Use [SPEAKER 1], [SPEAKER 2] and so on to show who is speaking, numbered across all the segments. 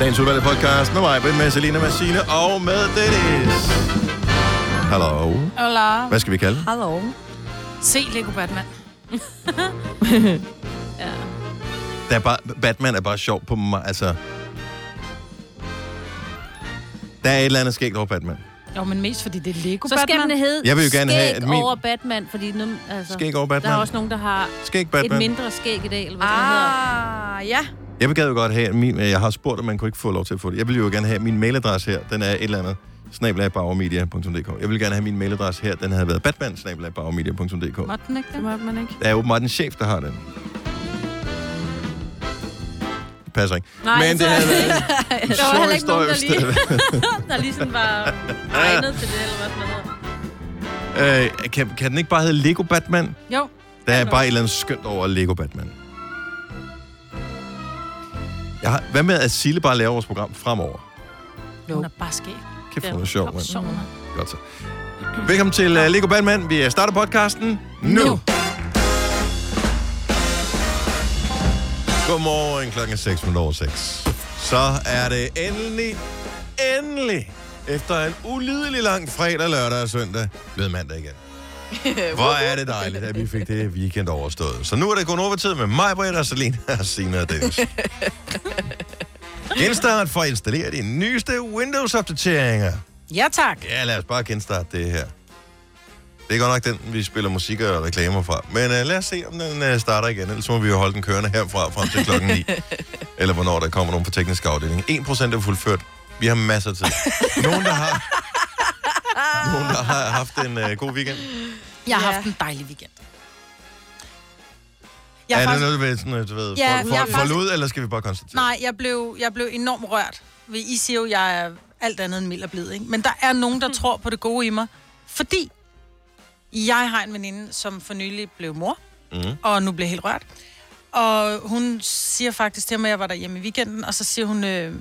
[SPEAKER 1] Dagens udvalgte podcast med mig, Britt, med Selina, med Signe og med Dennis. Hallo.
[SPEAKER 2] Hola.
[SPEAKER 1] Hvad skal vi kalde den?
[SPEAKER 3] Hallo.
[SPEAKER 2] Se Lego Batman.
[SPEAKER 3] ja.
[SPEAKER 1] Der er bare, Batman er bare sjov på mig, altså... Der er et eller andet skægt over Batman.
[SPEAKER 2] Jo, men mest fordi det er Lego
[SPEAKER 3] Så
[SPEAKER 2] Batman.
[SPEAKER 3] skal den hedde
[SPEAKER 1] Jeg vil jo gerne have,
[SPEAKER 3] skæg
[SPEAKER 1] at min-
[SPEAKER 3] over Batman, fordi nu, altså,
[SPEAKER 1] Skæg over Batman.
[SPEAKER 3] der er også nogen, der har
[SPEAKER 1] Skæg
[SPEAKER 3] et
[SPEAKER 1] Batman.
[SPEAKER 3] mindre skæg i dag, eller hvad det hedder.
[SPEAKER 2] Ah, ja.
[SPEAKER 1] Jeg gad jo godt have at min... Jeg har spurgt, om man kunne ikke få lov til at få det. Jeg vil jo gerne have min mailadresse her. Den er et eller andet. Snabelagbauermedia.dk Jeg vil gerne have min mailadresse her. Den havde været batman
[SPEAKER 2] Må den ikke det?
[SPEAKER 4] Må man ikke?
[SPEAKER 1] Der er åbenbart en chef, der har den. Det passer ikke.
[SPEAKER 3] Nej,
[SPEAKER 1] Men det havde været en
[SPEAKER 3] Der var
[SPEAKER 1] sjov
[SPEAKER 3] heller ikke
[SPEAKER 1] historie,
[SPEAKER 3] nogen, der
[SPEAKER 1] hvis det
[SPEAKER 3] lige,
[SPEAKER 1] havde været.
[SPEAKER 3] der lige sådan var egnet til det, eller hvad det hedder.
[SPEAKER 1] Øh, kan, kan den ikke bare hedde Lego Batman?
[SPEAKER 2] Jo.
[SPEAKER 1] Der er
[SPEAKER 2] Hallo.
[SPEAKER 1] bare et eller andet skønt over Lego Batman. Jeg har, hvad med, at Sille bare laver vores program fremover?
[SPEAKER 2] jo. Hun er bare skæg.
[SPEAKER 1] Kæft,
[SPEAKER 3] Ja,
[SPEAKER 1] hvor ja, sjovt, mand.
[SPEAKER 2] Sjov, hun er.
[SPEAKER 1] Godt så. Velkommen til uh, Lego Batman. Vi øh, starter podcasten nu. nu.
[SPEAKER 2] Nu.
[SPEAKER 1] Godmorgen, klokken er 6 minutter over 6. Så er det endelig, endelig, efter en ulidelig lang fredag, lørdag og søndag, blevet mandag igen. Hvor er det dejligt, at vi fik det weekend overstået. Så nu er det kun overtid med mig, Britt og Selina og Sina og Dennis. Genstart for at installere de nyeste Windows-opdateringer.
[SPEAKER 2] Ja, tak.
[SPEAKER 1] Ja, lad os bare genstarte det her. Det er godt nok den, vi spiller musik og reklamer fra. Men uh, lad os se, om den uh, starter igen. Ellers må vi jo holde den kørende herfra frem til klokken 9. Eller hvornår der kommer nogen på teknisk afdeling. 1% er fuldført. Vi har masser af tid. Nogen, der har, nogen, der har haft en uh, god weekend.
[SPEAKER 2] Jeg har
[SPEAKER 4] Ja.
[SPEAKER 2] haft en dejlig weekend.
[SPEAKER 1] Jeg
[SPEAKER 2] har
[SPEAKER 1] er
[SPEAKER 2] faktisk-
[SPEAKER 1] det noget, ved, sådan, øh, du ved,
[SPEAKER 2] Ja,
[SPEAKER 1] ja, for,
[SPEAKER 2] jeg har
[SPEAKER 1] for, for
[SPEAKER 2] faktisk-
[SPEAKER 1] lud, eller skal vi bare konstatere?
[SPEAKER 2] Nej, jeg blev, jeg blev enormt rørt. Ved- I siger jo, jeg er alt andet end mild og blid, ikke? Men der er nogen, der
[SPEAKER 1] Mhm.
[SPEAKER 2] tror på det gode i mig, fordi jeg har en veninde, som for nylig blev mor,
[SPEAKER 1] Mhm.
[SPEAKER 2] mm. og nu bliver helt rørt. Og hun siger faktisk til mig, at jeg var derhjemme i weekenden, og så siger hun, øh,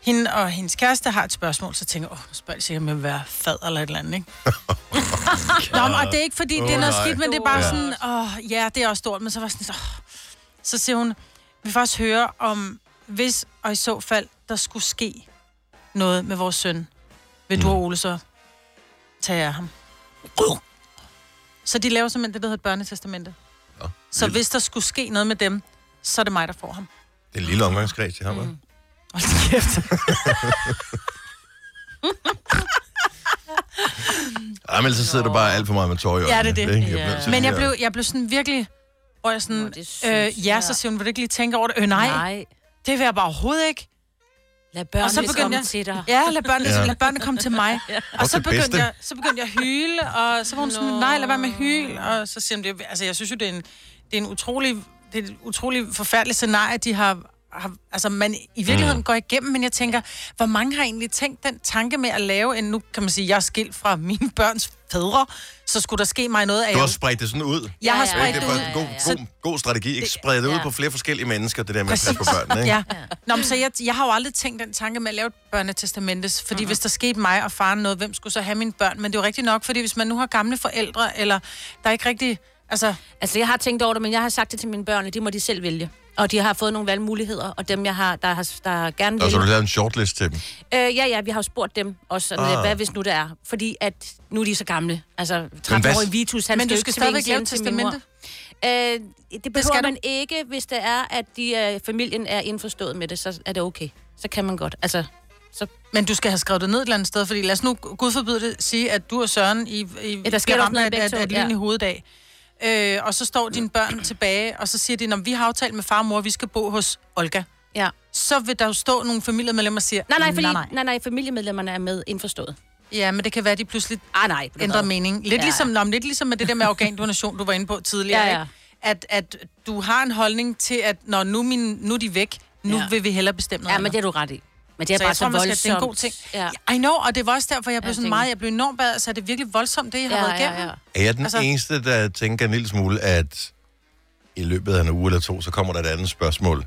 [SPEAKER 2] hende og hendes kæreste har et spørgsmål, så tænker jeg, åh, nu spørger jeg sikkert, om jeg vil være fad eller et eller andet, ikke? Nå, men, og det er ikke, fordi det er
[SPEAKER 1] Åh,
[SPEAKER 2] noget
[SPEAKER 1] nej.
[SPEAKER 2] skidt, men det er bare
[SPEAKER 1] Ja.
[SPEAKER 2] sådan, åh, ja, det er også stort, men så var jeg sådan, åh. Så siger hun, vi vil faktisk høre om, hvis og i så fald, der skulle ske noget med vores søn, vil
[SPEAKER 1] Mm.
[SPEAKER 2] du og Ole så tage af ham? Så de laver simpelthen det, der hedder et børnetestamente.
[SPEAKER 1] Nå,
[SPEAKER 2] Så
[SPEAKER 1] vildt.
[SPEAKER 2] hvis der skulle ske noget med dem, så er det mig, der får ham.
[SPEAKER 1] Det er en lille omgangskreds, de har med. Mm.
[SPEAKER 2] Hold da kæft.
[SPEAKER 1] Ej, men ellers så sidder du bare alt for meget med tårer i øjnene.
[SPEAKER 2] Ja, det er det.
[SPEAKER 1] ikke?
[SPEAKER 3] Ja.
[SPEAKER 1] bliver nødt til
[SPEAKER 2] Men jeg
[SPEAKER 1] at-
[SPEAKER 2] blev, jeg blev sådan virkelig... Og jeg
[SPEAKER 3] Nå,
[SPEAKER 2] sådan,
[SPEAKER 3] det synes
[SPEAKER 2] øh, ja,
[SPEAKER 3] jeg.
[SPEAKER 2] så siger hun, vil du ikke lige tænke over det? Øh, nej, nej,
[SPEAKER 3] Nej.
[SPEAKER 2] det vil jeg bare overhovedet ikke.
[SPEAKER 3] Lad børnene komme jeg... til dig.
[SPEAKER 2] Ja, lad børnene,
[SPEAKER 1] Ja.
[SPEAKER 2] ja. lad børnene komme til mig. ja. Og så
[SPEAKER 1] til bedste.
[SPEAKER 2] begyndte, jeg, så begyndte jeg at hyle, og så var hun sådan,
[SPEAKER 3] Nå.
[SPEAKER 2] nej, lad være med at hyle. Og så siger hun, det, er- altså, jeg synes jo, det er en, det er en utrolig, det er et utrolig forfærdeligt scenarie, de har, har altså man i virkeligheden
[SPEAKER 1] Mm.
[SPEAKER 2] går igennem, men jeg tænker, hvor mange har egentlig tænkt den tanke med at lave en, nu kan man sige, jeg er skilt fra mine børns fædre, så skulle der ske mig noget af,
[SPEAKER 1] Du har spredt det sådan ud.
[SPEAKER 2] jeg har
[SPEAKER 3] Ja,
[SPEAKER 1] Ja,
[SPEAKER 2] spredt
[SPEAKER 1] det er
[SPEAKER 2] det
[SPEAKER 1] bare
[SPEAKER 2] ud.
[SPEAKER 1] en god,
[SPEAKER 3] ja,
[SPEAKER 2] ja.
[SPEAKER 1] god, god strategi. Ikke sprede det ud
[SPEAKER 3] ja.
[SPEAKER 1] på flere forskellige mennesker, det der med at passe på børnene. Ikke?
[SPEAKER 2] Ja. Nå, men så jeg, jeg har jo aldrig tænkt den tanke med at lave et børnetestamentes,
[SPEAKER 3] Mhm.
[SPEAKER 2] fordi mm-hmm. hvis der skete mig og faren noget, hvem skulle så have mine børn? Men det er jo rigtigt nok, fordi hvis man nu har gamle forældre, eller der er ikke rigtig... Altså,
[SPEAKER 3] Altså, jeg har tænkt over det, men jeg har sagt det til mine børn, at de må de selv vælge. Og de har fået nogle valgmuligheder, og dem, jeg har, der, har, der gerne vil.
[SPEAKER 1] Og så har du lavet en shortlist til dem.
[SPEAKER 3] Øh, ja, ja, vi har jo spurgt dem også, sådan,
[SPEAKER 1] Ah.
[SPEAKER 3] ah. hvad hvis nu det er. Fordi at nu er de så gamle. Altså,
[SPEAKER 1] hvad-
[SPEAKER 3] 13-årige Vitus, han
[SPEAKER 2] men du
[SPEAKER 3] jo
[SPEAKER 2] skal
[SPEAKER 3] ikke
[SPEAKER 2] stadigvæk
[SPEAKER 3] tvinges
[SPEAKER 2] lave
[SPEAKER 3] ind
[SPEAKER 2] et
[SPEAKER 3] til min mor.
[SPEAKER 2] testamente.
[SPEAKER 3] Øh, det behøver
[SPEAKER 2] skal
[SPEAKER 3] det
[SPEAKER 2] du.
[SPEAKER 3] man ikke, hvis det er, at de, øh, familien er indforstået med det, så er det okay. Så kan man godt. Altså, så,
[SPEAKER 2] Men du skal have skrevet det ned et eller andet sted, fordi lad os nu, gud forbyde det, sige, at du og Søren i, i
[SPEAKER 3] Ja, der sker
[SPEAKER 2] bliver
[SPEAKER 3] også
[SPEAKER 2] ramt
[SPEAKER 3] noget
[SPEAKER 2] af
[SPEAKER 3] begge
[SPEAKER 2] at,
[SPEAKER 3] to,
[SPEAKER 2] at
[SPEAKER 3] ja.
[SPEAKER 2] lyn i hoveddag. Øh, og så står dine børn tilbage, og så siger de, at vi har aftalt med far og mor, at vi skal bo hos Olga.
[SPEAKER 3] ja.
[SPEAKER 2] Så vil der jo stå nogle familiemedlemmer og siger, "Mm,
[SPEAKER 3] Nej, nej, fordi,
[SPEAKER 2] nej,
[SPEAKER 3] nej, nej. nej, familiemedlemmerne er med indforstået.
[SPEAKER 2] Ja, men det kan være, at de pludselig
[SPEAKER 3] Ah, nej. ved du
[SPEAKER 2] ændrer
[SPEAKER 3] hvad.
[SPEAKER 2] mening. Lidt, ja.
[SPEAKER 3] Ja.
[SPEAKER 2] ligesom, nå, men lidt ligesom med det der med organdonation, du var inde på tidligere.
[SPEAKER 3] Ja,
[SPEAKER 2] Ja,
[SPEAKER 3] ja.
[SPEAKER 2] ja. Ikke? At, at du har en holdning til, at når nu, er min, nu er de væk, nu
[SPEAKER 3] Ja.
[SPEAKER 2] ja. vil vi hellere bestemme noget
[SPEAKER 3] Ja, men det
[SPEAKER 2] andet.
[SPEAKER 3] er du ret i. Men det er
[SPEAKER 2] så
[SPEAKER 3] bare
[SPEAKER 2] jeg
[SPEAKER 3] så
[SPEAKER 2] tror, man skal,
[SPEAKER 3] voldsomt.
[SPEAKER 2] det er en god ting.
[SPEAKER 3] Ja.
[SPEAKER 2] I know, og det var også derfor, jeg blev
[SPEAKER 3] jeg
[SPEAKER 2] sådan
[SPEAKER 3] tænker-
[SPEAKER 2] meget, jeg blev enormt bad, så er det virkelig voldsomt, det jeg har
[SPEAKER 3] Ja,
[SPEAKER 2] været
[SPEAKER 3] ja,
[SPEAKER 2] igennem.
[SPEAKER 3] ja.
[SPEAKER 1] Er jeg den altså...
[SPEAKER 2] Altså-
[SPEAKER 1] eneste, der tænker en lille smule, at i løbet af en uge eller to, så kommer der et andet spørgsmål,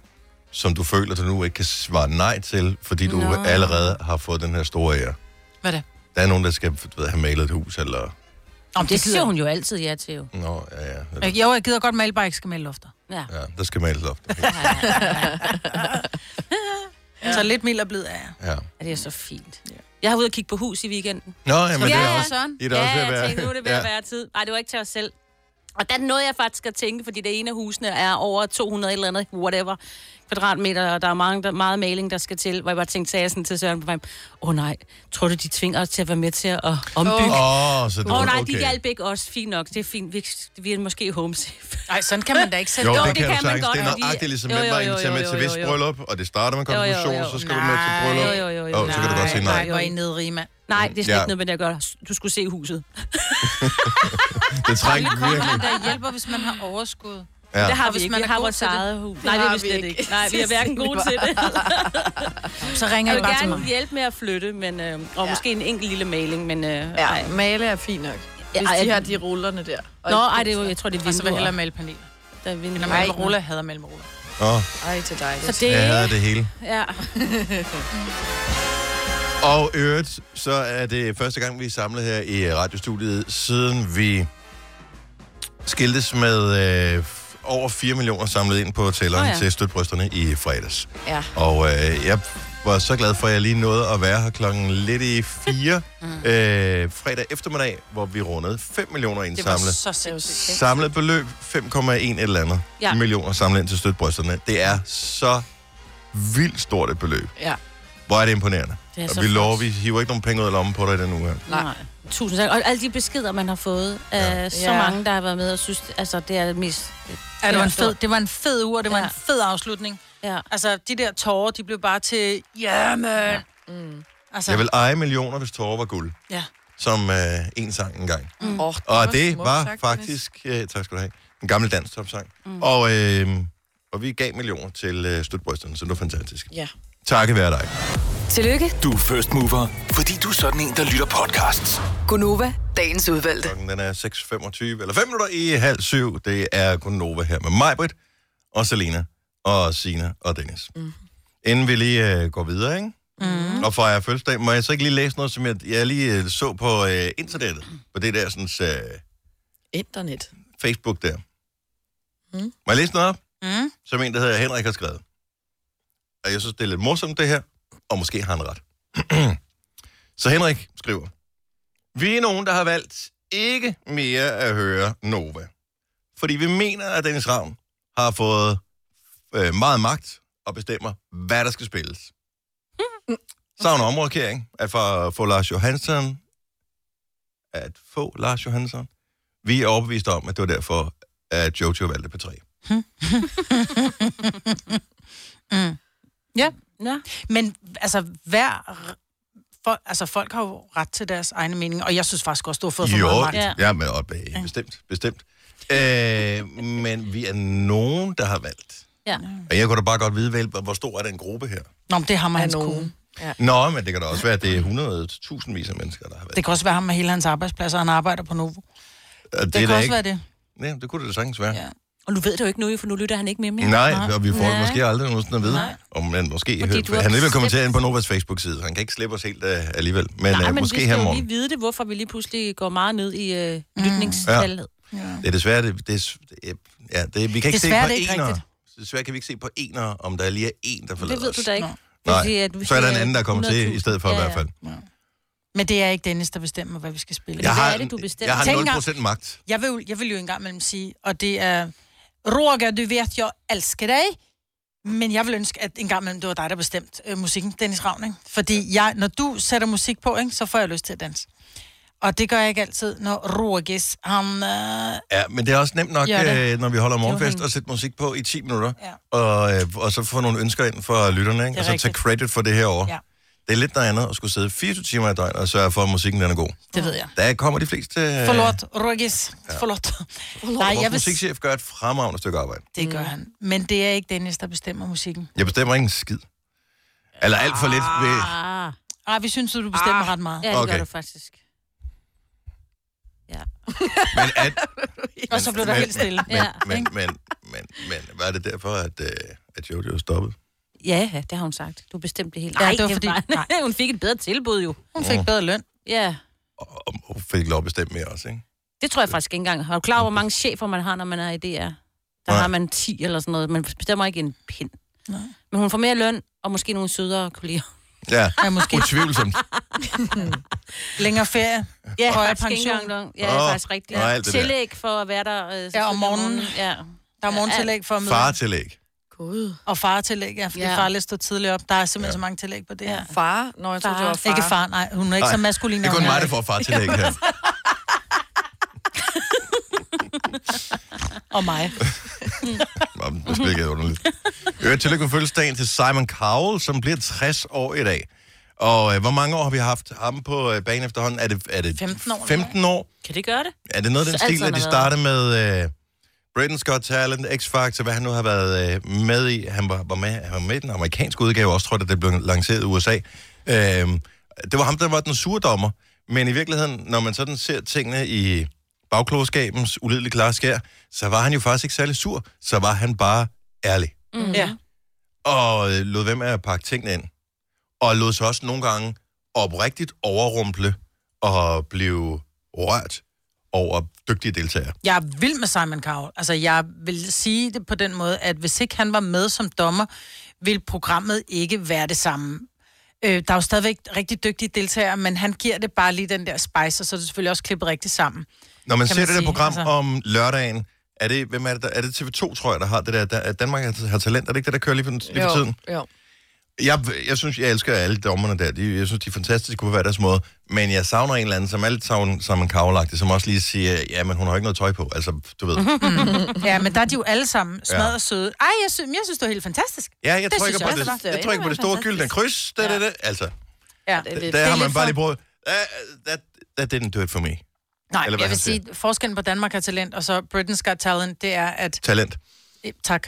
[SPEAKER 1] som du føler, du nu ikke kan svare nej til, fordi du
[SPEAKER 3] Nå.
[SPEAKER 1] allerede har fået den her store ære.
[SPEAKER 2] Hvad er det?
[SPEAKER 1] Der er nogen, der skal du ved, have malet et hus, eller...
[SPEAKER 2] Om
[SPEAKER 3] Det siger hun jo altid ja til, jo.
[SPEAKER 1] Nå, ja, ja. Eller,
[SPEAKER 2] Øh, Jo, jeg gider godt male, bare ikke skal male lofter.
[SPEAKER 3] Ja.
[SPEAKER 1] ja der skal males op.
[SPEAKER 3] Ja, ja, ja.
[SPEAKER 2] Så lidt mild og blid er jeg.
[SPEAKER 1] Ja.
[SPEAKER 3] Ja, det er så fint. Jeg har ude og kigge på hus i weekenden.
[SPEAKER 1] Nå, jamen,
[SPEAKER 3] ja,
[SPEAKER 1] det er
[SPEAKER 3] ja.
[SPEAKER 1] også,
[SPEAKER 3] Søren.
[SPEAKER 1] I er da
[SPEAKER 3] ja,
[SPEAKER 1] også ved at
[SPEAKER 3] jeg
[SPEAKER 1] være-
[SPEAKER 3] tænkte, nu er det ved at
[SPEAKER 1] Ja.
[SPEAKER 3] være tid. Nej, det var ikke til os selv. Og der nåede jeg faktisk at tænke, fordi det ene af husene er over 200 et eller andet, whatever, kvadratmeter, og der er mange, der, meget maling, der skal til. Hvor jeg bare tænkte, sagde jeg sådan til Søren på vej, åh oh, nej, tror du, de tvinger os til at være med til at ombygge? Åh
[SPEAKER 1] Åh, oh, så det
[SPEAKER 3] oh.
[SPEAKER 1] var
[SPEAKER 3] oh, nej, de
[SPEAKER 1] okay.
[SPEAKER 3] hjalp ikke os. Fint nok, det er fint. Vi, vi er måske home safe.
[SPEAKER 2] Nej, sådan kan man da ikke sætte
[SPEAKER 1] Jo,
[SPEAKER 2] det
[SPEAKER 1] det,
[SPEAKER 2] op.
[SPEAKER 1] det kan,
[SPEAKER 3] kan
[SPEAKER 1] du
[SPEAKER 3] man
[SPEAKER 1] sagtens.
[SPEAKER 3] godt,
[SPEAKER 1] Det er
[SPEAKER 3] fordi-
[SPEAKER 1] nøjagtigt ligesom,
[SPEAKER 3] Jo,
[SPEAKER 1] hvem
[SPEAKER 3] jo,
[SPEAKER 1] var
[SPEAKER 3] jo,
[SPEAKER 1] inviteret
[SPEAKER 3] jo,
[SPEAKER 1] med
[SPEAKER 3] jo,
[SPEAKER 1] til
[SPEAKER 3] jo,
[SPEAKER 1] vist
[SPEAKER 3] jo.
[SPEAKER 1] bryllup, og det starter med konfirmation,
[SPEAKER 3] jo,
[SPEAKER 1] så
[SPEAKER 3] jo.
[SPEAKER 1] skal du med til
[SPEAKER 2] Nej.
[SPEAKER 1] bryllup.
[SPEAKER 3] Jo, jo, jo, jo.
[SPEAKER 1] Åh, så kan du godt sige nej.
[SPEAKER 2] Nej, hvor er I nedrige, mand.
[SPEAKER 3] Nej, det er slet
[SPEAKER 1] Ja.
[SPEAKER 3] ikke noget med det at gøre. Du skulle se huset.
[SPEAKER 1] Det trænger virkelig.
[SPEAKER 2] Kommer der hjælper, hvis man har overskud.
[SPEAKER 1] Ja.
[SPEAKER 3] Det har
[SPEAKER 2] Og
[SPEAKER 3] vi
[SPEAKER 2] hvis
[SPEAKER 3] ikke.
[SPEAKER 2] man
[SPEAKER 3] Man
[SPEAKER 2] er
[SPEAKER 3] har
[SPEAKER 2] god
[SPEAKER 3] vores
[SPEAKER 2] til det.
[SPEAKER 3] eget hus. Nej, det er vi slet ikke. Nej, vi er hverken gode til det.
[SPEAKER 2] Så ringer
[SPEAKER 3] Jeg
[SPEAKER 2] I
[SPEAKER 3] vil
[SPEAKER 2] bare til
[SPEAKER 3] gerne
[SPEAKER 2] mig.
[SPEAKER 3] hjælpe med at flytte, men, øh, og ja.
[SPEAKER 4] Ja.
[SPEAKER 3] måske en enkelt lille maling, men... Øh, ja.
[SPEAKER 4] Ja, male er fint nok. Hvis
[SPEAKER 3] ej,
[SPEAKER 4] de
[SPEAKER 3] jeg-
[SPEAKER 4] har de rullerne der. Og
[SPEAKER 3] Nå,
[SPEAKER 4] et
[SPEAKER 3] ej, det er
[SPEAKER 4] pensel.
[SPEAKER 3] jo, jeg tror, det er
[SPEAKER 2] Og så vil jeg
[SPEAKER 3] vinduer.
[SPEAKER 2] hellere male paneler.
[SPEAKER 3] Der er vinduer.
[SPEAKER 2] Eller
[SPEAKER 3] Nej,
[SPEAKER 2] male ruller, jeg hader male ruller.
[SPEAKER 1] Åh,
[SPEAKER 4] Ej, til dig.
[SPEAKER 3] Så
[SPEAKER 4] Så
[SPEAKER 3] det,
[SPEAKER 1] jeg hader det hele.
[SPEAKER 3] ja.
[SPEAKER 1] Og i øvrigt, så er det første gang, vi er samlet her i radiostudiet, siden vi skiltes med øh, f- over 4 millioner samlet ind på tælleren
[SPEAKER 3] Nå
[SPEAKER 1] oh,
[SPEAKER 3] ja.
[SPEAKER 1] ja. til støtbrysterne i fredags.
[SPEAKER 4] Ja.
[SPEAKER 1] Og øh, jeg var så glad for, at jeg lige nåede at være her klokken lidt i 4
[SPEAKER 3] Mm.
[SPEAKER 1] øh, fredag eftermiddag, hvor vi rundede 5 millioner
[SPEAKER 2] Det var
[SPEAKER 1] indsamlet.
[SPEAKER 2] så sindssygt.
[SPEAKER 1] Samlet beløb 5,1 et eller andet
[SPEAKER 3] Ja.
[SPEAKER 1] ja. millioner samlet ind til støtbrysterne. Det er så vildt stort et beløb.
[SPEAKER 4] Ja.
[SPEAKER 1] Hvor er det imponerende.
[SPEAKER 3] Det er så
[SPEAKER 1] Og vi
[SPEAKER 3] flot.
[SPEAKER 1] lover, vi hiver ikke nogen penge ud af lommen på dig i den uge her.
[SPEAKER 3] Nej. Tusind tak. Og alle de beskeder, man har fået af ja. så
[SPEAKER 4] Ja.
[SPEAKER 3] mange, der har været med og synes, altså, det er det mest...
[SPEAKER 2] Ja, det var en
[SPEAKER 3] stor.
[SPEAKER 2] fed, det var en fed uge, og det var
[SPEAKER 3] Ja.
[SPEAKER 2] en fed afslutning.
[SPEAKER 3] Ja.
[SPEAKER 2] Altså, de der tårer, de blev bare til, ja, man. Altså,
[SPEAKER 1] Jeg vil eje millioner, hvis tårer var guld.
[SPEAKER 2] ja.
[SPEAKER 1] Som øh, en sang engang.
[SPEAKER 4] Mm. Oh,
[SPEAKER 1] Og det var faktisk, øh, tak skal du have, en gammel dansk topsang. Mm. Og, øh, og vi gav millioner til øh, støtbrysterne, så det var fantastisk.
[SPEAKER 4] Ja.
[SPEAKER 1] Takket være dig.
[SPEAKER 5] Tillykke,
[SPEAKER 6] Du er first mover, fordi du er sådan en, der lytter podcasts.
[SPEAKER 5] Gunova, dagens udvalgte.
[SPEAKER 1] Klokken den er 6.25, eller 5 minutter i halv syv. Det er kun Nova her med Majbrit, og Selena, og Sina og Dennis. Mm. Inden vi lige øh, går videre, ikke? Mm. Og fejrer fødselsdag, må jeg så ikke lige læse noget, som jeg, jeg lige øh, så på øh, internettet? På det der sådan, øh,
[SPEAKER 4] Internet.
[SPEAKER 1] Facebook der. Mm. Må jeg læse noget op?
[SPEAKER 2] Mm.
[SPEAKER 1] som en, der hedder Henrik har skrevet. Og jeg synes, det er lidt morsomt det her, og måske har han ret. Så Henrik skriver, Vi er nogen, der har valgt ikke mere at høre Nova, fordi vi mener, at Dennis Ravn har fået øh, meget magt og bestemmer, hvad der skal spilles. Savner omrokering at få- få Lars Johansson at få Lars Johansson. Vi er overbeviste om, at det var derfor, at Jojo valgte på 3.
[SPEAKER 3] Nå.
[SPEAKER 2] Men altså, hver... For, altså, folk har jo ret til deres egne meninger, og jeg synes faktisk også, du har fået for meget
[SPEAKER 1] Jo,
[SPEAKER 2] magt.
[SPEAKER 1] ja, men, og, øh, bestemt, bestemt. Øh, men vi er nogen, der har valgt.
[SPEAKER 3] Ja.
[SPEAKER 1] Og jeg kunne da bare godt vide, vel, hvor- hvor stor er den gruppe her?
[SPEAKER 2] Nå, men det er ham og
[SPEAKER 4] Er
[SPEAKER 2] hans kone.
[SPEAKER 4] nogen.
[SPEAKER 1] Nå, men det kan da også være, at det er 100.000 af mennesker, der har valgt.
[SPEAKER 2] Det kan også være ham med hele hans arbejdsplads, og han arbejder på Novo. Det,
[SPEAKER 1] Og det,
[SPEAKER 2] det
[SPEAKER 1] er
[SPEAKER 2] kan
[SPEAKER 1] da
[SPEAKER 2] også
[SPEAKER 1] ikke...
[SPEAKER 2] være det.
[SPEAKER 1] Nej, det kunne det da sagtens være.
[SPEAKER 2] Ja.
[SPEAKER 1] Ja.
[SPEAKER 3] Og du ved det jo ikke nu, for nu lytter han ikke med mere.
[SPEAKER 1] Nej, og vi får
[SPEAKER 3] Nej.
[SPEAKER 1] det måske aldrig nogensinde at vide.
[SPEAKER 2] Nej.
[SPEAKER 1] Og man måske
[SPEAKER 3] Fordi du
[SPEAKER 1] hører,
[SPEAKER 3] har
[SPEAKER 1] han er ved at
[SPEAKER 3] bestemt-
[SPEAKER 1] kommentere ind på Novas Facebook-side. Han kan ikke slippe os helt uh, alligevel. Men, Nej,
[SPEAKER 3] Nej,
[SPEAKER 1] uh,
[SPEAKER 3] men vi
[SPEAKER 1] måske
[SPEAKER 3] skal
[SPEAKER 1] her
[SPEAKER 3] jo
[SPEAKER 1] morgen.
[SPEAKER 3] lige vide det, hvorfor vi lige pludselig går meget ned i øh, lytningstallet.
[SPEAKER 1] Det er desværre, det, det, er- det er- ja, det, vi kan ikke
[SPEAKER 2] Desværre, det er
[SPEAKER 1] se
[SPEAKER 2] ikke
[SPEAKER 1] på enere.
[SPEAKER 2] rigtigt.
[SPEAKER 1] Desværre kan vi ikke se på enere, om der lige er en, der forlader
[SPEAKER 3] Det ved du
[SPEAKER 1] os.
[SPEAKER 3] da ikke.
[SPEAKER 2] Nå.
[SPEAKER 3] Det vil
[SPEAKER 1] Nej,
[SPEAKER 3] sige, at vi
[SPEAKER 1] så er der en
[SPEAKER 3] siger
[SPEAKER 1] anden, der kommer til i
[SPEAKER 3] 100.000.
[SPEAKER 1] stedet for ja,
[SPEAKER 3] Ja,
[SPEAKER 1] i
[SPEAKER 3] ja.
[SPEAKER 1] hvert fald.
[SPEAKER 2] Men det er ikke Dennis, der bestemmer, hvad vi skal spille.
[SPEAKER 1] Jeg
[SPEAKER 3] hvad
[SPEAKER 1] har,
[SPEAKER 3] er det, du bestemmer?
[SPEAKER 1] jeg har
[SPEAKER 2] Tænk
[SPEAKER 1] 0%
[SPEAKER 2] engang.
[SPEAKER 1] magt.
[SPEAKER 2] Jeg vil, jo- jeg vil jo engang mellem sige, og det er, Roger, du ved, jeg elsker dig, men jeg vil ønske, at engang mellem det var dig, der bestemte øh, musikken, Dennis Ravn, ikke? Fordi jeg, når du sætter musik på, ikke, så får jeg lyst til at danse. Og det gør jeg ikke altid, når Rogis, han... Øh,
[SPEAKER 1] Ja, men det er også nemt nok,
[SPEAKER 2] Ja,
[SPEAKER 1] ja, øh, når vi holder morgenfest,
[SPEAKER 2] hende.
[SPEAKER 1] at sætte musik på i 10 minutter,
[SPEAKER 2] Ja.
[SPEAKER 1] og, øh, og så få nogle ønsker ind for lytterne, ikke?
[SPEAKER 2] er
[SPEAKER 1] og så tage
[SPEAKER 2] rigtigt.
[SPEAKER 1] credit for det her år.
[SPEAKER 2] Ja.
[SPEAKER 1] Det er lidt noget andet at skulle sidde 24 timer i døgnet og sørge for, at musikken den er god.
[SPEAKER 2] det ved jeg.
[SPEAKER 1] Der kommer de fleste... Øh,
[SPEAKER 2] Forlåt, Rogis. Forlåt. Nej,
[SPEAKER 1] Vores
[SPEAKER 2] jeg vil,
[SPEAKER 1] musikchef gør et fremragende stykke arbejde.
[SPEAKER 2] det gør han. Men det er ikke Dennis, der bestemmer musikken.
[SPEAKER 1] Jeg bestemmer ikke en skid. Eller alt for lidt ved...
[SPEAKER 3] Ah,
[SPEAKER 2] Ej, vi synes, at du bestemmer ret meget.
[SPEAKER 3] ja, det
[SPEAKER 1] Okay.
[SPEAKER 3] gør du faktisk. Ja.
[SPEAKER 1] Men at,
[SPEAKER 2] Og så blev der
[SPEAKER 1] Men-
[SPEAKER 2] helt stille.
[SPEAKER 1] men,
[SPEAKER 3] Ja.
[SPEAKER 1] men, men, men, men, var det derfor, at, øh, at Jojo stoppede?
[SPEAKER 3] Ja, ja, det har hun sagt. Du bestemte det hele.
[SPEAKER 2] Nej, det var fordi-
[SPEAKER 3] bare... Nej. hun fik et bedre tilbud jo.
[SPEAKER 2] Hun fik bedre løn.
[SPEAKER 3] Ja,
[SPEAKER 1] Og, og, og fik lov at bestemme mere også, ikke?
[SPEAKER 3] det tror jeg faktisk ikke engang. Har du klar over, hvor mange chefer man har, når man er i DR? Der
[SPEAKER 1] Nej.
[SPEAKER 3] har man 10 eller sådan noget. Man bestemmer ikke en pind. Men hun får mere løn, og måske nogle sødere kolleger.
[SPEAKER 1] Ja,
[SPEAKER 2] Ja, måske
[SPEAKER 1] utvivlsomt.
[SPEAKER 2] længere ferie.
[SPEAKER 3] Ja,
[SPEAKER 2] Højere
[SPEAKER 3] faktisk ikke
[SPEAKER 2] pension.
[SPEAKER 3] engang løn. Ja, det er
[SPEAKER 1] Åh,
[SPEAKER 3] faktisk rigtigt.
[SPEAKER 1] og alt det der.
[SPEAKER 3] Tillæg for at være der. Øh,
[SPEAKER 2] Ja, om morgenen.
[SPEAKER 3] Ja.
[SPEAKER 2] Der er morgentillæg for at møde. Far.
[SPEAKER 1] Faretillæg.
[SPEAKER 4] God.
[SPEAKER 2] Og faretillæg, ja, fordi
[SPEAKER 3] Ja.
[SPEAKER 2] ja. far lige stod tidligere op. Der er simpelthen ja. så mange tillæg på det her.
[SPEAKER 4] Far? Nå, jeg troede, det var far.
[SPEAKER 2] Ikke far, nej. Hun er ikke
[SPEAKER 1] Nej,
[SPEAKER 2] så maskulin.
[SPEAKER 1] Det er
[SPEAKER 2] når
[SPEAKER 1] kun
[SPEAKER 2] hun
[SPEAKER 1] mig, der får faretillæg her.
[SPEAKER 2] Og mig.
[SPEAKER 1] Nå, men Det spiller ikke underligt. Øh, tillykke med fødselsdagen til Simon Cowell, som bliver 60 år i dag. Og øh, hvor mange år har vi haft ham på øh, banen efterhånden? Er det, er det
[SPEAKER 2] 15 år, eller
[SPEAKER 1] 15 år?
[SPEAKER 3] Kan det gøre det?
[SPEAKER 1] Er det noget af den
[SPEAKER 3] Så
[SPEAKER 1] stil,
[SPEAKER 3] alt
[SPEAKER 1] at
[SPEAKER 3] sådan
[SPEAKER 1] de
[SPEAKER 3] noget.
[SPEAKER 1] startede med øh, Britain's Got Talent, X-Factor, hvad han nu har været øh, med i? Han var, var, med, han var med i den amerikanske udgave også, tror jeg, da det blev lanceret i USA. Øh, det var ham, der var den sure dommer. Men i virkeligheden, når man sådan ser tingene i bagklogskabens ulidelige klare skær, så var han jo faktisk ikke særlig sur, så var han bare ærlig
[SPEAKER 3] Mm.
[SPEAKER 4] Ja.
[SPEAKER 1] og øh, lod være med at pakke tingene ind. Og lod sig også nogle gange oprigtigt overrumple og blive rørt over dygtige deltagere.
[SPEAKER 2] Jeg er vild med Simon Cowell. Altså, jeg vil sige det på den måde, at hvis ikke han var med som dommer, ville programmet ikke være det samme. Øh, der er jo stadigvæk rigtig dygtige deltagere, men han giver det bare lige den der spice, og så er det selvfølgelig også klippet rigtigt sammen.
[SPEAKER 1] Når man
[SPEAKER 2] kan
[SPEAKER 1] ser
[SPEAKER 2] man
[SPEAKER 1] det der
[SPEAKER 2] sige,
[SPEAKER 1] program altså...
[SPEAKER 2] altså.
[SPEAKER 1] om lørdagen, er det, hvem er det, der, er det TV2, tror jeg, der har det der, der at Danmark har, har talent? Er det ikke det, der kører lige for, lige for tiden?
[SPEAKER 4] Jo, jo.
[SPEAKER 1] Jeg, jeg synes, jeg elsker alle dommerne der. De, jeg synes, de er fantastiske på hver deres måde. Men jeg savner en eller anden, som er lidt savn, som en kavlagtig, som også lige siger, ja, men hun har ikke noget tøj på. Altså, du ved.
[SPEAKER 2] Ja, men der er de jo alle sammen smadret
[SPEAKER 1] Ja.
[SPEAKER 2] ja. søde. Ej, jeg synes, jeg synes, det var helt fantastisk.
[SPEAKER 1] Ja, jeg
[SPEAKER 2] Det
[SPEAKER 1] trykker
[SPEAKER 2] synes jeg
[SPEAKER 1] på
[SPEAKER 2] også,
[SPEAKER 1] det,
[SPEAKER 2] det
[SPEAKER 1] jeg,
[SPEAKER 4] var.
[SPEAKER 1] trykker på det store
[SPEAKER 4] Fantastisk.
[SPEAKER 1] gyldne kryds. Da, da, da. Altså,
[SPEAKER 2] Ja.
[SPEAKER 4] Det er lidt...
[SPEAKER 1] der har
[SPEAKER 2] lidt
[SPEAKER 1] man bare
[SPEAKER 2] for-
[SPEAKER 1] lige brugt. That, that, that didn't do it for me.
[SPEAKER 2] Nej,
[SPEAKER 1] Eller hvad
[SPEAKER 2] jeg
[SPEAKER 1] han
[SPEAKER 2] vil sige, forskellen på Danmark har talent, og så Britain's Got Talent, det er, at...
[SPEAKER 1] Talent.
[SPEAKER 2] Eh, Tak.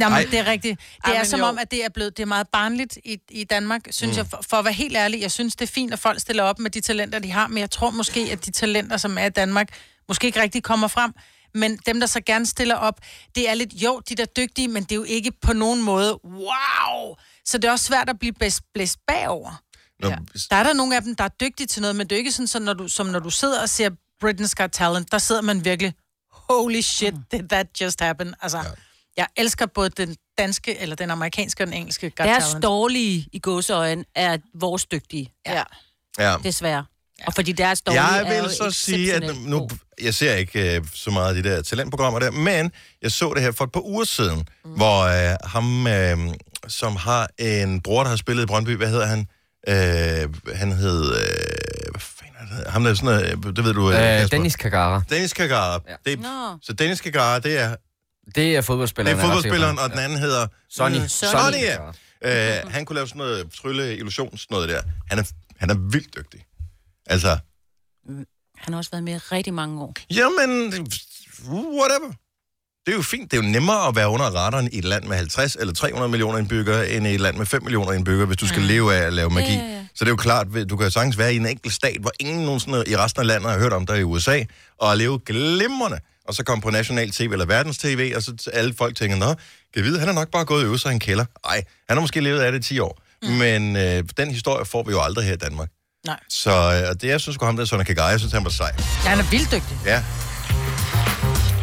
[SPEAKER 2] Nå, men det er rigtigt. Det
[SPEAKER 4] Ej,
[SPEAKER 2] er
[SPEAKER 4] men
[SPEAKER 2] som
[SPEAKER 4] jo.
[SPEAKER 2] om, at det er blevet det er meget barnligt i, i Danmark, synes mm. jeg. For, for at være helt ærlig, jeg synes, det er fint, at folk stiller op med de talenter, de har, men jeg tror måske, at de talenter, som er i Danmark, måske ikke rigtig kommer frem. Men dem, der så gerne stiller op, det er lidt, jo, de er da dygtige, men det er jo ikke på nogen måde, wow! Så det er også svært at blive blæst, blæst bagover.
[SPEAKER 1] Nå, ja.
[SPEAKER 2] Der er der nogle af dem, der er dygtige til noget, men det er jo ikke sådan, så når du, som når du sidder og ser Britain's Got Talent, der sidder man virkelig, holy shit, did that just happen? Altså, ja. jeg elsker både den danske, eller den amerikanske og den engelske Got
[SPEAKER 3] Deres
[SPEAKER 2] Talent.
[SPEAKER 3] dårlige i gåseøjne er vores dygtige,
[SPEAKER 4] Ja.
[SPEAKER 1] ja.
[SPEAKER 3] desværre. Og fordi deres dårlige
[SPEAKER 1] Jeg
[SPEAKER 3] er jo
[SPEAKER 1] vil så sige, at
[SPEAKER 3] exceptionelt
[SPEAKER 1] nu,
[SPEAKER 3] god.
[SPEAKER 1] jeg ser ikke øh, så meget af de der talentprogrammer der, men jeg så det her for et par uger siden, mm. hvor øh, ham, øh, som har en bror, der har spillet i Brøndby, hvad hedder han? Øh, han hed, øh, hvad fanden er det? han hed? Ham der er sådan noget, øh, det ved du.
[SPEAKER 7] Øh,
[SPEAKER 1] Kasper.
[SPEAKER 7] Dennis Kagara.
[SPEAKER 1] Dennis Kagara. Ja.
[SPEAKER 3] Nå.
[SPEAKER 1] Så Dennis Kagara, det er,
[SPEAKER 7] Det er
[SPEAKER 1] det
[SPEAKER 7] fodboldspilleren.
[SPEAKER 1] er
[SPEAKER 7] jeg ret sikker på.
[SPEAKER 1] fodboldspilleren, og den anden hedder...
[SPEAKER 7] Sonny.
[SPEAKER 1] Mm,
[SPEAKER 7] Sonny.
[SPEAKER 1] Sonny, ja. Øh, han kunne lave sådan noget trylle, illusion, sådan noget der. Han er, han er vildt dygtig. Altså,
[SPEAKER 3] Han har også været med i rigtig mange år.
[SPEAKER 1] Jamen, whatever. Det er jo fint. Det er jo nemmere at være under radaren i et land med 50 eller 300 millioner indbyggere, end i et land med 5 millioner indbyggere, hvis du skal leve af at lave magi.
[SPEAKER 3] Ja, ja, ja.
[SPEAKER 1] Så det er jo klart, at du kan jo sagtens være i en enkelt stat, hvor ingen nogensinde i resten af landet har hørt om dig i USA, og leve glimrende, og så komme på national tv eller verdens tv, og så t- alle folk tænker, nå, kan vide, han er nok bare gået og øvet sig i en kælder. Nej, han har måske levet af det i 10 år. Mm. Men øh, den historie får vi jo aldrig her i Danmark.
[SPEAKER 2] Nej.
[SPEAKER 1] Så øh, og det, jeg synes sgu ham der, Sonny Kagaya, jeg synes, han var sej.
[SPEAKER 2] Ja, han er vildt dygtig.
[SPEAKER 1] Ja.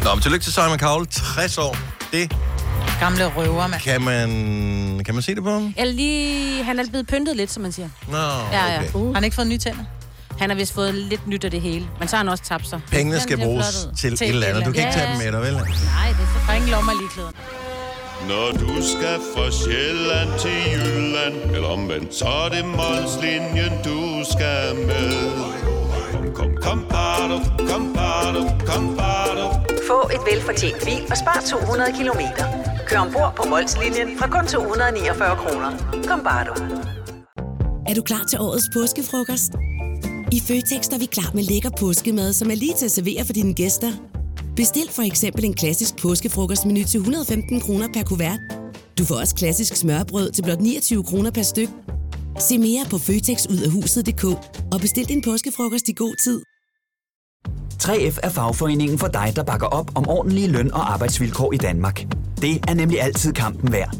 [SPEAKER 1] Nå, men tillykke til Simon Cowell. 60 år. Det
[SPEAKER 2] Gamle røver, mand.
[SPEAKER 1] kan man... Kan man se det på ham?
[SPEAKER 3] Eller lige, han er blevet pyntet lidt, som man siger.
[SPEAKER 1] Nå,
[SPEAKER 3] Ja, ja.
[SPEAKER 1] okay.
[SPEAKER 2] Har han ikke fået nye tænder?
[SPEAKER 3] Han har vist fået lidt nyt af det hele, men så har han også tabt sig.
[SPEAKER 1] Pengene
[SPEAKER 3] Den
[SPEAKER 1] skal
[SPEAKER 3] bliver
[SPEAKER 1] bruges
[SPEAKER 3] flot ud.
[SPEAKER 1] til, et eller andet. Du kan ikke tage dem med dig, vel?
[SPEAKER 3] Nej, det er så Der er ingen lommer lige klæder.
[SPEAKER 8] Når du skal fra Sjælland til Jylland Eller omvendt, så er det Molslinjen, du skal med Kom, kom, kom, bado, kom, bado, kom, bado.
[SPEAKER 9] Få et velfortjent bil og spar 200 kilometer. Kør ombord på Molslinjen fra kun 249 kroner. Kom bare du.
[SPEAKER 10] Er du klar til årets påskefrokost? I Føtex er vi klar med lækker påskemad, som er lige til at servere for dine gæster. Bestil for eksempel en klassisk påskefrokostmenu til 115 kroner per kuvert. Du får også klassisk smørbrød til blot 29 kroner per styk. Se mere på føtexudafhuset.dk og bestil din påskefrokost i god tid.
[SPEAKER 11] 3F er fagforeningen for dig, der bakker op om ordentlige løn- og arbejdsvilkår i Danmark. Det er nemlig altid kampen værd.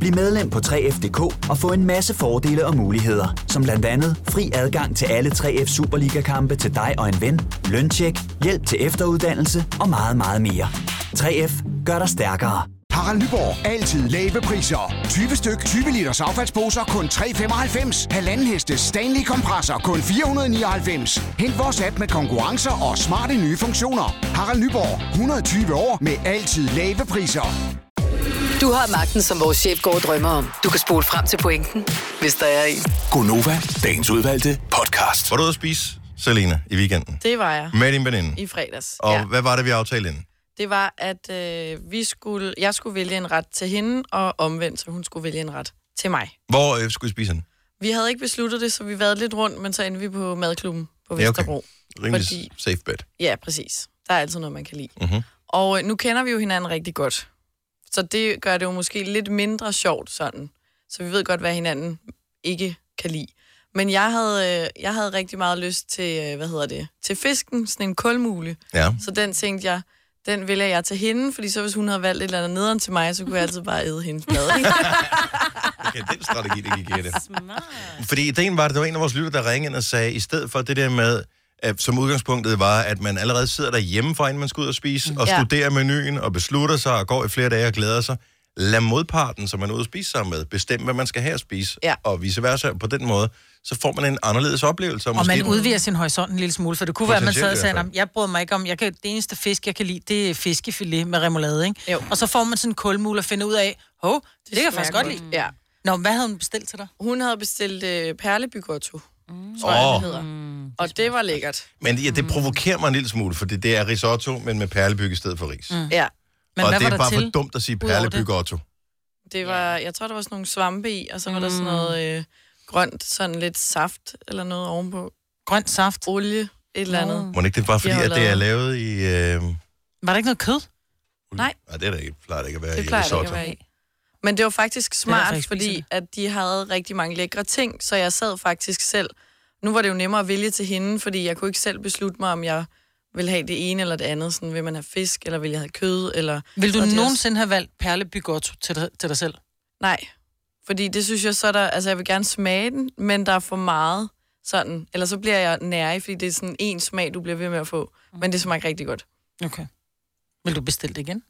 [SPEAKER 11] Bliv medlem på 3F.dk og få en masse fordele og muligheder, som blandt andet fri adgang til alle 3F Superliga-kampe til dig og en ven, løntjek, hjælp til efteruddannelse og meget, meget mere. 3F gør dig stærkere.
[SPEAKER 7] Harald Nyborg. Altid lave priser. 20 styk, 20 liters affaldsposer kun 3,95. Halvanden heste Stanley kompresser kun 499. Hent vores app med konkurrencer og smarte nye funktioner. Harald Nyborg. 120 år med altid lave priser.
[SPEAKER 5] Du har magten, som vores chef går og drømmer om. Du kan spole frem til pointen, hvis der er en.
[SPEAKER 1] Gonova, dagens udvalgte podcast. Var du ude at spise, Selena, i weekenden?
[SPEAKER 4] Det var jeg.
[SPEAKER 1] Med din veninde.
[SPEAKER 4] I fredags.
[SPEAKER 1] Og ja. hvad var det, vi aftalte inden?
[SPEAKER 4] Det var, at øh, vi skulle, jeg skulle vælge en ret til hende, Mm, og omvendt, så hun skulle vælge en ret til mig.
[SPEAKER 1] Hvor øh, skulle I spise henne?
[SPEAKER 4] Vi havde ikke besluttet det, så vi vadede lidt rundt, men så endte vi på madklubben på
[SPEAKER 1] Ja, okay.
[SPEAKER 4] Vesterbro.
[SPEAKER 1] Rimelig
[SPEAKER 4] Fordi-
[SPEAKER 1] safe bet.
[SPEAKER 4] Ja, præcis. Der er altid noget, man kan lide.
[SPEAKER 1] Mm-hmm.
[SPEAKER 4] Og øh, nu kender vi jo hinanden rigtig godt. Så det gør det jo måske lidt mindre sjovt sådan. Så vi ved godt, hvad hinanden ikke kan lide. Men jeg havde, øh, jeg havde rigtig meget lyst til, øh, hvad hedder det, til fisken, sådan en kulmule.
[SPEAKER 1] Ja.
[SPEAKER 4] Så den tænkte jeg, den vælger jeg til hende, fordi så hvis hun havde valgt et eller andet nederen til mig, så kunne jeg altid bare æde hendes mad.
[SPEAKER 1] Okay, den strategi, det gik i det. Fordi ideen var, at der var en af vores lytter, der ringede ind og sagde, i stedet for det der med, at som udgangspunktet var, at man allerede sidder derhjemme, for inden man skal ud og spise, og
[SPEAKER 12] Ja.
[SPEAKER 1] studerer menuen, og beslutter sig, og går i flere dage og glæder sig. Lad modparten, som man er ude at spise sammen med, bestemme, hvad man skal have at spise, ja. og vice versa. På den måde, så får man en anderledes oplevelse.
[SPEAKER 2] Og man
[SPEAKER 1] måske-
[SPEAKER 2] udvider sin horisont en lille smule, for det kunne være, at man sad og
[SPEAKER 1] Potentielt i
[SPEAKER 2] sagde,
[SPEAKER 1] hvert
[SPEAKER 2] "Nå, jeg bryder mig ikke om, jeg kan, det eneste fisk, jeg kan lide, det er fiskefilet med remoulade, ikke? Jo. Og så får man sådan en kulmul og finder ud af, hov, det, det kan jeg faktisk godt lide.
[SPEAKER 4] Ja.
[SPEAKER 2] Nå, hvad havde hun bestilt til dig?
[SPEAKER 4] Hun havde bestilt øh, perlebygotto, mm. tror
[SPEAKER 1] Åh.
[SPEAKER 4] jeg, det hedder. Mm. Og det Mm. var lækkert.
[SPEAKER 1] Men ja, det provokerer mig en lille smule, for det er risotto, men med perlebyg i stedet for ris. Mm.
[SPEAKER 4] Ja.
[SPEAKER 1] og det er bare for dumt at sige
[SPEAKER 4] Udover det?
[SPEAKER 1] perlebyg Otto.
[SPEAKER 4] Det var, jeg tror, der var sådan nogle svampe i, og så var mm. der sådan noget øh, grønt, sådan lidt saft eller noget ovenpå.
[SPEAKER 2] Grønt saft?
[SPEAKER 4] Olie, et eller andet.
[SPEAKER 1] Må ikke det er bare
[SPEAKER 4] De
[SPEAKER 1] fordi,
[SPEAKER 4] har
[SPEAKER 1] at det er
[SPEAKER 4] lavet-
[SPEAKER 1] lavet i... Øh...
[SPEAKER 2] Var der ikke noget kød?
[SPEAKER 4] Nej,
[SPEAKER 1] Nej, det er der ikke, plejer det ikke at være
[SPEAKER 4] det
[SPEAKER 1] i
[SPEAKER 4] plejer det
[SPEAKER 1] risotto.
[SPEAKER 4] ikke at være i. Men det var faktisk
[SPEAKER 2] er derfor,
[SPEAKER 4] smart,
[SPEAKER 2] jeg
[SPEAKER 4] det
[SPEAKER 2] ikke spiser
[SPEAKER 4] fordi at de havde rigtig mange lækre ting, så jeg sad faktisk selv. Nu var det jo nemmere at vælge til hende, fordi jeg kunne ikke selv beslutte mig, om jeg ville have det ene eller det andet. Sådan, vil man have fisk, eller vil jeg have kød, eller...
[SPEAKER 2] Vil du
[SPEAKER 4] og det er også-
[SPEAKER 2] nogensinde have valgt perlebygotto til dig, til dig selv?
[SPEAKER 4] Nej, fordi det synes jeg så er der, altså jeg vil gerne smage den, men der er for meget sådan, eller så bliver jeg nærig, fordi det er sådan en smag, du bliver ved med at få, men det smager ikke rigtig godt.
[SPEAKER 2] Okay. Vil du bestille det igen?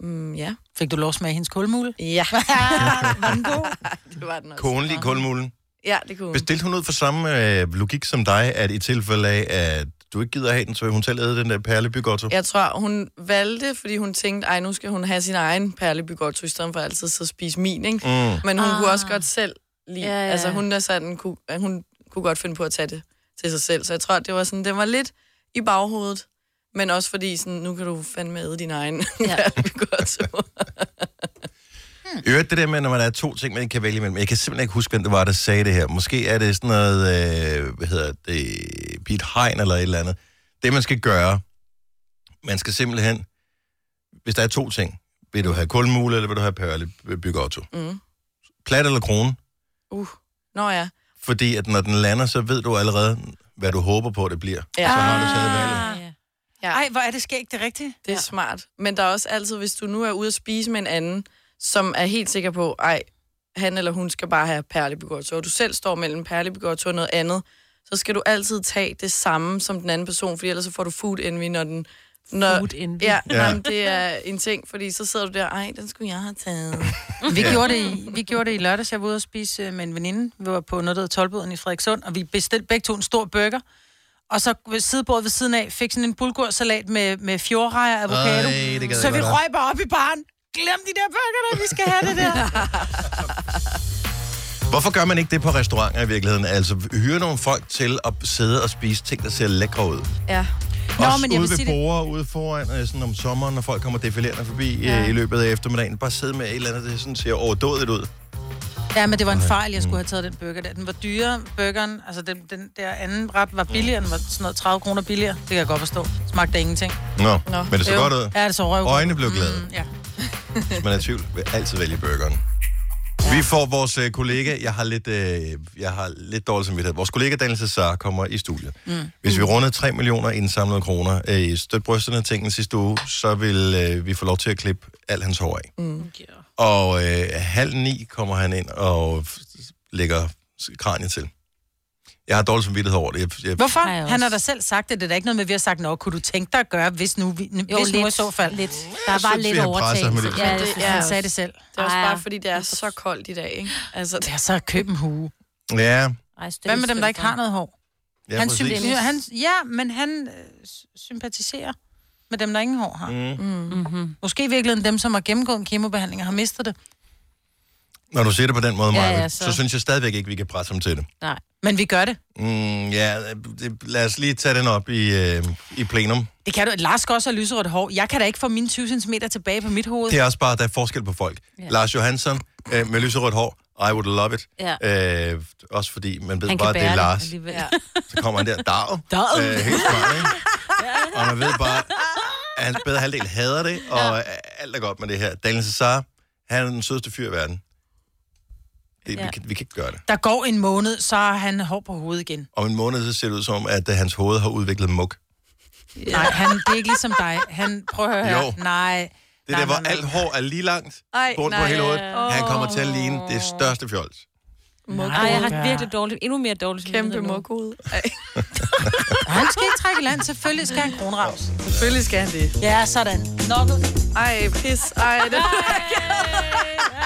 [SPEAKER 4] Mm, ja.
[SPEAKER 2] Fik du lov at smage hendes kulmule?
[SPEAKER 4] Ja.
[SPEAKER 2] var den god?
[SPEAKER 4] det var den også.
[SPEAKER 1] Konen i kulmulen.
[SPEAKER 4] Ja, det kunne hun.
[SPEAKER 1] Bestilte hun ud for samme øh, logik som dig, at i tilfælde af, at du ikke gider have den, så vil hun selv æde den der perlebygotto?
[SPEAKER 4] Jeg tror, hun valgte, fordi hun tænkte, ej, nu skal hun have sin egen perlebygotto, i stedet for altid så spise min, ikke?
[SPEAKER 1] Mm.
[SPEAKER 4] Men hun ah. kunne
[SPEAKER 2] Ah.
[SPEAKER 4] også godt selv lide. Ja,
[SPEAKER 2] Ja,
[SPEAKER 4] ja.
[SPEAKER 2] ja.
[SPEAKER 4] Altså, hun, er sådan, kunne, hun kunne godt finde på at tage det til sig selv. Så jeg tror, det var sådan, den var lidt i baghovedet. Men også fordi, sådan, nu kan du fandme æde din egen ja. perlebygotto.
[SPEAKER 1] I øvrigt det der med, når man er to ting, man ikke kan vælge imellem. Jeg kan simpelthen ikke huske, hvem det var, der sagde det her. Måske er det sådan noget, øh, hvad hedder det, Pete Hein eller et eller andet. Det, man skal gøre, man skal simpelthen, hvis der er to ting, vil du have kulmule, eller vil du have perlebygotto?
[SPEAKER 4] Mm.
[SPEAKER 1] Plat eller krone?
[SPEAKER 4] Uh. Nå ja.
[SPEAKER 1] Fordi at når den lander, så ved du allerede, hvad du håber på, det bliver.
[SPEAKER 4] Ja.
[SPEAKER 1] Så har du taget valget.
[SPEAKER 4] ja.
[SPEAKER 2] Ej, hvor er det skægt, det er rigtigt.
[SPEAKER 4] Det er ja. smart. Men der er også altid, hvis du nu er ude at spise med en anden, som er helt sikker på, ej, han eller hun skal bare have perlebygotto, og du selv står mellem perlebygotto og noget andet, så skal du altid tage det samme som den anden person, for ellers så får du food envy, når den... Når,
[SPEAKER 2] Food envy.
[SPEAKER 4] Ja,
[SPEAKER 2] Ja.
[SPEAKER 4] ja. Jamen, det er en ting, fordi så sidder du der, ej, den skulle jeg have taget.
[SPEAKER 2] Vi, ja. gjorde det i, vi gjorde det i lørdags. Jeg var ude og spise øh, med en veninde. Vi var på noget, der hed Tolboden i Frederikssund, og vi bestilte begge to en stor burger. Og så ved sidebordet ved siden af fik sådan en bulgursalat med, med fjordrejer og avocado.
[SPEAKER 1] Ej, det gad
[SPEAKER 2] så
[SPEAKER 1] jeg
[SPEAKER 2] vi
[SPEAKER 1] godt.
[SPEAKER 2] røg bare op i baren. Glem de der burger, der vi skal have det der.
[SPEAKER 1] Hvorfor gør man ikke det på restauranter i virkeligheden? Altså, hyre nogle folk til at sidde og spise ting, der ser lækre ud.
[SPEAKER 4] Ja.
[SPEAKER 1] Nå, Også men jeg ude ved borger, ude foran, øh, sådan om sommeren, når folk kommer defilerende forbi ja.
[SPEAKER 2] Ja.
[SPEAKER 1] i løbet af eftermiddagen. Bare sidde med et eller andet, der sådan ser overdådigt ud.
[SPEAKER 2] Ja, men det var en fejl,
[SPEAKER 1] Mm.
[SPEAKER 2] jeg skulle have taget den burger der. Den var dyrere, burgeren. Altså, den, den der anden ret var billigere. Den var sådan noget 30 kroner billigere. Det kan jeg godt forstå. Smagte af ingenting.
[SPEAKER 1] Nå, men det så
[SPEAKER 2] Jo.
[SPEAKER 1] godt ud.
[SPEAKER 2] Ja, det så røv.
[SPEAKER 1] Øjnene blev glade.
[SPEAKER 2] Mm, ja.
[SPEAKER 1] Hvis man er i tvivl, vil altid vælge burgeren. Ja. Vi får vores øh, kollega, jeg har lidt, øh, jeg har lidt dårlig samvittighed. Vores kollega Daniel Cesar kommer i studiet. Mm. Hvis vi runder 3 millioner indsamlede kroner øh, i støtbrysterne af tingene sidste uge, så vil øh, vi få lov til at klippe alt hans hår af.
[SPEAKER 4] Mm.
[SPEAKER 1] Og øh, halv ni kommer han ind og f- lægger s- kraniet til. Jeg har dårlig samvittighed over det. Jeg, jeg,
[SPEAKER 2] Hvorfor? Han har da selv sagt det. Det er da ikke noget med, vi har sagt, nå, kunne du tænke dig at gøre, hvis nu, vi, jo, hvis nu
[SPEAKER 3] lidt.
[SPEAKER 2] i så fald?
[SPEAKER 3] Lidt.
[SPEAKER 4] Der var lidt
[SPEAKER 2] overtagelse.
[SPEAKER 1] ham med det.
[SPEAKER 2] Ja, det, ja, han sagde det selv.
[SPEAKER 4] Det er også bare, fordi det er så koldt i dag, ikke? Altså,
[SPEAKER 2] det er så køb en hue.
[SPEAKER 1] Ja,
[SPEAKER 2] Hvad med dem, der ikke har noget hår?
[SPEAKER 1] ja
[SPEAKER 2] han
[SPEAKER 1] præcis.
[SPEAKER 2] sympatiserer, han, ja, men han øh, s- sympatiserer med dem, der ingen hår har.
[SPEAKER 1] Mm.
[SPEAKER 2] Mm-hmm. Måske i virkeligheden dem, som har gennemgået en kemobehandling og har mistet det.
[SPEAKER 1] Når du siger det på den måde,
[SPEAKER 2] Ja,
[SPEAKER 1] Maja,
[SPEAKER 2] ja,
[SPEAKER 1] så...
[SPEAKER 2] så-
[SPEAKER 1] så synes jeg stadigvæk ikke, vi kan presse ham til det.
[SPEAKER 2] Nej. Men vi gør det.
[SPEAKER 1] Mm, ja, det, lad os lige tage den op i, øh, i plenum.
[SPEAKER 2] Det kan du. Lars skal også have lyserødt hår. Jeg kan da ikke få mine 20 cm tilbage på mit hoved.
[SPEAKER 1] Det er også bare, der er forskel på folk.
[SPEAKER 2] Ja.
[SPEAKER 1] Lars Johansson øh, med lyserødt hår, I would love it.
[SPEAKER 2] Ja.
[SPEAKER 1] Øh, også fordi man ved
[SPEAKER 2] Han kan
[SPEAKER 1] bare, det
[SPEAKER 2] bære
[SPEAKER 1] er
[SPEAKER 2] det
[SPEAKER 1] Lars.
[SPEAKER 2] alligevel. Ja.
[SPEAKER 1] Så kommer han der, dag.
[SPEAKER 2] Dag.
[SPEAKER 1] Øh, helt smart, ikke? Og man ved bare, at hans bedre halvdel hader det, og ja. alt er godt med det her. Daniel Cesar, han er den sødeste fyr i verden. Det, ja. vi,
[SPEAKER 2] Ja.
[SPEAKER 1] kan, vi kan ikke gøre det.
[SPEAKER 2] Der går en måned, så har han hår på hovedet igen.
[SPEAKER 1] Om en måned, så ser det ud som om, at øh, hans hoved har udviklet muk.
[SPEAKER 2] Ja. Nej, han, det er ikke ligesom dig. Han, prøv at høre
[SPEAKER 1] Jo.
[SPEAKER 2] her. Nej.
[SPEAKER 1] Det er der, hvor alt hår er lige langt
[SPEAKER 2] Ej,
[SPEAKER 1] rundt på
[SPEAKER 2] nej.
[SPEAKER 1] hele hovedet. Han kommer til at ligne det største fjols.
[SPEAKER 3] Nej, jeg har virkelig dårligt, endnu mere dårligt. Kæmpe
[SPEAKER 4] mokkud.
[SPEAKER 2] Han skal ikke trække i land. Selvfølgelig skal han kronraus.
[SPEAKER 4] Selvfølgelig skal han det.
[SPEAKER 2] Ja, sådan. Nokket.
[SPEAKER 4] Ej, pis. Ej, det...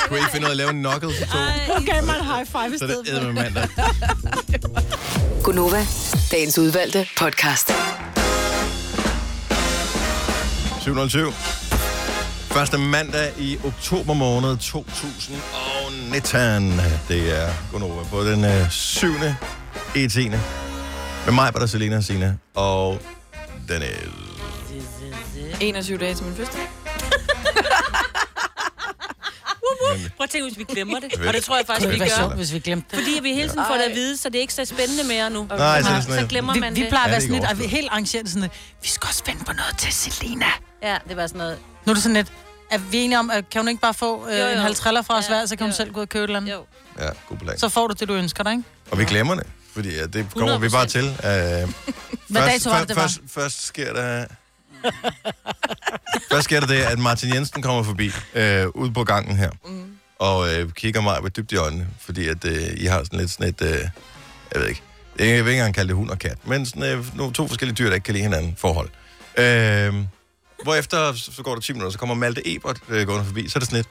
[SPEAKER 1] Kunne I ikke finde ud af at lave en knuckle til to?
[SPEAKER 2] Du gav mig en high five i
[SPEAKER 1] Så er det
[SPEAKER 2] stedet.
[SPEAKER 1] eddermame mandag.
[SPEAKER 5] Gunova, dagens udvalgte podcast.
[SPEAKER 1] 707. Første mandag i oktober måned 2019. Det er Gunova på den øh, 7. i 10. Med mig, var der Selena og Sina. Og Daniel.
[SPEAKER 4] 21 dage til min fødselsdag.
[SPEAKER 3] Prøv at tænke, hvis vi glemmer det.
[SPEAKER 1] Vel.
[SPEAKER 3] Og det tror jeg faktisk,
[SPEAKER 1] Det
[SPEAKER 3] vi
[SPEAKER 1] ville være sjovt,
[SPEAKER 3] gør.
[SPEAKER 2] hvis vi glemte det.
[SPEAKER 3] Fordi vi hele tiden får det at vide, så det er ikke så spændende mere nu.
[SPEAKER 1] Nej, så er det sådan
[SPEAKER 3] så
[SPEAKER 1] noget.
[SPEAKER 3] glemmer
[SPEAKER 2] Vi,
[SPEAKER 3] man
[SPEAKER 2] vi
[SPEAKER 3] det.
[SPEAKER 2] plejer at
[SPEAKER 1] Ja,
[SPEAKER 2] være
[SPEAKER 1] det
[SPEAKER 2] sådan lidt,
[SPEAKER 1] går
[SPEAKER 2] og vi er helt arrangeret sådan lidt, vi skal også spænde på noget til Selina.
[SPEAKER 3] Ja, det var sådan noget.
[SPEAKER 2] Nu er det sådan lidt, er vi enige om, at kan hun ikke bare få øh,
[SPEAKER 3] Jo, jo.
[SPEAKER 2] en halv triller fra os hver, så kan hun selv gå ud og købe et eller andet?
[SPEAKER 3] Jo.
[SPEAKER 1] Ja, god plan.
[SPEAKER 2] Så får du det, du ønsker dig, ikke?
[SPEAKER 1] Og vi glemmer det, fordi ja, det kommer vi bare til. Øh,
[SPEAKER 2] Hvad dato var det, det var?
[SPEAKER 1] først, først sker der... først sker der det, at Martin Jensen kommer forbi øh, ude på gangen her, mm. og øh, kigger mig med dybt i øjnene, fordi at, øh, I har sådan lidt sådan et... Øh, jeg ved ikke. Jeg vil ikke engang kalde det hund og kat, men sådan, øh, nogle, to forskellige dyr, der ikke kan lide hinanden forhold. Øh, hvorefter, så så går der 10 minutter, så kommer Malte Ebert øh, gående forbi, så er det sådan lidt,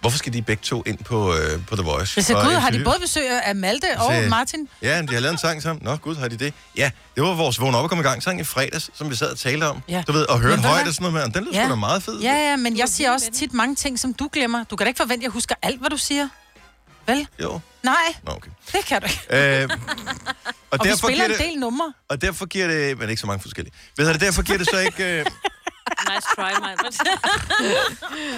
[SPEAKER 1] hvorfor skal de begge to ind på, øh, på The Voice?
[SPEAKER 2] Hvis jeg
[SPEAKER 1] for
[SPEAKER 2] gud,
[SPEAKER 1] at
[SPEAKER 2] har de
[SPEAKER 1] interviewe?
[SPEAKER 2] både besøg af Malte
[SPEAKER 1] Så-
[SPEAKER 2] og Martin?
[SPEAKER 1] Ja, men de har lavet en sang sammen. Nå, gud, har de det? Ja, det var vores vågen op og kom i gang sang i fredags, som vi sad og talte om.
[SPEAKER 2] Ja.
[SPEAKER 1] Du ved, og høre
[SPEAKER 2] Men
[SPEAKER 1] den
[SPEAKER 2] hvad
[SPEAKER 1] højt
[SPEAKER 2] var-
[SPEAKER 1] og sådan noget med. Den lyder ja. sgu da meget fed.
[SPEAKER 2] Ja, ja, men jeg siger også tit mange ting, som du glemmer. Du kan da ikke forvente, at jeg husker alt, hvad du siger. Vel?
[SPEAKER 1] Jo.
[SPEAKER 2] Nej,
[SPEAKER 1] Nå, okay.
[SPEAKER 2] det kan du ikke.
[SPEAKER 1] Øh, og,
[SPEAKER 2] Og vi
[SPEAKER 1] derfor
[SPEAKER 2] spiller
[SPEAKER 1] giver
[SPEAKER 2] en
[SPEAKER 1] det,
[SPEAKER 2] del numre.
[SPEAKER 1] og derfor giver det... Men ikke så mange forskellige. Ved du, det, derfor giver det så ikke... Øh,
[SPEAKER 3] Nice try, mig.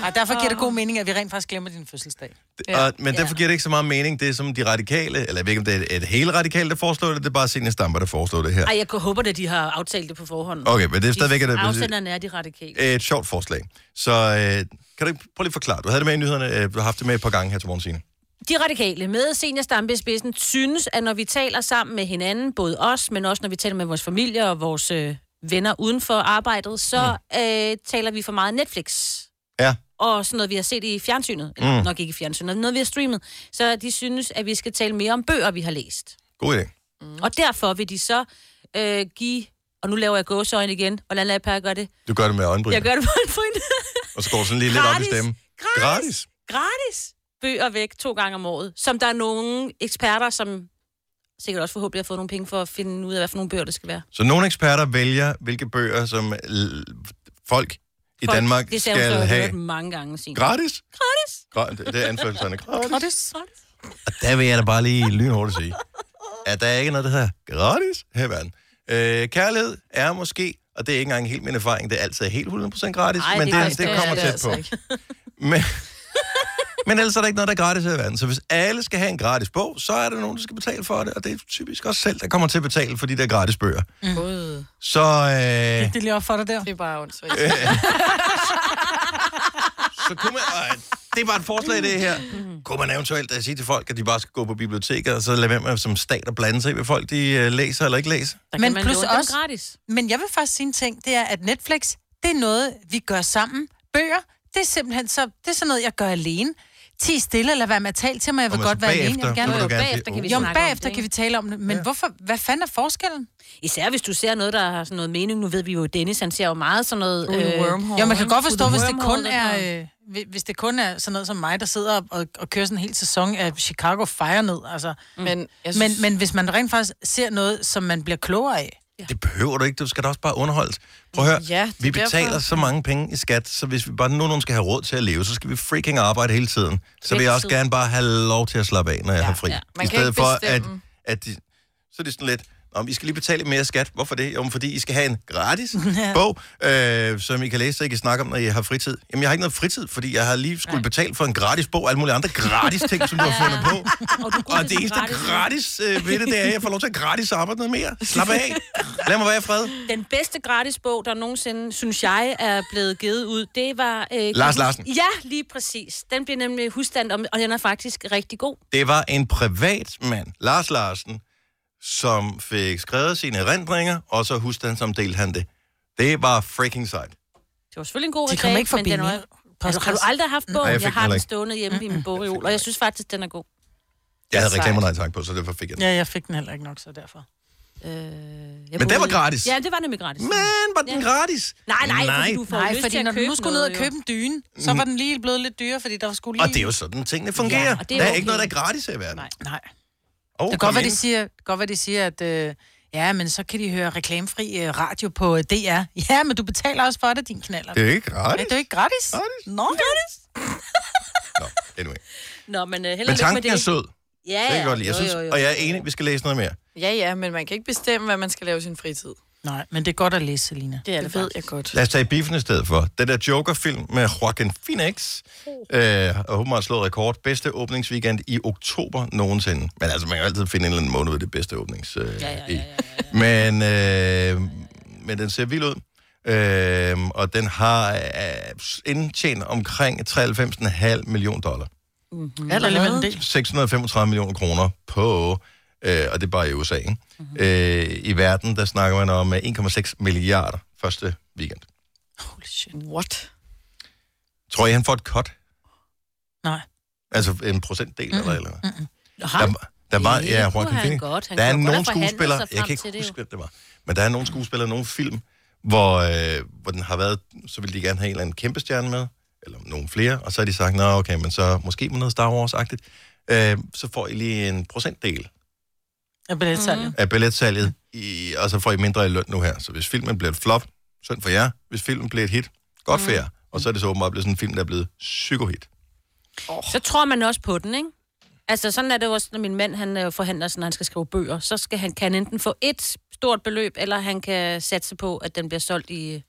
[SPEAKER 2] Ej, derfor giver det god mening, at vi rent faktisk glemmer din fødselsdag.
[SPEAKER 1] ja. og, men derfor giver det ikke så meget mening. Det er som de radikale... Eller jeg ved ikke, om det er et, et hele radikale, der foreslår det. Det er bare Senior Stamper, der foreslår det her.
[SPEAKER 3] Ej, jeg håber, at de har aftalt det på forhånd.
[SPEAKER 1] Okay, men det er Øh. stadigvæk-
[SPEAKER 3] De- Afsenderne er de radikale.
[SPEAKER 1] Et sjovt forslag. Så øh, kan du ikke prøve lige at forklare? Du havde det med i nyhederne. Øh, du har haft det med et par gange her til morgen, Signe.
[SPEAKER 3] De radikale med senior Stampe i spidsen synes, at når vi taler sammen med hinanden, både os, men også når vi taler med vores familie og vores øh, venner uden for arbejdet, så
[SPEAKER 1] Mm.
[SPEAKER 3] øh, taler vi for meget Netflix.
[SPEAKER 1] Ja.
[SPEAKER 3] Og sådan noget, vi har set i fjernsynet. Eller
[SPEAKER 1] Mm.
[SPEAKER 3] nok ikke i fjernsynet, men noget, vi har streamet. Så de synes, at vi skal tale mere om bøger, vi har læst.
[SPEAKER 1] God idé.
[SPEAKER 3] Mm. Og derfor vil de så øh, give... Og nu laver jeg gåseøjne igen. Hvordan lader jeg Per gøre det?
[SPEAKER 1] Du gør det med øjenbryn.
[SPEAKER 3] Jeg gør det på en point.
[SPEAKER 1] Og så går du sådan lige lidt op i
[SPEAKER 3] Gratis.
[SPEAKER 1] stemmen.
[SPEAKER 3] Gratis.
[SPEAKER 1] Gratis.
[SPEAKER 3] gratis bøger væk to gange om året, som der er nogle eksperter, som sikkert også forhåbentlig har fået nogle penge for at finde ud af, hvad for nogle bøger det skal være.
[SPEAKER 1] Så nogle eksperter vælger, hvilke bøger, som l- folk i
[SPEAKER 3] Folk-
[SPEAKER 1] Danmark
[SPEAKER 3] det sagde hun,
[SPEAKER 1] skal
[SPEAKER 3] så jeg har
[SPEAKER 1] have.
[SPEAKER 3] hørt mange gange sine.
[SPEAKER 1] Gratis?
[SPEAKER 3] Gratis.
[SPEAKER 1] Gra- det- Det er anførselserne. Gratis.
[SPEAKER 2] Gratis.
[SPEAKER 1] Og der vil jeg da bare lige lynhurtigt sige, at der er ikke noget, der hedder gratis her i verden. Øh, kærlighed er måske, og det er ikke engang helt min erfaring, det er altid helt 100% gratis,
[SPEAKER 8] Ej,
[SPEAKER 1] men
[SPEAKER 8] det
[SPEAKER 1] det,
[SPEAKER 8] er
[SPEAKER 1] det,
[SPEAKER 8] det
[SPEAKER 1] det kommer
[SPEAKER 8] er det
[SPEAKER 1] tæt
[SPEAKER 8] altså
[SPEAKER 1] på.
[SPEAKER 8] ikke.
[SPEAKER 1] Men, men ellers er der ikke noget, der er gratis her i verden. Så hvis alle skal have en gratis bog, så er der nogen, der skal betale for det, og det er typisk også selv, der kommer til at betale for de der gratis bøger.
[SPEAKER 2] Mm.
[SPEAKER 1] Så, øh,
[SPEAKER 2] Det er lige op for dig der.
[SPEAKER 4] Det er bare åndssvagt.
[SPEAKER 1] så kunne man... Øh, det er bare et forslag, det her. Kunne man eventuelt øh, sige til folk, at de bare skal gå på biblioteket, og så lade være med som stat at blande sig i, hvad folk de øh, læser eller ikke læser?
[SPEAKER 2] Men plus
[SPEAKER 3] låne dem
[SPEAKER 2] også,
[SPEAKER 3] gratis.
[SPEAKER 2] men jeg vil faktisk sige en ting, det er, at Netflix, det er noget, vi gør sammen. Bøger, det er simpelthen så, det er sådan noget, jeg gør alene. ti stille, eller være med at tale til mig, jeg vil
[SPEAKER 3] Nå, men
[SPEAKER 2] godt
[SPEAKER 3] så
[SPEAKER 2] være alene.
[SPEAKER 3] bagefter,
[SPEAKER 2] Jeg vil gerne
[SPEAKER 3] så vil du Jo, gerne bagefter sige, kan vi
[SPEAKER 2] jo,
[SPEAKER 3] snakke om
[SPEAKER 2] bagefter
[SPEAKER 3] det,
[SPEAKER 2] kan vi
[SPEAKER 3] ikke?
[SPEAKER 2] tale om det, men ja. hvorfor, hvad fanden er forskellen?
[SPEAKER 3] Især hvis du ser noget, der har sådan noget mening. Nu ved vi jo, at Dennis, han ser jo meget sådan noget... øh,
[SPEAKER 2] jo, man kan godt forstå, hvis det kun
[SPEAKER 3] Wormhole,
[SPEAKER 2] er,
[SPEAKER 3] og-
[SPEAKER 2] øh, hvi- hvis det kun er sådan noget som mig, der sidder og- og, og kører sådan en hel sæson af Chicago Fire ned. Altså.
[SPEAKER 4] Men,
[SPEAKER 2] synes... men, men hvis man rent faktisk ser noget, som man bliver klogere af,
[SPEAKER 1] Det behøver du ikke. Du skal da også bare underholdes. Prøv at høre.
[SPEAKER 2] Ja, det er
[SPEAKER 1] vi betaler
[SPEAKER 2] derfor.
[SPEAKER 1] så mange penge i skat, så hvis vi bare nu nogen skal have råd til at leve, så skal vi freaking arbejde hele tiden. Så vil jeg også
[SPEAKER 4] Altid.
[SPEAKER 1] gerne bare have lov til at slappe af, når jeg har fri.
[SPEAKER 4] ja.
[SPEAKER 1] I
[SPEAKER 4] Man kan
[SPEAKER 1] stedet
[SPEAKER 4] ikke
[SPEAKER 1] for, at,
[SPEAKER 4] bestemme.
[SPEAKER 1] at de, så er det sådan lidt, om I skal lige betale mere skat. Hvorfor det? Jo, men fordi I skal have en gratis bog, øh, som I kan læse, så I kan snakke om, når I har fritid. Jamen, jeg har ikke noget fritid, fordi jeg har lige skulle betale for en gratis bog, og alle mulige andre gratis ting, som du har fundet på.
[SPEAKER 3] Og, du
[SPEAKER 1] Og det eneste gratis øh, ved det, det er, at jeg får lov til at gratis arbejde noget mere. Slap af. Lad mig være i fred.
[SPEAKER 3] Den bedste gratis bog, der nogensinde, synes jeg, er blevet givet ud, det var... Øh,
[SPEAKER 1] Lars Larsen.
[SPEAKER 3] Ja, lige præcis. Den blev nemlig husstand, om, og den er faktisk rigtig god.
[SPEAKER 1] Det var en privatmand, Lars Larsen, som fik skrevet sine erindringer, og så huskede han, som delte han det. Det var freaking sejt.
[SPEAKER 3] Det var selvfølgelig en god
[SPEAKER 2] De kom
[SPEAKER 3] reklame,
[SPEAKER 2] ikke forbi
[SPEAKER 3] men den
[SPEAKER 2] min
[SPEAKER 3] var... Altså, har du
[SPEAKER 2] postkasse.
[SPEAKER 3] aldrig haft
[SPEAKER 2] Mm.
[SPEAKER 3] bogen?
[SPEAKER 1] Nej, jeg
[SPEAKER 3] jeg,
[SPEAKER 1] fik den
[SPEAKER 3] jeg har
[SPEAKER 1] heller
[SPEAKER 3] den
[SPEAKER 1] ikke.
[SPEAKER 3] stående hjemme i min bogreol, og jeg synes faktisk, den er god.
[SPEAKER 1] Jeg havde
[SPEAKER 3] Sejt.
[SPEAKER 1] reklamer, nej tak på, så derfor fik jeg den.
[SPEAKER 2] ja, jeg fik den heller ikke nok, så derfor.
[SPEAKER 3] Øh, jeg
[SPEAKER 1] den
[SPEAKER 3] boede
[SPEAKER 1] var
[SPEAKER 3] i-
[SPEAKER 1] gratis.
[SPEAKER 3] Ja, det var nemlig gratis. Men
[SPEAKER 1] var den gratis?
[SPEAKER 3] Nej, nej,
[SPEAKER 1] Nej.
[SPEAKER 3] fordi du får
[SPEAKER 2] Nej,
[SPEAKER 3] lyst
[SPEAKER 2] fordi
[SPEAKER 3] til at
[SPEAKER 2] når du
[SPEAKER 3] købe
[SPEAKER 2] nu skulle ned
[SPEAKER 3] noget,
[SPEAKER 2] og købe
[SPEAKER 3] jo.
[SPEAKER 2] en dyne, så var
[SPEAKER 1] Mhm.
[SPEAKER 2] den lige blevet lidt dyrere, fordi der skulle lige...
[SPEAKER 1] Og det er jo sådan, tingene fungerer.
[SPEAKER 2] Ja,
[SPEAKER 1] Ja,
[SPEAKER 2] og det er
[SPEAKER 1] der er
[SPEAKER 2] okay.
[SPEAKER 1] ikke noget, der er gratis her i verden.
[SPEAKER 3] Nej.
[SPEAKER 2] Nej.
[SPEAKER 1] Oh,
[SPEAKER 2] det kan godt være, de siger, det kan godt være, de siger at øh, ja, men så kan de høre reklamefri øh, radio på øh, DR. Ja, men du betaler også for det, din knaller.
[SPEAKER 1] Det er ikke gratis.
[SPEAKER 2] Ja, det er ikke gratis. gratis. Nå, gratis.
[SPEAKER 1] Anyway.
[SPEAKER 3] Nå, men uh,
[SPEAKER 1] Men
[SPEAKER 3] heller
[SPEAKER 1] tanken er sød.
[SPEAKER 3] Ja,
[SPEAKER 1] Det kan jeg godt lide. Jeg synes, og jeg er enig, vi skal læse noget mere.
[SPEAKER 4] Ja, ja, men man kan ikke bestemme, hvad man skal lave i sin fritid.
[SPEAKER 2] Nej, men det er godt at læse, Selina.
[SPEAKER 4] Det, er det, det ved jeg godt.
[SPEAKER 1] Lad os tage i biffen i stedet for. Den der Joker-film med Joaquin Phoenix øh, og hun har slået rekord. Bedste åbningsweekend i oktober nogensinde. Men altså, man kan altid finde en eller anden måned ved det bedste åbnings. Øh, ja, ja, ja, ja, ja. Men, øh, men den ser vild ud. Øh, og den har øh, indtjent omkring 93,5 million dollar.
[SPEAKER 2] Mm-hmm. Allerede. en del.
[SPEAKER 1] 635 millioner kroner på, øh, og det er bare i USA, ikke? Mm-hmm. Øh, I verden, der snakker man om øh, 1,6 milliarder første weekend.
[SPEAKER 2] Holy shit.
[SPEAKER 4] What?
[SPEAKER 1] Tror I, han får et cut?
[SPEAKER 2] Nej.
[SPEAKER 1] Altså en procentdel mm-hmm. eller eller andet?
[SPEAKER 3] Der,
[SPEAKER 1] der var,
[SPEAKER 3] Det
[SPEAKER 1] ja,
[SPEAKER 3] kunne
[SPEAKER 1] Joaquin
[SPEAKER 3] han
[SPEAKER 1] Phoenix.
[SPEAKER 3] godt. Han
[SPEAKER 1] der er
[SPEAKER 3] kunne godt
[SPEAKER 1] nogle
[SPEAKER 3] have forhandlet sig
[SPEAKER 1] skuespillere,
[SPEAKER 3] frem
[SPEAKER 1] jeg kan ikke
[SPEAKER 3] til det, jo.
[SPEAKER 1] huske, hvem det var, men der er nogle skuespillere, nogle film, hvor, øh, hvor den har været, så vil de gerne have en eller anden kæmpe stjerne med, eller nogle flere, og så har de sagt, nå okay, men så måske med noget Star Wars-agtigt, øh, så får I lige en procentdel
[SPEAKER 2] Af billetsalget. Mm-hmm.
[SPEAKER 1] af billetsalget, i, og så får I mindre i løn nu her. Så hvis filmen bliver et flop, synd for jer. Hvis filmen bliver et hit, godt
[SPEAKER 3] Mm.
[SPEAKER 1] for jer. Og så er det så åbenbart blevet sådan en film, der er blevet psykohit.
[SPEAKER 3] Så tror man også på den, ikke? Altså, sådan er det jo også, når min mand han øh, forhandler, sådan, når han skal skrive bøger. Så skal han, kan han enten få et stort beløb, eller han kan satse på, at den bliver solgt i,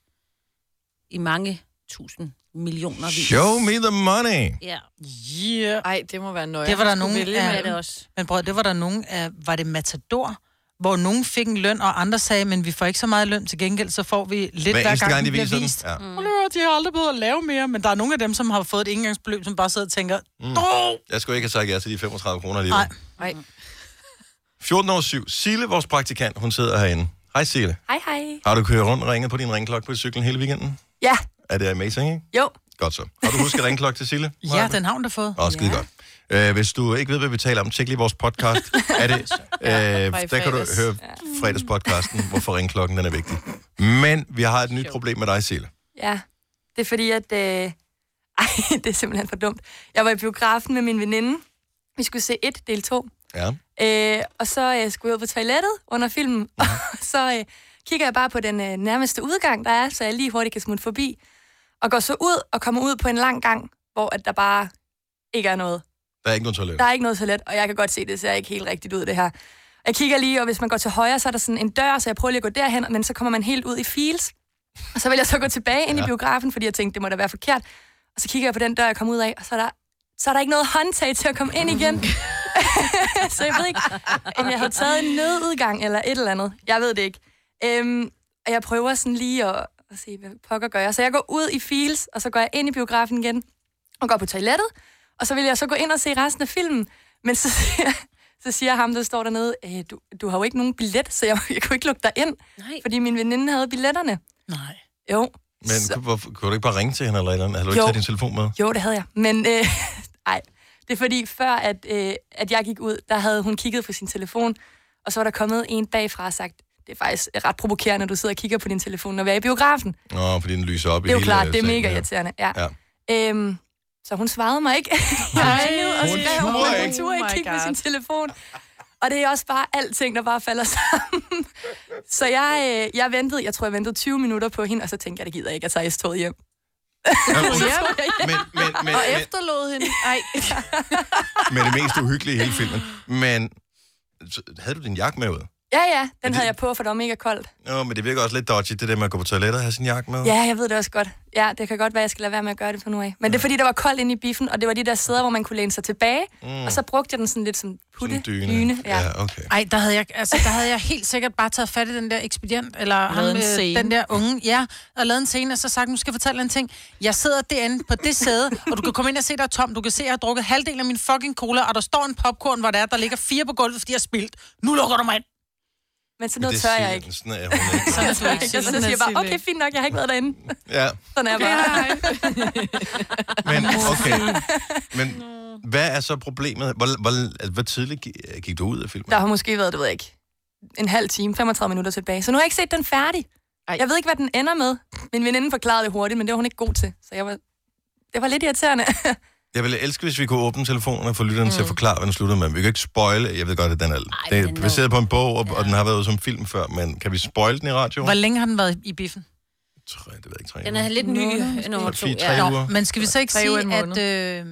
[SPEAKER 3] i mange tusind millioner vis.
[SPEAKER 1] Show me the money!
[SPEAKER 3] Ja.
[SPEAKER 2] Mhm. Yeah.
[SPEAKER 4] Ej, det må være nøje.
[SPEAKER 2] Det var der nogen
[SPEAKER 4] af...
[SPEAKER 2] af,
[SPEAKER 4] Det
[SPEAKER 3] også.
[SPEAKER 2] Men prøv, det var der nogen af, var det Matador, hvor nogen fik en løn, og andre sagde, men vi får ikke så meget løn, til gengæld så får vi lidt
[SPEAKER 1] Hver
[SPEAKER 2] hver,
[SPEAKER 1] eneste
[SPEAKER 2] gang,
[SPEAKER 1] gang,
[SPEAKER 2] gang,
[SPEAKER 1] de
[SPEAKER 2] de bliver
[SPEAKER 1] viser den.
[SPEAKER 2] vist.
[SPEAKER 1] Ja.
[SPEAKER 2] Ja. Mm. de har aldrig blevet at lave mere, men der er nogle af dem, som har fået et engangsbeløb, som bare sidder og tænker, mm.
[SPEAKER 1] Jeg skulle ikke have sagt ja til de 35 kroner lige.
[SPEAKER 2] nej.
[SPEAKER 1] 14 år 7. Sille, vores praktikant, hun sidder herinde. Hej Sille.
[SPEAKER 12] Hej, hej.
[SPEAKER 1] Har du kørt rundt og ringet på din ringklokke på cyklen hele weekenden?
[SPEAKER 12] Ja.
[SPEAKER 1] Er det amazing, ikke?
[SPEAKER 12] Jo.
[SPEAKER 1] Godt så. Har du husket ringklokke til Sille?
[SPEAKER 2] Ja, den har hun da fået.
[SPEAKER 1] Åh, skide godt. Øh, hvis du ikke ved, hvad vi taler om, tjek lige vores podcast. er det, øh,
[SPEAKER 2] i
[SPEAKER 1] der kan du
[SPEAKER 2] fredags.
[SPEAKER 1] høre fredagspodcasten, hvorfor ringklokken den er vigtig. Men vi har et nyt problem med dig, Sille.
[SPEAKER 12] Ja, det er fordi, at... Øh... Ej, det er simpelthen for dumt. Jeg var i biografen med min veninde. Vi skulle se 1 del 2.
[SPEAKER 1] Ja.
[SPEAKER 12] Øh, og så øh, skulle jeg ud på toilettet under filmen, og så øh, kigger jeg bare på den øh, nærmeste udgang, der er, så jeg lige hurtigt kan smutte forbi, og går så ud og kommer ud på en lang gang, hvor at der bare ikke er noget.
[SPEAKER 1] Der er ikke nogen toilet.
[SPEAKER 12] Der er ikke noget toilet, og jeg kan godt se, det ser ikke helt rigtigt ud, det her. Jeg kigger lige, og hvis man går til højre, så er der sådan en dør, så jeg prøver lige at gå derhen, men så kommer man helt ud i files. Og så vil jeg så gå tilbage ind ja.
[SPEAKER 13] Ja.
[SPEAKER 12] i biografen, fordi jeg tænkte, det må da være forkert. Og så kigger jeg på den dør, jeg kom ud af, og så er der, så er der ikke noget håndtag til at komme ind igen. så jeg ved ikke, om jeg havde taget en nødudgang eller et eller andet. Jeg ved det ikke. Øhm, og jeg prøver sådan lige at, at se, hvad pokker gør jeg. Så jeg går ud i files, og så går jeg ind i biografen igen, og går på toilettet, og så vil jeg så gå ind og se resten af filmen. Men så siger, så siger ham, der står dernede, "Øh, du, du har jo ikke nogen billet, så jeg, jeg kunne ikke lukke dig ind, Nej. fordi min veninde havde billetterne.
[SPEAKER 2] Nej.
[SPEAKER 12] Jo,
[SPEAKER 1] Men så... kunne, hvorfor- kunne du ikke bare ringe til hende eller et eller andet? Har du ikke
[SPEAKER 12] Jo.
[SPEAKER 1] taget din telefon med?
[SPEAKER 12] jo, det havde jeg. Men øh, ej, Det er fordi, før at, øh, at jeg gik ud, der havde hun kigget på sin telefon, og så var der kommet en bagfra og sagt, det er faktisk ret provokerende, at du sidder og kigger på din telefon, når vi er i biografen.
[SPEAKER 1] Nå, fordi den lyser op
[SPEAKER 12] Det
[SPEAKER 1] i
[SPEAKER 12] er jo
[SPEAKER 1] hele
[SPEAKER 12] klart, det er
[SPEAKER 1] sengen
[SPEAKER 12] mega
[SPEAKER 1] her.
[SPEAKER 12] irriterende. Ja.
[SPEAKER 1] Ja.
[SPEAKER 12] Øhm, så hun svarede mig ikke. jeg ringede og
[SPEAKER 1] Hun
[SPEAKER 12] skrev,
[SPEAKER 1] turde
[SPEAKER 12] men hun
[SPEAKER 1] ikke.
[SPEAKER 12] turde ikke
[SPEAKER 1] Oh my
[SPEAKER 12] kigge på
[SPEAKER 1] God.
[SPEAKER 12] sin telefon. Og det er også bare alting, der bare falder sammen. Så jeg, øh, jeg ventede, jeg tror, jeg ventede 20 minutter på hende, og så tænkte jeg, det gider jeg ikke at tage S-toget hjem.
[SPEAKER 1] Men, men, men,
[SPEAKER 4] og
[SPEAKER 1] men,
[SPEAKER 4] efterlod hende. Ej.
[SPEAKER 1] men det mest uhyggelige i hele filmen. Men så havde du din jakke med ud?
[SPEAKER 12] Ja, ja, den havde jeg på, for det var mega koldt.
[SPEAKER 1] Nå, men det virker også lidt dodgy, det der med at gå på toilettet og have sin jakke med.
[SPEAKER 12] Ja, jeg ved det også godt. Ja, det kan godt være, jeg skal lade være med at gøre det på nu af. Men det er fordi, der var koldt inde i biffen, og det var de der sæder, hvor man kunne læne sig tilbage.
[SPEAKER 1] Mm.
[SPEAKER 12] Mm. Og så brugte jeg den sådan lidt som putte.
[SPEAKER 1] dyne.
[SPEAKER 12] dyne, ja.
[SPEAKER 1] ja okay.
[SPEAKER 2] Ej, der havde, jeg, altså, der havde jeg helt sikkert bare taget fat i den der ekspedient, eller ham,
[SPEAKER 4] en
[SPEAKER 2] øh,
[SPEAKER 4] scene.
[SPEAKER 2] den der unge, ja, og lavet en scene, og så sagt, nu skal jeg fortælle dig en ting. Jeg sidder derinde på det sæde, og du kan komme ind og se, der er tom. Du kan se, jeg har drukket halvdelen af min fucking cola, og der står en popcorn, hvor der er, der ligger fire på gulvet, fordi jeg har spildt. Nu lukker du mig ind.
[SPEAKER 12] Men sådan
[SPEAKER 1] Men
[SPEAKER 12] noget
[SPEAKER 1] det
[SPEAKER 12] tør
[SPEAKER 1] siger-
[SPEAKER 12] jeg ikke.
[SPEAKER 1] Sådan er hun ikke.
[SPEAKER 12] Sådan
[SPEAKER 2] Sådan
[SPEAKER 12] er
[SPEAKER 2] er
[SPEAKER 12] jeg ikke.
[SPEAKER 2] Sille.
[SPEAKER 12] Og så
[SPEAKER 2] Sådan er
[SPEAKER 12] siger jeg bare,
[SPEAKER 2] Sille
[SPEAKER 12] okay,
[SPEAKER 2] ikke.
[SPEAKER 12] fint nok, jeg har ikke været derinde.
[SPEAKER 1] Ja,
[SPEAKER 12] Sådan er jeg bare.
[SPEAKER 1] men okay. Men hvad er så problemet? Hvor, hvor, altså, hvor tidligt gi- gik du ud af filmen?
[SPEAKER 12] Der har måske været, det ved jeg ikke, en halv time, 35 minutter tilbage. Så nu har jeg ikke set den færdig. Ej. Jeg ved ikke, hvad den ender med. Min veninde forklarede det hurtigt, men det var hun ikke god til. Så jeg var, det var lidt irriterende.
[SPEAKER 1] Jeg ville elske, hvis vi kunne åbne telefonen og få lytteren mm. til at forklare, hvad den sluttede med. Men Vi kan ikke spoile. Jeg ved godt, at den er, Ej, det
[SPEAKER 2] den
[SPEAKER 1] er
[SPEAKER 2] er
[SPEAKER 1] baseret på en bog, og, ja. og den har været ude som film før. Men kan vi spoile den i radioen?
[SPEAKER 2] Hvor længe har den været i biffen?
[SPEAKER 1] Tre, det ved jeg ikke, tre
[SPEAKER 3] Den er lidt ny, nummer to.
[SPEAKER 1] Fire, tre uger.
[SPEAKER 2] Men skal vi så ikke
[SPEAKER 4] Tre uger, en
[SPEAKER 2] sige, at øh,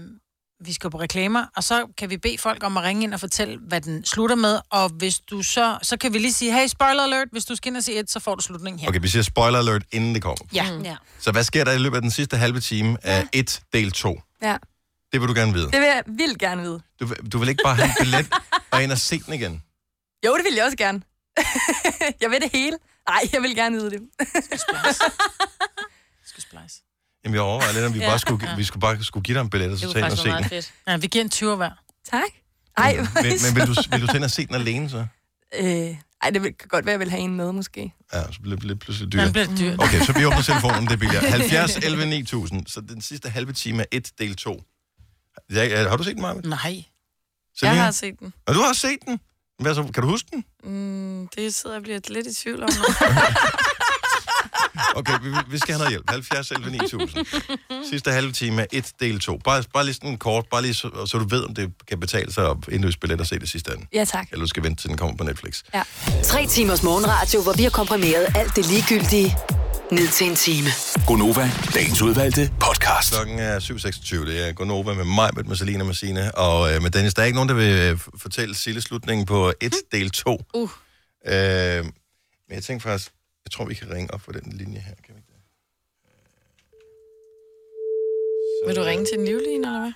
[SPEAKER 2] vi skal på reklamer, og så kan vi bede folk om at ringe ind og fortælle, hvad den slutter med, og hvis du så, så kan vi lige sige, hey, spoiler alert, hvis du skal ind og se et, så får du slutningen her.
[SPEAKER 1] Okay, vi siger spoiler alert, inden det kommer.
[SPEAKER 2] Ja. Mm. ja.
[SPEAKER 1] Så hvad sker der i løbet af den sidste halve time af 1 del 2?
[SPEAKER 12] ja.
[SPEAKER 1] Det vil du gerne vide.
[SPEAKER 12] Det vil jeg vildt gerne vide.
[SPEAKER 1] Du, vil- du vil ikke bare have en billet og ind og se den igen.
[SPEAKER 12] Jo, det vil jeg også gerne. jeg vil det hele. Nej, jeg vil gerne vide det.
[SPEAKER 1] Jamen, jeg overvejer lidt, om vi,
[SPEAKER 12] Ja.
[SPEAKER 1] bare skulle, vi skulle bare skulle give dig en billet, og så tage ind og se den.
[SPEAKER 2] fedt. Ja, vi giver en 20 hver.
[SPEAKER 12] Tak. Ej, hvor
[SPEAKER 1] Men,
[SPEAKER 12] er I
[SPEAKER 1] men vil, du,
[SPEAKER 12] søde.
[SPEAKER 1] vil du tage ind og se den alene, så?
[SPEAKER 12] Øh, ej, det vil- kan godt være, jeg vil have en med, måske.
[SPEAKER 1] Ja, så bliver det lidt pludselig
[SPEAKER 12] Ja,
[SPEAKER 1] dyrt. Mm.
[SPEAKER 12] bliver det dyrt.
[SPEAKER 1] Okay, så vi åbner telefonen, det bliver 70 11 9000. Så den sidste halve time er 1 del 2. Ja, ja, har du set den, Marvind?
[SPEAKER 2] Nej.
[SPEAKER 4] Jeg har set den.
[SPEAKER 1] Og du har set den? Hvad så, kan du huske den?
[SPEAKER 4] Mm, det sidder jeg og bliver lidt i tvivl om.
[SPEAKER 1] Okay, vi, vi skal have noget hjælp. 70 11 9000. Sidste halve time er 1 del 2. Bare, bare lige sådan kort, bare lige så, så du ved, om det kan betale sig at indløse billet og se det sidste ende.
[SPEAKER 12] Ja, tak.
[SPEAKER 1] Eller du skal vente, til den kommer på Netflix.
[SPEAKER 12] Ja.
[SPEAKER 5] Tre timers morgenradio, hvor vi har komprimeret alt det ligegyldige ned til en time.
[SPEAKER 1] Gonova, dagens udvalgte podcast. Klokken er 7.26. Det er Gonova med mig, med Marcelina, med Sine og øh, med Dennis. Der er ikke nogen, der vil øh, f- fortælle Sille slutningen på 1 del 2.
[SPEAKER 4] Uh.
[SPEAKER 1] Øh, men jeg tænker faktisk, jeg tror, vi kan ringe op for den linje her. Kan vi? ikke
[SPEAKER 4] Vil du ringe til en livline, eller hvad?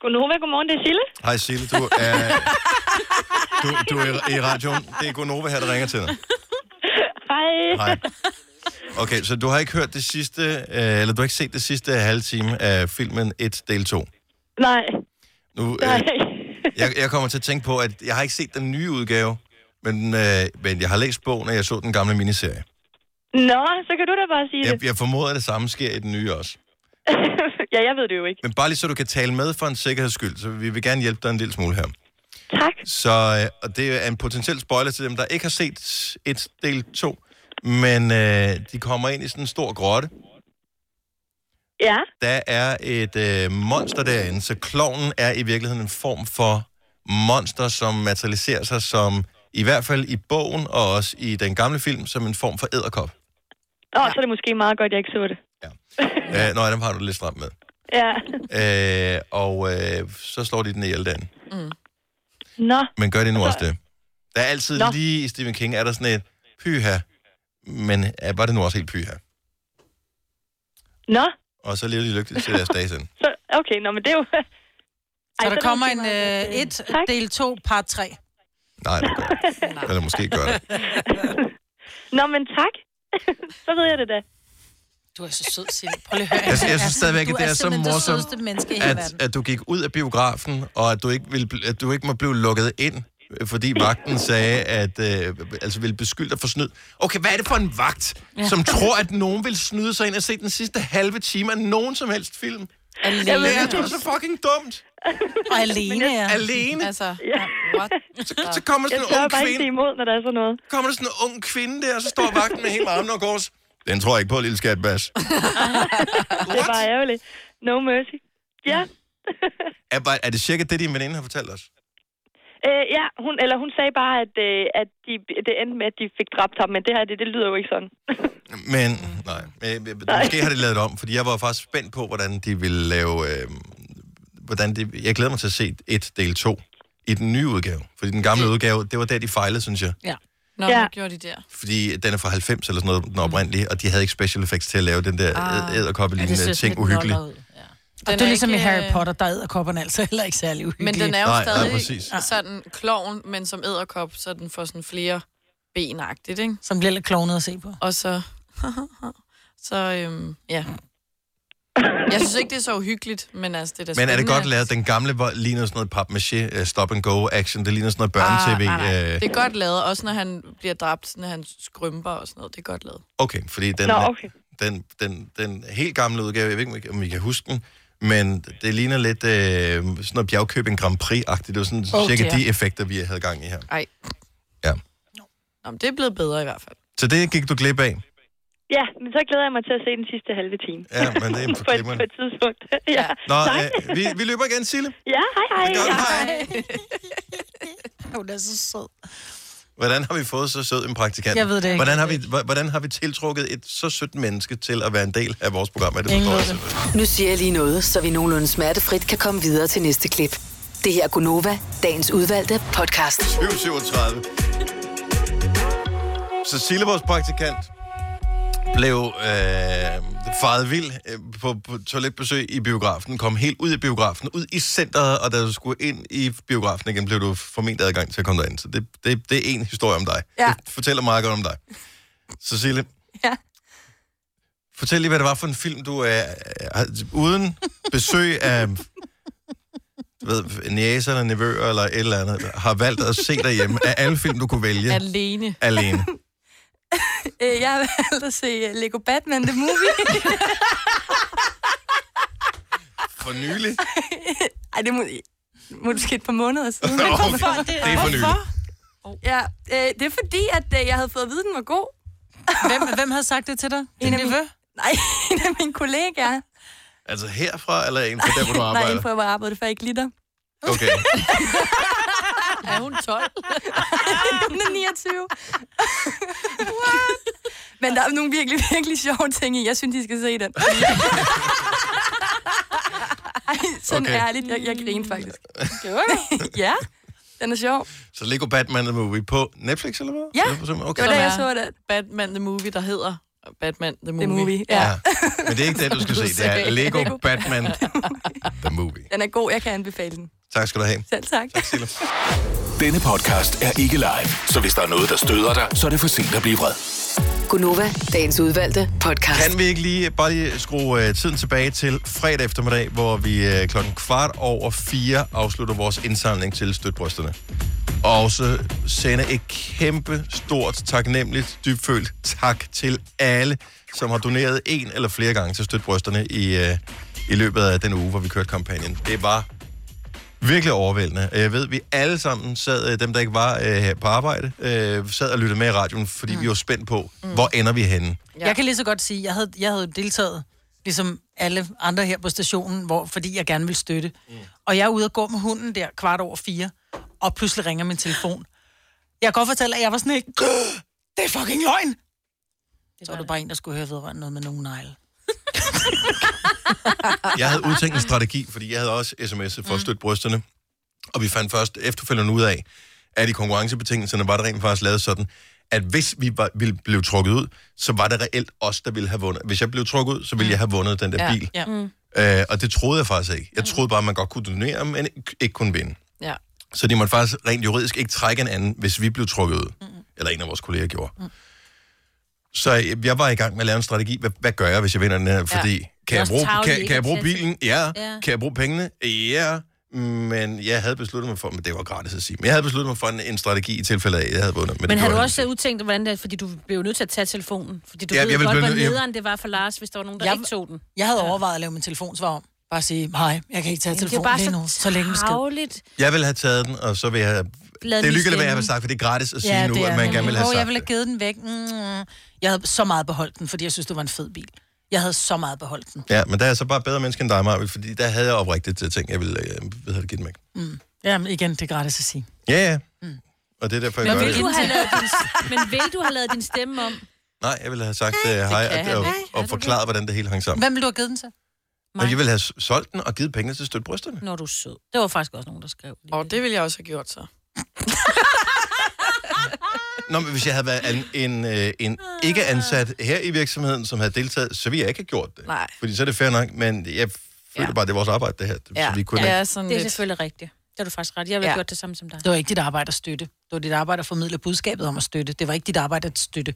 [SPEAKER 13] Godnova, godmorgen, det er Sille.
[SPEAKER 1] det? Hej Sille, du er, du, du er i, i radioen. Det er Gonova her, der ringer til dig.
[SPEAKER 13] Hej.
[SPEAKER 1] Hej. Okay, så du har ikke hørt det sidste, øh, eller du har ikke set det sidste halve time af filmen 1 del 2.
[SPEAKER 13] Nej,
[SPEAKER 1] Nu, øh,
[SPEAKER 13] nej.
[SPEAKER 1] Jeg, jeg kommer til at tænke på, at jeg har ikke set den nye udgave, men, øh, men jeg har læst bogen, og jeg så den gamle miniserie.
[SPEAKER 13] Nå, så kan du da bare sige det.
[SPEAKER 1] Jeg, jeg formoder, at det samme sker i den nye også.
[SPEAKER 13] ja, jeg ved det jo ikke.
[SPEAKER 1] Men bare lige så du kan tale med for en sikkerheds skyld, så vi vil gerne hjælpe dig en lille smule her.
[SPEAKER 13] Tak.
[SPEAKER 1] Så øh, og det er en potentiel spoiler til dem, der ikke har set et del 2, men øh, de kommer ind i sådan en stor grotte.
[SPEAKER 13] Ja.
[SPEAKER 1] Der er et øh, monster derinde, så klovnen er i virkeligheden en form for monster, som materialiserer sig som, i hvert fald i bogen og også i den gamle film, som en form for æderkop.
[SPEAKER 13] Åh, så er det måske meget godt, jeg ikke så det.
[SPEAKER 1] Øh, nå, dem har du lidt stramt med.
[SPEAKER 13] Ja.
[SPEAKER 1] Øh, og øh, så slår de den ihjel den.
[SPEAKER 13] Nå,
[SPEAKER 1] Men gør det nu også det? Der er altid
[SPEAKER 13] Nå.
[SPEAKER 1] Nå. lige i Stephen King, er der sådan et pyha, men øh, var det nu også helt pyha?
[SPEAKER 13] nå.
[SPEAKER 1] Og så lever de lykkeligt til deres dages ende.
[SPEAKER 13] Så, okay, nå, men det er jo...
[SPEAKER 2] Så
[SPEAKER 13] er
[SPEAKER 2] der
[SPEAKER 13] det
[SPEAKER 2] kommer
[SPEAKER 13] måske
[SPEAKER 2] en
[SPEAKER 13] meget
[SPEAKER 2] øh,
[SPEAKER 13] godt, øh.
[SPEAKER 2] et del 2, part 3.
[SPEAKER 1] Nej, det gør det. Eller måske gør det.
[SPEAKER 13] Nå, men tak. så ved jeg det da.
[SPEAKER 2] Du er så sød, Sille. Prøv lige at høre.
[SPEAKER 1] Jeg, jeg synes stadigvæk,
[SPEAKER 2] Du
[SPEAKER 1] at det er så
[SPEAKER 2] simpelthen
[SPEAKER 1] morsomt,
[SPEAKER 2] sødeste menneske i hele verden.
[SPEAKER 1] at, at du gik ud af biografen, og at du ikke, ville, bl- at du ikke må blive lukket ind øh, fordi vagten sagde, at øh, altså ville beskylde dig for snyd. Okay, hvad er det for en vagt,
[SPEAKER 14] Ja.
[SPEAKER 1] som tror, at nogen vil snyde sig ind og se den sidste halve time af nogen som helst film?
[SPEAKER 14] Alene
[SPEAKER 1] Jeg ved, det er
[SPEAKER 14] også.
[SPEAKER 1] så fucking dumt.
[SPEAKER 2] Og alene, ja.
[SPEAKER 1] Alene.
[SPEAKER 2] Altså,
[SPEAKER 13] ja.
[SPEAKER 2] what?
[SPEAKER 1] Så, så kommer sådan
[SPEAKER 13] Jeg
[SPEAKER 1] en
[SPEAKER 13] tør
[SPEAKER 1] ung
[SPEAKER 13] bare ikke
[SPEAKER 1] kvinde.
[SPEAKER 13] se imod, når der er sådan noget.
[SPEAKER 1] Kommer der sådan en ung kvinde der, og så står vagten med hele armen og går så, Den tror jeg ikke på, lille skatbas.
[SPEAKER 13] Det er bare ærgerligt. No mercy. Ja.
[SPEAKER 1] Er, bare- er det cirka det, din veninde har fortalt os?
[SPEAKER 13] Øh, ja, hun, eller hun sagde bare, at, øh, at de, det endte med, at de fik dræbt ham, men det her, det, det lyder jo ikke sådan.
[SPEAKER 1] Men,
[SPEAKER 4] Mm.
[SPEAKER 1] nej. Øh, øh, Måske har de lavet det om, fordi jeg var faktisk spændt på, hvordan de ville lave... Øh, hvordan de, jeg glæder mig til at se et del 2 i den nye udgave. Fordi den gamle udgave, det var der, de fejlede, synes jeg.
[SPEAKER 3] Ja.
[SPEAKER 4] Nå, ja. gjorde de der.
[SPEAKER 1] Fordi den er fra 90 eller sådan noget, den oprindelige, og de havde ikke special effects til at lave den der
[SPEAKER 4] Mm. Ah.
[SPEAKER 1] ah, æderkoppelignende ting uhyggelig.
[SPEAKER 2] Og det
[SPEAKER 4] er
[SPEAKER 2] er ligesom i
[SPEAKER 4] ikke,
[SPEAKER 2] Harry
[SPEAKER 4] øh,
[SPEAKER 2] Potter, der æder kopperne altså heller ikke særlig uhyggelige.
[SPEAKER 4] Men den er jo
[SPEAKER 1] Nej, nej,
[SPEAKER 4] stadig
[SPEAKER 1] præcis.
[SPEAKER 4] sådan kloven, men som æderkop, så den får sådan flere benagtigt, ikke?
[SPEAKER 2] Som bliver lidt klovnet at se på.
[SPEAKER 4] Og så... så, øhm, ja. Jeg synes ikke, det er så uhyggeligt, men altså, det er da
[SPEAKER 1] Men er det
[SPEAKER 4] spændende.
[SPEAKER 1] godt lavet? Den gamle hvor- ligner sådan noget papmaché, øh, stop and go action. Det ligner sådan noget
[SPEAKER 4] Ah,
[SPEAKER 1] børne-tv.
[SPEAKER 4] nej, nej.
[SPEAKER 1] øh,
[SPEAKER 4] Det er godt lavet, også når han bliver dræbt, når han skrømper og sådan noget. Det er godt lavet.
[SPEAKER 1] Okay, fordi den,
[SPEAKER 4] Nå,
[SPEAKER 1] Nå,
[SPEAKER 4] okay.
[SPEAKER 1] okay. den, den, den helt gamle udgave, jeg ved ikke, om I kan- om I kan huske den, men det ligner lidt øh, sådan noget bjergkøbing Grand Prix-agtigt. Det var sådan
[SPEAKER 4] Oh
[SPEAKER 1] oh, cirka
[SPEAKER 4] dear.
[SPEAKER 1] de effekter, vi havde gang i her.
[SPEAKER 4] Ej.
[SPEAKER 1] Ja.
[SPEAKER 4] Nå, men det er blevet bedre i hvert fald.
[SPEAKER 1] Så det gik du glip af.
[SPEAKER 13] Ja, men så glæder jeg mig til at se den sidste halve time.
[SPEAKER 1] Ja, men det er
[SPEAKER 13] på, et,
[SPEAKER 1] glimrende.
[SPEAKER 13] på et tidspunkt. ja.
[SPEAKER 1] Nå,
[SPEAKER 13] tak.
[SPEAKER 1] øh, vi, vi løber igen, Sille.
[SPEAKER 13] Ja, hej hej.
[SPEAKER 1] Det gør vi.
[SPEAKER 2] Hun er så sød.
[SPEAKER 1] Hvordan har vi fået så sød en praktikant?
[SPEAKER 2] Jeg ved det ikke.
[SPEAKER 1] Hvordan har vi, hva- hvordan har vi tiltrukket et så sødt menneske til at være en del af vores program? Er det forstår jeg simpelthen ikke.
[SPEAKER 5] Nu siger jeg lige noget, så vi nogenlunde smertefrit kan komme videre til næste klip. Det her er Gunova, dagens udvalgte podcast.
[SPEAKER 1] 737. Så Sille, vores praktikant, blev øh, faret vild øh, på, på toiletbesøg i biografen, kom helt ud i biografen, ud i centret, og da du skulle ind i biografen igen, blev du forment adgang til at komme derind. Så det, det, det er en historie om dig.
[SPEAKER 12] Ja.
[SPEAKER 1] Det fortæller meget godt om dig. Cecilie,
[SPEAKER 12] Ja.
[SPEAKER 1] fortæl lige, hvad det var for en film, du er øh, uden besøg af du ved, næser eller nevøer eller et eller andet, har valgt at se derhjemme af alle film, du kunne vælge.
[SPEAKER 4] Alene.
[SPEAKER 1] Alene.
[SPEAKER 12] Øh, Jeg har valgt at se øh, Lego Batman The Movie.
[SPEAKER 1] For nylig.
[SPEAKER 12] Ej, det er må, måske et par måneder siden.
[SPEAKER 1] Okay, det er for nylig.
[SPEAKER 12] Ja, øh, det er fordi, at øh, jeg havde fået at vide, at den var god.
[SPEAKER 2] Hvem, hvem havde sagt det til dig?
[SPEAKER 12] En af mine, nej, en af mine kollegaer.
[SPEAKER 1] Altså herfra, eller en fra der, hvor du
[SPEAKER 12] Nej, en
[SPEAKER 1] arbejder?
[SPEAKER 12] på, hvor jeg arbejdede før, ikke liter.
[SPEAKER 1] Okay.
[SPEAKER 4] Er hun 12?
[SPEAKER 12] hun er 29. Men der er nogle virkelig, virkelig sjove ting i. Jeg synes, I skal se den. Ej, sådan
[SPEAKER 1] Okay.
[SPEAKER 12] okay. ærligt. Jeg, jeg griner faktisk. ja, den er sjov.
[SPEAKER 1] Så Lego Batman The Movie på Netflix, eller hvad?
[SPEAKER 12] Ja,
[SPEAKER 1] Eller på- okay.
[SPEAKER 12] det var da jeg så det.
[SPEAKER 4] Batman The Movie, der hedder Batman The Movie.
[SPEAKER 12] Movie, ja.
[SPEAKER 1] Ja. Men det er ikke det, du skal se. Det er Lego Batman The Movie.
[SPEAKER 12] Den er god, jeg kan anbefale den.
[SPEAKER 1] Tak skal du have.
[SPEAKER 12] Selv tak.
[SPEAKER 6] Denne podcast er ikke live, så hvis der er noget, der støder dig, så er det for sent at blive vred.
[SPEAKER 5] Gunova, dagens udvalgte podcast.
[SPEAKER 1] Kan vi ikke lige bare lige skrue øh, tiden tilbage til fredag eftermiddag, hvor vi øh, klokken kvart over fire afslutter vores indsamling til støtbrysterne. Og så sende et kæmpe, stort, taknemmeligt, dybfølt tak til alle, som har doneret en eller flere gange til støtbrysterne i, øh, i løbet af den uge, hvor vi kørte kampagnen. Det var Virkelig overvældende. Jeg ved, vi alle sammen sad, øh, dem der ikke var øh, her på arbejde, øh, sad og lyttede med i radioen, fordi mm. vi var spændt på, mm. hvor ender vi henne?
[SPEAKER 2] Ja. Jeg kan lige så godt sige, jeg havde, jeg havde deltaget, ligesom alle andre her på stationen, hvor, fordi jeg gerne ville støtte. Mm. Og jeg er ude og gå med hunden der kvart over fire, og pludselig ringer min telefon. Jeg kan godt fortælle, at jeg var sådan ikke, "Gah, det er fucking løgn! Så var det bare en, der skulle høre vedrørende noget med nogle negle.
[SPEAKER 1] Jeg havde udtænkt en strategi, fordi jeg havde også sms'et for at støtte brysterne. Og vi fandt først efterfølgende ud af, at i konkurrencebetingelserne var det rent faktisk lavet sådan, at hvis vi var, ville blive trukket ud, så var det reelt os, der ville have vundet. Hvis jeg blev trukket ud, så ville jeg have vundet den der
[SPEAKER 4] ja.
[SPEAKER 1] bil.
[SPEAKER 4] Ja. Mm.
[SPEAKER 1] Øh, og det troede jeg faktisk ikke. Jeg troede bare, at man godt kunne donere, men ikke- ikke kunne vinde.
[SPEAKER 4] ja.
[SPEAKER 1] Så de måtte faktisk rent juridisk ikke trække en anden, hvis vi blev trukket ud. Mm. Eller en af vores kolleger gjorde. Mm. Så jeg- jeg var i gang med at lave en strategi. Hvad, hvad gør jeg, hvis jeg vinder den her? Fordi, ja.
[SPEAKER 14] Det er
[SPEAKER 1] kan, jeg
[SPEAKER 14] også
[SPEAKER 1] bruge,
[SPEAKER 14] tarveligt
[SPEAKER 1] kan,
[SPEAKER 14] ikke
[SPEAKER 1] kan jeg
[SPEAKER 14] at
[SPEAKER 1] bruge
[SPEAKER 14] teste.
[SPEAKER 1] bilen? Ja.
[SPEAKER 14] Ja.
[SPEAKER 1] ja. Kan jeg bruge pengene? Ja. Men jeg havde besluttet mig for, men det var gratis at sige, men jeg havde besluttet mig for en, en strategi i tilfælde af, at jeg havde vundet.
[SPEAKER 3] Men,
[SPEAKER 1] det
[SPEAKER 3] men har
[SPEAKER 1] gjorde
[SPEAKER 3] du
[SPEAKER 1] jeg
[SPEAKER 3] også udtænkt, hvordan det fordi du blev jo nødt til at tage telefonen? Fordi du
[SPEAKER 1] Ja,
[SPEAKER 3] ja, ved
[SPEAKER 1] jeg
[SPEAKER 3] jeg
[SPEAKER 1] ville
[SPEAKER 3] godt,
[SPEAKER 1] blive
[SPEAKER 3] hvor
[SPEAKER 1] nødt- jeg-
[SPEAKER 3] nederen det var for Lars, hvis der var nogen, der jeg, ikke tog den.
[SPEAKER 2] Jeg havde overvejet at lave min telefon svar om. Bare sige, hej, jeg kan ikke tage
[SPEAKER 3] Jamen, det er
[SPEAKER 2] telefonen
[SPEAKER 3] bare
[SPEAKER 2] lige
[SPEAKER 3] så
[SPEAKER 2] nu, så længe besked.
[SPEAKER 3] Tavligt.
[SPEAKER 1] Jeg ville have taget den, og så vil jeg have...
[SPEAKER 2] Lavet
[SPEAKER 1] det er
[SPEAKER 2] min
[SPEAKER 1] lykkeligt, hvad jeg
[SPEAKER 2] stemme.
[SPEAKER 1] har sagt, for det er gratis at sige nu, at man gerne vil have
[SPEAKER 2] Åh, jeg
[SPEAKER 1] sagt
[SPEAKER 2] ville have givet den væk. Mm, jeg havde så meget beholdt den, fordi jeg synes, det var en fed bil. Jeg havde så meget beholdt den.
[SPEAKER 1] det. Ja, men der er jeg så bare bedre menneske end dig, Marvind, fordi der havde jeg oprigtigt øh, tænkt, jeg ville øh, hvad hedder det, give den væk.
[SPEAKER 2] Mm. Jamen igen, det er gratis at sige.
[SPEAKER 1] Ja, ja.
[SPEAKER 2] Mm.
[SPEAKER 1] Og det er derfor, jeg
[SPEAKER 3] Men
[SPEAKER 1] gør
[SPEAKER 3] vil,
[SPEAKER 1] det.
[SPEAKER 3] du have lavet din, men vil du have lavet din stemme om?
[SPEAKER 1] Nej, jeg ville have sagt øh, hej,
[SPEAKER 3] kan
[SPEAKER 1] og, og,
[SPEAKER 3] han ikke.
[SPEAKER 1] og forklaret, hvordan det hele hang sammen.
[SPEAKER 2] Hvem vil du have givet den til?
[SPEAKER 1] Og jeg ville have s- solgt den og givet pengene til at støtte brysterne.
[SPEAKER 3] Når du er sød. Det var faktisk også nogen, der skrev.
[SPEAKER 4] Og det ville jeg også have gjort så.
[SPEAKER 1] Nå, men hvis jeg havde været en, en, øh, en ikke ansat her i virksomheden, som havde deltaget, så ville jeg ikke have gjort det.
[SPEAKER 4] Nej.
[SPEAKER 1] Fordi så er det fair nok, men jeg følte ja. bare, det er vores arbejde, det her. Ja. Så vi kunne ikke-
[SPEAKER 3] det er
[SPEAKER 2] lidt-
[SPEAKER 3] selvfølgelig rigtigt. Det har du faktisk ret. Jeg ville
[SPEAKER 2] Ja.
[SPEAKER 3] ja. gjort det samme som dig.
[SPEAKER 2] Det var ikke dit arbejde at støtte. Det var dit arbejde at formidle budskabet om at støtte. Det var ikke dit arbejde at støtte.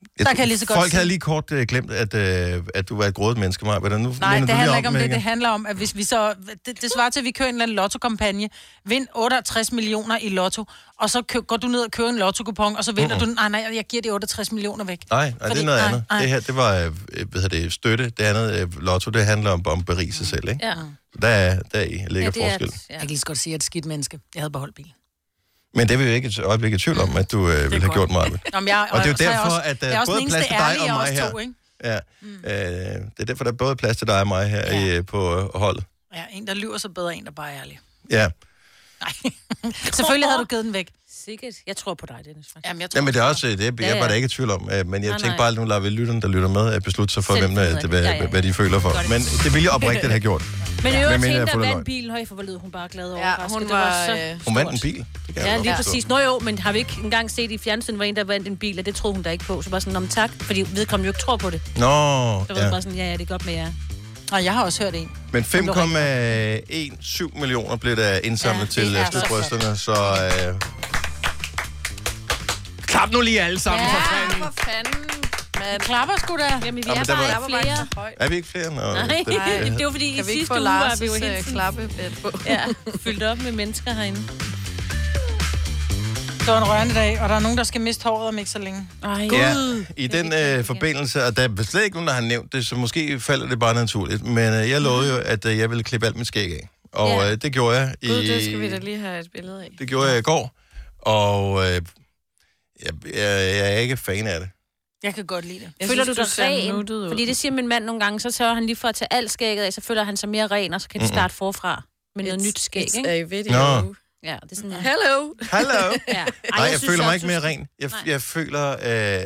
[SPEAKER 1] Jeg
[SPEAKER 2] Der
[SPEAKER 1] tror,
[SPEAKER 2] kan jeg lige så godt
[SPEAKER 1] Folk havde
[SPEAKER 2] sige-
[SPEAKER 1] lige kort øh, glemt, at, øh, at du var et grådet menneske, Maja. Hvordan, nu minder
[SPEAKER 2] Nej,
[SPEAKER 1] du
[SPEAKER 2] det
[SPEAKER 1] lige
[SPEAKER 2] handler
[SPEAKER 1] om
[SPEAKER 2] ikke om
[SPEAKER 1] mig
[SPEAKER 2] det. Det
[SPEAKER 1] igen?
[SPEAKER 2] handler om, at hvis vi så... Det, det svarer til, at vi kører en eller anden lottokampagne. Vind 68 millioner i lotto, og så kø, går du ned og kører en lottokupon, og så vinder
[SPEAKER 1] Mm-mm.
[SPEAKER 2] du den. Ah, Nej, nej, jeg giver de 68 millioner væk.
[SPEAKER 1] Nej, nej det
[SPEAKER 2] Fordi-
[SPEAKER 1] er noget
[SPEAKER 2] nej,
[SPEAKER 1] andet.
[SPEAKER 2] nej.
[SPEAKER 1] Det her, det var øh, øh, hvad hedder det, støtte. Det andet, øh, lotto, det handler om, om Paris sig selv, ikke?
[SPEAKER 2] Mm. Ja.
[SPEAKER 3] Mm.
[SPEAKER 1] Der, er, der i ligger ja, forskel.
[SPEAKER 2] ja. Jeg kan lige så godt sige, at jeg er et skidt menneske. Jeg havde beholdt bilen.
[SPEAKER 1] Men det vil jeg ikke et øjeblik i tvivl om, at du øh, ville have gjort meget.
[SPEAKER 2] Nå, men jeg,
[SPEAKER 1] Og det er jo
[SPEAKER 2] så jeg
[SPEAKER 1] derfor,
[SPEAKER 2] også-
[SPEAKER 1] at
[SPEAKER 2] jeg
[SPEAKER 3] øh,
[SPEAKER 1] der
[SPEAKER 2] er
[SPEAKER 1] er
[SPEAKER 2] også
[SPEAKER 1] både
[SPEAKER 2] den
[SPEAKER 1] plads
[SPEAKER 2] eneste
[SPEAKER 1] til dig
[SPEAKER 2] ærlige
[SPEAKER 1] og
[SPEAKER 2] af os
[SPEAKER 1] mig
[SPEAKER 2] to, ikke? Mm.
[SPEAKER 1] her. Ja. Øh, det er derfor, der er både plads til dig og mig her øh, på øh, holdet.
[SPEAKER 2] Ja, en, der lyver så bedre, en, der bare er ærlig.
[SPEAKER 1] Ja.
[SPEAKER 2] Selvfølgelig havde du givet den væk.
[SPEAKER 3] Sikkert. Jeg tror på dig, Dennis. Faktisk.
[SPEAKER 2] Jamen, jeg
[SPEAKER 1] Jamen, det er også, øh, det, er-
[SPEAKER 3] Ja,
[SPEAKER 1] jeg
[SPEAKER 3] ja.
[SPEAKER 1] var da ikke i tvivl om, øh, men jeg
[SPEAKER 3] Nej,
[SPEAKER 1] tænkte
[SPEAKER 3] nej.
[SPEAKER 1] bare, at nu lader vi lytterne, der lytter med, øh, beslutte sig for,
[SPEAKER 3] Selv
[SPEAKER 1] hvem, der,
[SPEAKER 3] finder ud
[SPEAKER 1] det,
[SPEAKER 3] af det.
[SPEAKER 1] hvad,
[SPEAKER 3] Ja, ja, ja.
[SPEAKER 1] hvad de føler for.
[SPEAKER 3] Godt.
[SPEAKER 1] Men det ville jeg oprigtigt have gjort.
[SPEAKER 3] Men i
[SPEAKER 1] Medmindre
[SPEAKER 3] øvrigt,
[SPEAKER 1] jeg
[SPEAKER 3] hende,
[SPEAKER 1] har
[SPEAKER 3] der
[SPEAKER 1] fundet
[SPEAKER 3] vandt
[SPEAKER 1] løgn.
[SPEAKER 3] bilen, høj, for hvor lød hun bare glad over.
[SPEAKER 4] Ja,
[SPEAKER 3] faktisk.
[SPEAKER 4] hun
[SPEAKER 3] Det
[SPEAKER 4] var, øh,
[SPEAKER 1] Hun vandt en bil. Det kan jeg
[SPEAKER 3] Ja,
[SPEAKER 1] godt
[SPEAKER 3] lige
[SPEAKER 1] forstå.
[SPEAKER 3] præcis. Nå jo, men har vi ikke engang set i fjernsynet, hvor en, der vandt en bil, og det troede hun da ikke på. Så bare sådan, om tak, fordi vedkommende jo ikke tror på det.
[SPEAKER 1] Nå,
[SPEAKER 3] Så var
[SPEAKER 1] ja.
[SPEAKER 3] ja. bare sådan, ja, ja, det er godt med jer.
[SPEAKER 2] Og jeg har også hørt en.
[SPEAKER 1] Men 5,17 millioner blev der indsamlet ja, til
[SPEAKER 2] er
[SPEAKER 1] øh,
[SPEAKER 2] så
[SPEAKER 1] stødbrysterne, så... Øh... Klap nu lige alle sammen. Ja.
[SPEAKER 4] for fanden, man.
[SPEAKER 2] Klapper sgu da. Jamen,
[SPEAKER 1] Nå, men der var-
[SPEAKER 4] Jeg Øhm, var bare ikke så højt.
[SPEAKER 1] Er vi ikke flere? Nå,
[SPEAKER 3] Nej,
[SPEAKER 1] det-
[SPEAKER 3] det, det var fordi
[SPEAKER 4] Kan
[SPEAKER 3] i
[SPEAKER 4] vi ikke
[SPEAKER 3] sidste
[SPEAKER 4] få
[SPEAKER 3] uge var vi jo
[SPEAKER 4] Lars'
[SPEAKER 3] helt
[SPEAKER 4] øh, klappebed på?
[SPEAKER 3] Ja, fyldt op med mennesker herinde.
[SPEAKER 2] Det var en rørende dag, og der er nogen, der skal miste håret om ikke så længe.
[SPEAKER 3] Ej.
[SPEAKER 1] Ja, i den øh, forbindelse, og der er slet ikke nogen, der har nævnt det, så måske falder det bare naturligt, men øh, jeg lovede jo, at øh, jeg ville klippe alt mit skæg af. Og
[SPEAKER 4] Ja.
[SPEAKER 1] øh, det gjorde jeg i...
[SPEAKER 4] Gud, det skal vi da lige have et billede af.
[SPEAKER 1] Det gjorde jeg i går, og øh, jeg, jeg, jeg er ikke fan af det.
[SPEAKER 2] Jeg kan godt lide det.
[SPEAKER 4] Jeg
[SPEAKER 3] føler
[SPEAKER 4] synes,
[SPEAKER 3] du
[SPEAKER 4] du
[SPEAKER 3] dig
[SPEAKER 4] ser
[SPEAKER 3] ren?
[SPEAKER 4] nuttet ud.
[SPEAKER 3] Fordi det siger min mand nogle gange, så sørger han lige for at tage alt skægget af, så føler han sig mere ren, og så kan de
[SPEAKER 1] Mm-mm.
[SPEAKER 3] starte forfra med noget nyt skæg,
[SPEAKER 4] it's
[SPEAKER 3] ikke?
[SPEAKER 4] a video.
[SPEAKER 1] Nå.
[SPEAKER 3] Ja, det er sådan, ja.
[SPEAKER 4] Hello.
[SPEAKER 1] Hello.
[SPEAKER 3] ja. Ej,
[SPEAKER 1] Nej, jeg, jeg
[SPEAKER 3] synes
[SPEAKER 1] føler mig
[SPEAKER 3] også,
[SPEAKER 1] ikke
[SPEAKER 3] du-
[SPEAKER 1] mere ren. Jeg,
[SPEAKER 3] Nej.
[SPEAKER 1] jeg føler, øh,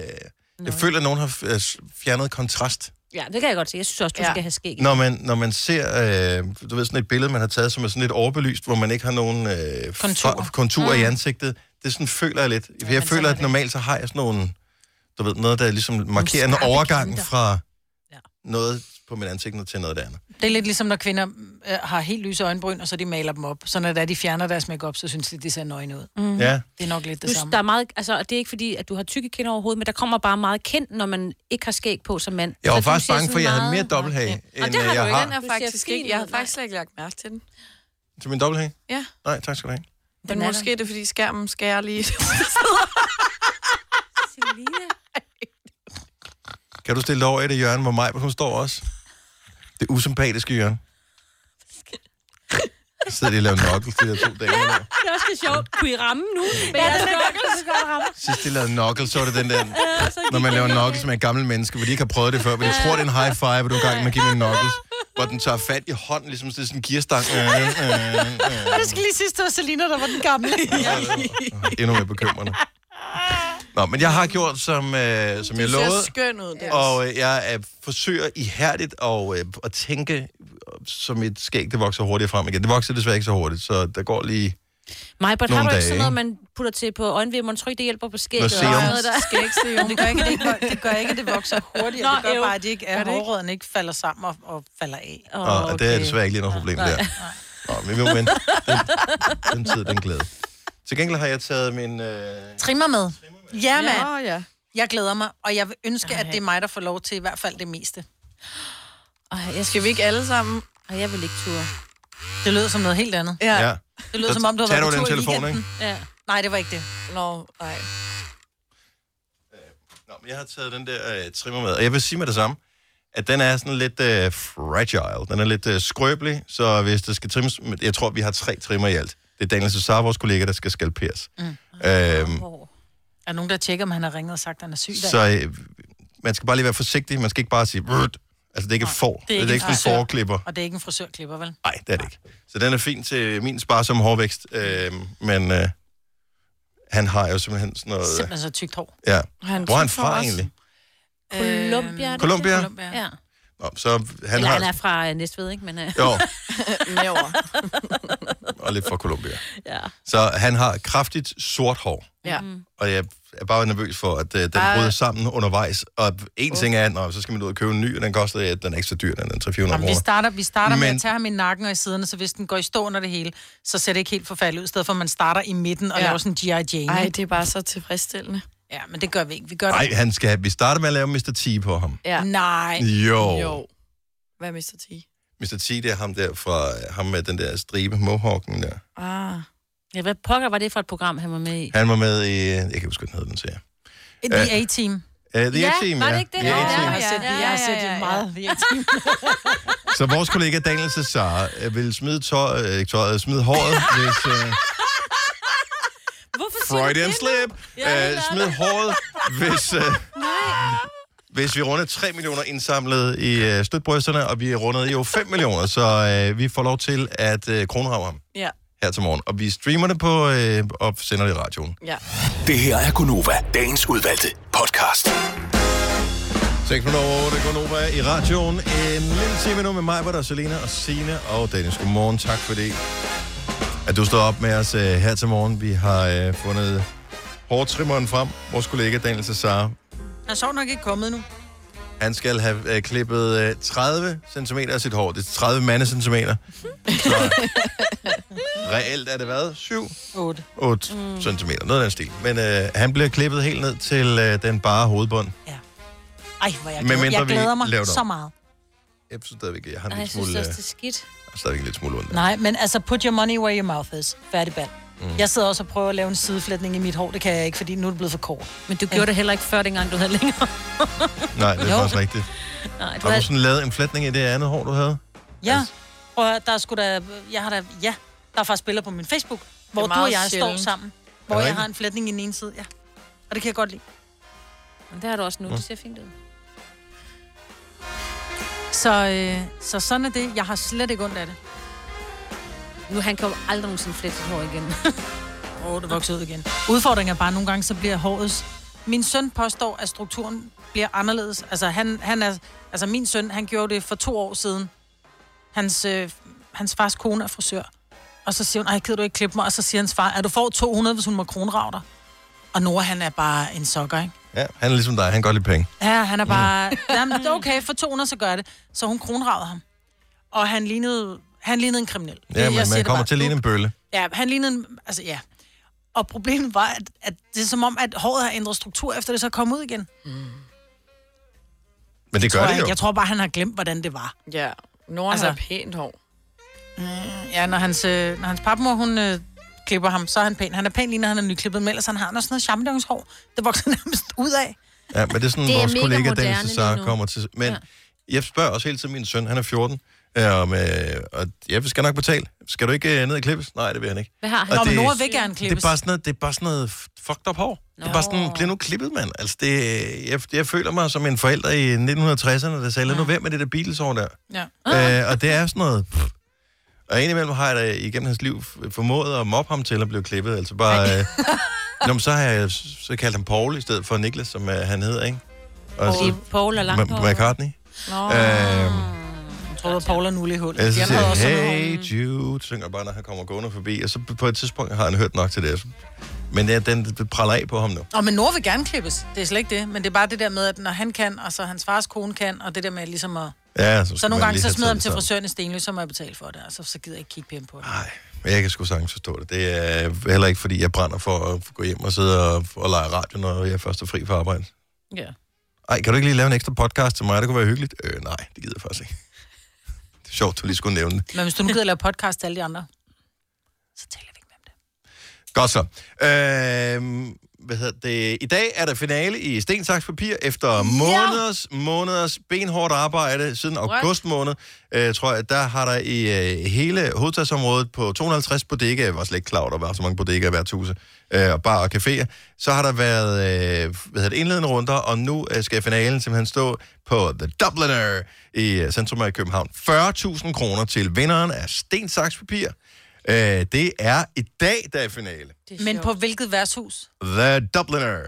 [SPEAKER 1] jeg føler, at nogen har øh, s- fjernet kontrast.
[SPEAKER 3] Ja, det kan jeg godt se. Jeg synes også, du
[SPEAKER 4] Ja.
[SPEAKER 3] ja. skal have skæg.
[SPEAKER 1] Når man, når man ser, øh, du ved, sådan et billede, man har taget, som er sådan lidt overbelyst, hvor man ikke har nogen øh, kontur, kontur
[SPEAKER 3] Mm.
[SPEAKER 1] i ansigtet, det sådan føler jeg lidt. Jeg føler, at normalt så har jeg sådan nogle, du ved, noget, der ligesom markerer en
[SPEAKER 2] skarpe
[SPEAKER 1] overgang
[SPEAKER 2] kanter.
[SPEAKER 1] fra noget på mit ansigt til noget andet.
[SPEAKER 3] Mhm.
[SPEAKER 2] Det er lidt ligesom, når kvinder øh, har helt lyse øjenbryn, og så de maler dem op. Så når det er, de fjerner deres makeup, så synes de, de ser nøgne ud.
[SPEAKER 3] Mm.
[SPEAKER 1] Ja.
[SPEAKER 2] Det er nok lidt det
[SPEAKER 3] Nu,
[SPEAKER 2] samme.
[SPEAKER 3] der er meget, altså, og det er ikke fordi, at du har tykke kinder overhovedet, men der kommer bare meget kendt, når man ikke har skæg på som mand.
[SPEAKER 1] Jeg var
[SPEAKER 3] Så du
[SPEAKER 1] faktisk
[SPEAKER 3] ser
[SPEAKER 1] bange
[SPEAKER 3] sådan
[SPEAKER 1] for, at jeg havde
[SPEAKER 3] meget-
[SPEAKER 1] mere dobbelthage,
[SPEAKER 3] Og
[SPEAKER 1] end
[SPEAKER 3] det
[SPEAKER 1] øh,
[SPEAKER 3] har
[SPEAKER 1] jeg
[SPEAKER 3] du ikke.
[SPEAKER 1] har.
[SPEAKER 4] Den er
[SPEAKER 3] Du ser
[SPEAKER 4] faktisk
[SPEAKER 3] fin
[SPEAKER 4] ikke, jeg har
[SPEAKER 3] ud,
[SPEAKER 4] faktisk slet ikke lagt mærke til den.
[SPEAKER 1] Til min dobbelthage?
[SPEAKER 4] Ja.
[SPEAKER 1] Nej, tak skal du have.
[SPEAKER 4] Men
[SPEAKER 3] er
[SPEAKER 4] måske er det, fordi skærmen skærer lige.
[SPEAKER 3] Selina.
[SPEAKER 1] Kan du stille dig over i det hjørne, hvor mig, hun står også? Det usympatiske hjørne. Så sidder de og laver knuckles, de der to dage.
[SPEAKER 3] Det er også lidt sjovt. Kunne I ramme nu? Men
[SPEAKER 2] Ja,
[SPEAKER 3] jeg
[SPEAKER 2] den er
[SPEAKER 3] skal-
[SPEAKER 2] godt, den er godt ramt.
[SPEAKER 1] Sidst de lavede knuckles, så var det den der,
[SPEAKER 3] Ja, så gik
[SPEAKER 1] når man
[SPEAKER 3] den
[SPEAKER 1] laver
[SPEAKER 3] ned.
[SPEAKER 1] knuckles med et gammelt menneske, hvor de ikke har prøvet det før, men de tror, det er en high five, og du er i gang med at give dem en knuckles, hvor den tager fat i hånden, ligesom sådan en gearstang. Øh, øh, øh.
[SPEAKER 2] Og det skal lige sidst, det var Selina, der var den gamle.
[SPEAKER 1] Endnu mere bekymrende. Nå, men jeg har gjort, som, øh, som jeg
[SPEAKER 4] Du
[SPEAKER 1] lovede.
[SPEAKER 4] ser skøn ud, Dennis.
[SPEAKER 1] Og øh, jeg øh, forsøger ihærdigt at, øh, at tænke øh, som et skæg, det vokser hurtigt frem igen. Det vokser desværre ikke så hurtigt, så der går lige...
[SPEAKER 3] Mig, but har
[SPEAKER 1] Nogle
[SPEAKER 3] du ikke
[SPEAKER 1] dage,
[SPEAKER 3] sådan noget,
[SPEAKER 1] ikke?
[SPEAKER 3] man putter til på øjenvimmeren? Tror ikke, det hjælper på skægget?
[SPEAKER 1] Noget serum.
[SPEAKER 3] der.
[SPEAKER 2] Men det gør ikke, det, gør, det gør ikke, at det vokser hurtigt.
[SPEAKER 3] Nå,
[SPEAKER 2] det gør
[SPEAKER 3] jo.
[SPEAKER 2] bare, at, det ikke,
[SPEAKER 3] Gør
[SPEAKER 2] at
[SPEAKER 3] det ikke?
[SPEAKER 2] hårrødderne ikke falder sammen og, og falder af.
[SPEAKER 1] Oh, okay. Og det er desværre ikke lige noget problem der. Nå, men vi må vente. Den, den tid, den glæde. Til gengæld har jeg taget min... Øh,
[SPEAKER 2] Trimmer med. Ja, mand.
[SPEAKER 4] Nå, ja.
[SPEAKER 2] Jeg glæder mig, og jeg vil ønske, at det er mig, der får lov til i hvert fald det meste.
[SPEAKER 3] Ej, jeg
[SPEAKER 4] Skal vi ikke alle sammen?
[SPEAKER 3] Ej, jeg vil ikke ture.
[SPEAKER 2] Det lød som noget helt andet.
[SPEAKER 1] Ja. Ja.
[SPEAKER 2] Det lød
[SPEAKER 1] Så
[SPEAKER 2] som om, du har
[SPEAKER 1] tager
[SPEAKER 2] været
[SPEAKER 1] du
[SPEAKER 2] på
[SPEAKER 1] den
[SPEAKER 2] tur i
[SPEAKER 1] telefon,
[SPEAKER 2] weekenden. Ja. Nej, det var ikke det.
[SPEAKER 4] Nå, nej.
[SPEAKER 1] Nå, men jeg har taget den der øh, trimmer med, og jeg vil sige med det samme, at den er sådan lidt øh, fragile. Den er lidt øh, skrøbelig, så hvis det skal trimmes... men Jeg tror, vi har tre trimmer i alt. Det er Daniel Cesar, vores kollega, der skal skalperes. Mm. Øhm,
[SPEAKER 2] Er der nogen, der tjekker, om han har ringet og sagt, at han er syg? i dag?
[SPEAKER 1] så øh, man skal bare lige være forsigtig. Man skal ikke bare sige... "Vrrt." Altså, det er ikke et får. Det er ikke sådan en
[SPEAKER 2] frisør.
[SPEAKER 1] forklipper.
[SPEAKER 2] Og det er ikke en frisørklipper, vel?
[SPEAKER 1] Nej, det er det ikke. Så den er fin til min sparsomme hårvækst. Øh, men øh, han har jo simpelthen sådan noget...
[SPEAKER 2] Simpelthen så tykt hår.
[SPEAKER 1] Ja.
[SPEAKER 2] Han
[SPEAKER 1] Øh. Hvor er han
[SPEAKER 2] tyk hår
[SPEAKER 1] fra
[SPEAKER 2] også.
[SPEAKER 1] egentlig?
[SPEAKER 3] Columbia. er det
[SPEAKER 1] Columbia?
[SPEAKER 3] det? Øh, Ja.
[SPEAKER 1] Nå, så han
[SPEAKER 3] Eller
[SPEAKER 1] har...
[SPEAKER 3] han er fra øh, Næstved, ikke? Men, øh.
[SPEAKER 1] Jo.
[SPEAKER 4] Næver.
[SPEAKER 1] og lidt fra Colombia.
[SPEAKER 3] Ja.
[SPEAKER 1] Så han har kraftigt sort hår,
[SPEAKER 4] Ja.
[SPEAKER 1] og jeg er bare nervøs for, at uh, den
[SPEAKER 4] Ej.
[SPEAKER 1] bryder sammen undervejs. Og en ting er, at så skal man ud og købe en ny, og den koster, øh, den er ikke så dyr, den er 300
[SPEAKER 2] Jamen, vi
[SPEAKER 1] kroner.
[SPEAKER 2] starter, vi starter med
[SPEAKER 1] Men-
[SPEAKER 2] at tage ham i nakken og i siderne, så hvis den går i stå under det hele, så ser det ikke helt forfærdeligt ud, i stedet for at man starter i midten og
[SPEAKER 4] Ja.
[SPEAKER 2] ja. laver sådan en G.I. Jane.
[SPEAKER 4] Ej, det er bare så tilfredsstillende.
[SPEAKER 2] Ja, men det gør vi ikke. Vi gør
[SPEAKER 1] Nej,
[SPEAKER 2] det.
[SPEAKER 1] han skal have, vi starter med at lave Mr. T på ham.
[SPEAKER 4] Ja.
[SPEAKER 2] Nej.
[SPEAKER 1] Jo.
[SPEAKER 4] jo. Hvad er Mr. T?
[SPEAKER 1] Mr. T, det er ham der fra, ham med den der stribe, mohawken der.
[SPEAKER 4] Ah.
[SPEAKER 3] Ja, hvad pokker var det for et program, han var med i?
[SPEAKER 1] Han var med i, jeg kan ikke huske, hvad den hed, den ser.
[SPEAKER 2] The
[SPEAKER 1] Øh,
[SPEAKER 2] A-Team.
[SPEAKER 1] Uh, the
[SPEAKER 2] Ja,
[SPEAKER 1] A-Team,
[SPEAKER 2] var det
[SPEAKER 1] ja.
[SPEAKER 2] ikke det?
[SPEAKER 1] The
[SPEAKER 2] Ja,
[SPEAKER 1] A-Team.
[SPEAKER 2] ja, ja. Jeg har set det meget. The A-Team.
[SPEAKER 1] Så vores kollega Daniel Cesar øh, vil smide, tøj, øh, ikke tøjet, smide håret, hvis... Øh,
[SPEAKER 3] Hvorfor siger du
[SPEAKER 1] Freudian
[SPEAKER 3] det nu?
[SPEAKER 1] slip!
[SPEAKER 3] Ja,
[SPEAKER 1] Øh, smid håret, hvis... Øh, hvis vi runder 3 millioner indsamlet i øh, støtbrysterne, og vi rundede jo 5 millioner, så øh, vi får lov til at øh, kronrave ham
[SPEAKER 4] Ja.
[SPEAKER 1] her til morgen. Og vi streamer det på, øh, og sender det i radioen.
[SPEAKER 4] Ja.
[SPEAKER 6] Det her er Gunova, dagens udvalgte podcast.
[SPEAKER 1] 6 minutter 8, Gonova i radioen. En lille time nu med mig, hvor der er Selina og Sine og Dennis. Godmorgen, tak fordi at du står op med os øh, her til morgen. Vi har øh, fundet hårtrimmeren frem. Vores kollega Daniel Cesar
[SPEAKER 2] Han er sjovt nok ikke kommet nu.
[SPEAKER 1] Han skal have øh, klippet øh, 30 cm af sit hår. Det er 30 mandecentimeter. Så reelt er det hvad? 7?
[SPEAKER 2] 8.
[SPEAKER 1] 8 mm. cm. Noget af den stil. Men øh, han bliver klippet helt ned til øh, den bare hovedbund.
[SPEAKER 2] Ej, hvor jeg
[SPEAKER 1] Medmindre
[SPEAKER 2] glæder, jeg
[SPEAKER 1] vi
[SPEAKER 2] glæder mig
[SPEAKER 1] laver det om.
[SPEAKER 2] så meget.
[SPEAKER 1] Jeg synes stadigvæk, jeg har en
[SPEAKER 2] Ej,
[SPEAKER 1] lille
[SPEAKER 2] jeg synes
[SPEAKER 1] smule, øh,
[SPEAKER 2] også,
[SPEAKER 1] jeg
[SPEAKER 2] det er skidt.
[SPEAKER 1] har stadigvæk en lille smule ondt.
[SPEAKER 2] Nej, men altså, put your money where your mouth is. Færdig band. Mm. Jeg sidder også og prøver at lave en sideflætning i mit hår. Det kan jeg ikke, fordi nu er det blevet for kort.
[SPEAKER 3] Men du gjorde det heller ikke før, dengang du havde længere.
[SPEAKER 1] Nej, det er
[SPEAKER 2] Jo.
[SPEAKER 1] faktisk rigtigt.
[SPEAKER 3] Nej, du
[SPEAKER 1] Har
[SPEAKER 3] havde...
[SPEAKER 1] du sådan lavet en flætning i det andet hår, du havde? Altså.
[SPEAKER 2] Ja, prøv at, høre, der er sgu da, jeg har da, ja, der er faktisk billeder på min Facebook, hvor du
[SPEAKER 3] meget
[SPEAKER 2] og jeg
[SPEAKER 3] sjældent.
[SPEAKER 2] står sammen.
[SPEAKER 1] Er
[SPEAKER 2] Hvor
[SPEAKER 1] det
[SPEAKER 2] jeg har
[SPEAKER 1] rigtigt?
[SPEAKER 2] en flætning i den ene side, ja. Og det kan jeg godt lide.
[SPEAKER 3] Men det har du også nu,
[SPEAKER 1] Nå.
[SPEAKER 3] det ser fint ud.
[SPEAKER 2] Så, øh, så sådan er det. Jeg har slet ikke ondt af det.
[SPEAKER 3] Nu, han kan jo aldrig nogensinde flette sit hår igen.
[SPEAKER 2] Åh, oh, det vokser ud igen. Udfordringen er bare, at nogle gange så bliver hårets... Min søn påstår, at strukturen bliver anderledes. Altså, han, han er, altså min søn, han gjorde det for to år siden. Hans, øh, hans fars kone er frisør. Og så siger hun, ej, gider du ikke klippe mig? Og så siger hans far, at du får 200, hvis hun må kronrave dig. Og Nora, han er bare en sokker, ikke?
[SPEAKER 1] Ja, han er ligesom dig. Han kan godt lide penge.
[SPEAKER 2] Ja, han er bare... Mm. Jamen, det er okay, for 200, så gør jeg det. Så hun kronravede ham. Og han lignede, han lignede en kriminel.
[SPEAKER 1] Ja,
[SPEAKER 2] Jeg
[SPEAKER 1] men
[SPEAKER 2] siger
[SPEAKER 1] man
[SPEAKER 2] det
[SPEAKER 1] kommer
[SPEAKER 2] bare.
[SPEAKER 1] til at ligne en bølle.
[SPEAKER 2] Ja, han lignede en... Altså, ja. Og problemet var, at, at det er som om, at håret har ændret struktur, efter det så kom ud igen.
[SPEAKER 1] Men det
[SPEAKER 2] tror
[SPEAKER 1] gør
[SPEAKER 2] jeg,
[SPEAKER 1] det jo.
[SPEAKER 2] ikke. jeg tror bare, han har glemt, hvordan det var.
[SPEAKER 4] Ja. Nora altså...
[SPEAKER 2] Altså-
[SPEAKER 4] har pænt hår.
[SPEAKER 2] Ja, når hans, øh, når hans papmor, hun øh, klipper ham, så er han pæn. Han er pæn lige, når han er nyklippet, men ellers han har han også sådan noget chamdongshår. Det vokser nærmest ud af.
[SPEAKER 1] Ja, men det er sådan,
[SPEAKER 2] Det
[SPEAKER 1] det
[SPEAKER 2] er
[SPEAKER 1] er vores
[SPEAKER 2] mega
[SPEAKER 1] kollega
[SPEAKER 2] moderne
[SPEAKER 1] Daniel Cesar
[SPEAKER 2] lige nu.
[SPEAKER 1] kommer til. Men ja. jeg spørger også hele tiden min søn, han er 14, øh, om, øh, og ja, vi skal nok betale. Skal du ikke øh, ned og klippes? Nej, det vil han ikke.
[SPEAKER 2] Hvad har han?
[SPEAKER 1] Og
[SPEAKER 2] Nå, men
[SPEAKER 1] det-
[SPEAKER 2] Nora vil gerne
[SPEAKER 1] Det er
[SPEAKER 2] klippes.
[SPEAKER 1] bare sådan noget, det er bare sådan noget fucked up hår. Det er bare sådan, bliv nu klippet, mand. Altså, det, jeg, jeg føler mig som en forælder i 1960'erne, der sagde, lad nu være med det der Beatles hår der.
[SPEAKER 2] Ja.
[SPEAKER 1] Øh, og det er sådan noget... Pff. Og indimellem har jeg da igennem hans liv f- formået at mobbe ham til at blive klippet. Altså bare... Øh, nå, men så har jeg så kaldt ham Paul i stedet for Niklas, som øh, han hedder, ikke? Og
[SPEAKER 3] Paul.
[SPEAKER 1] så,
[SPEAKER 3] Paul er langt
[SPEAKER 1] Ma-
[SPEAKER 3] hår.
[SPEAKER 1] McCartnul.
[SPEAKER 2] Nå.
[SPEAKER 1] Øh,
[SPEAKER 2] Jeg tror, at Paul er nul i hullet.
[SPEAKER 1] jeg så
[SPEAKER 2] De andre har
[SPEAKER 1] siger,
[SPEAKER 2] også sådan nogle-
[SPEAKER 1] hey Jude, synger bare, når han kommer gående forbi. Og så på et tidspunkt har han hørt nok til det. altså. Men ja, den den praller af på ham nu.
[SPEAKER 2] Og men Nora vil gerne klippes. Det er slet ikke det. Men det er bare det der med, at når han kan, og så hans fars kone kan, og det der med ligesom at...
[SPEAKER 1] Ja,
[SPEAKER 2] Så,
[SPEAKER 1] skal man
[SPEAKER 2] nogle gange
[SPEAKER 1] lige
[SPEAKER 2] så
[SPEAKER 1] have
[SPEAKER 2] smider
[SPEAKER 1] taget
[SPEAKER 2] ham
[SPEAKER 1] det
[SPEAKER 2] til
[SPEAKER 1] sammen.
[SPEAKER 2] frisøren i Stenløs, så må jeg betale for det, og så, så gider jeg ikke kigge pænt på det.
[SPEAKER 1] Nej. Men jeg kan sgu sagtens forstå det. Det er heller ikke, fordi jeg brænder for at gå hjem og sidde og, og lege radio, når jeg er først er fri fra arbejde.
[SPEAKER 2] Ja.
[SPEAKER 1] Ej, kan du ikke lige lave en ekstra podcast til mig? Det kunne være hyggeligt. Øh, nej, det gider jeg faktisk ikke. Det Sjovt, du lige skulle nævne det.
[SPEAKER 2] Men hvis du nu gider lave podcast til alle de andre.
[SPEAKER 1] Godt så. Øhm, hvad hedder det? I dag er der finale i Stensaks Papir efter måneders, måneders benhårdt arbejde siden
[SPEAKER 14] What?
[SPEAKER 1] august måned. Øh, tror jeg, der har der i øh, hele hovedstadsområdet på 250 bodegaer, jeg var slet ikke klar over, der var så mange bodegaer i hvert huse, øh, og bar og caféer, så har der været øh, hvad hedder det, indledende runder, og nu øh, skal finalen simpelthen stå på The Dubliner i øh, centrum af København. 40.000 kroner til vinderen af Stensaks Papir. Øh, det er i dag, der er finale.
[SPEAKER 2] Men på hvilket værtshus?
[SPEAKER 1] The Dubliner.